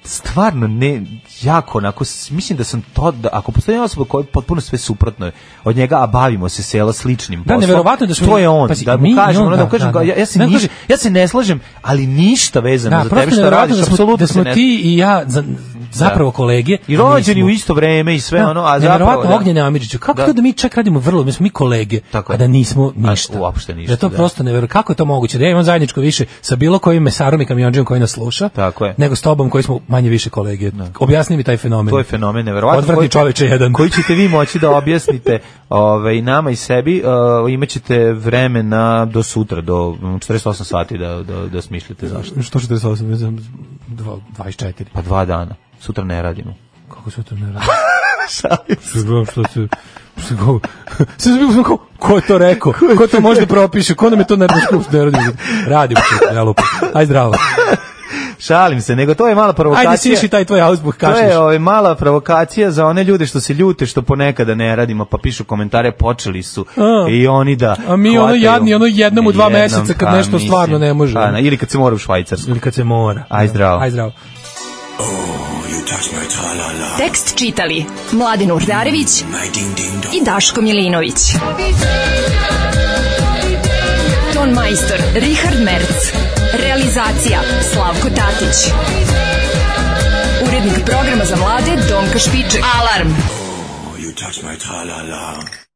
Speaker 6: stvarno ne jako onako s- mislim da sam to da ako postoji jedna osoba koja je potpuno sve suprotno je od njega a bavimo se sela sličnim poslom
Speaker 5: neverovatno da smo
Speaker 6: to
Speaker 5: mi-
Speaker 6: je on
Speaker 5: pazi,
Speaker 6: da
Speaker 5: mi
Speaker 6: mu
Speaker 5: i
Speaker 6: kažem
Speaker 5: on,
Speaker 6: ono, da, mu
Speaker 5: da,
Speaker 6: kažem
Speaker 5: da, da.
Speaker 6: ja, ja se
Speaker 5: Ne,
Speaker 6: niš-
Speaker 5: kažem-
Speaker 6: ja se ne slažem ali ništa vezano
Speaker 5: Da,
Speaker 6: za
Speaker 5: prosto
Speaker 6: tebe što
Speaker 5: neverovatno
Speaker 6: radiš
Speaker 5: da smo,
Speaker 6: apsolutno
Speaker 5: da smo
Speaker 6: se ne-
Speaker 5: ti i ja za- zapravo kolege.
Speaker 6: i rođeni
Speaker 5: nismo.
Speaker 6: u isto vreme i sve
Speaker 5: Da,
Speaker 6: ono a zapravo
Speaker 5: neverovatno
Speaker 6: da.
Speaker 5: Ognjene Amidžiću. Kako
Speaker 6: Da.
Speaker 5: to da mi čak radimo vrlo, mi smo mi kolege,
Speaker 6: Tako je.
Speaker 5: a da nismo ništa.
Speaker 6: A, uopšte ništa,
Speaker 5: Da to
Speaker 6: da.
Speaker 5: prosto neverovatno. Kako je to moguće da ja imam zajedničko više sa bilo kojim mesarom i kamionđijom koji nas sluša,
Speaker 6: Tako je.
Speaker 5: nego s tobom koji smo manje više kolege. Objasni mi taj fenomen.
Speaker 6: To je fenomen neverovatno.
Speaker 5: Odvratni
Speaker 6: Koji-
Speaker 5: čoveče jedan.
Speaker 6: Koji ćete vi moći da objasnite ovaj, nama i sebi, uh, imaćete vremena do sutra, do mm, 48 sati da, da, da smišljate zašto.
Speaker 5: Što 48, ne znam, dva- 24.
Speaker 6: Pa dva dana. Sutra ne radimo.
Speaker 5: Kako se to ne radi? Šalim se. Što se... Što go... Sve zbog sam kao, ko je to rekao? Ko to može da propiše? Ko nam je to nervno skupšt? Ne radimo. Radimo se, ja lupam. Aj zdravo.
Speaker 6: Šalim se, nego to je mala provokacija.
Speaker 5: Ajde siši taj tvoj ausbuh,
Speaker 6: To
Speaker 5: kašliš.
Speaker 6: je ovaj, mala provokacija za one ljude što se ljute što ponekada ne radimo, pa pišu komentare, počeli su
Speaker 5: A.
Speaker 6: i oni da...
Speaker 5: A mi ono
Speaker 6: hvataju-
Speaker 5: jadni, ono jednom u dva
Speaker 6: Jednom,
Speaker 5: meseca kad
Speaker 6: pa
Speaker 5: nešto
Speaker 6: mislim,
Speaker 5: stvarno ne može.
Speaker 6: pa na- ili kad se mora u Švajcarsku.
Speaker 5: Ili kad se mora.
Speaker 6: Aj zdravo.
Speaker 5: Aj zdravo.
Speaker 16: Oh,
Speaker 4: Tekst čitali Mladin Urdarević i Daško Milinović. Ton majstor Richard Merc. Realizacija Slavko Tatić. Urednik programa za mlade Donka Špiček. Alarm!
Speaker 18: You touch my tra-la-la.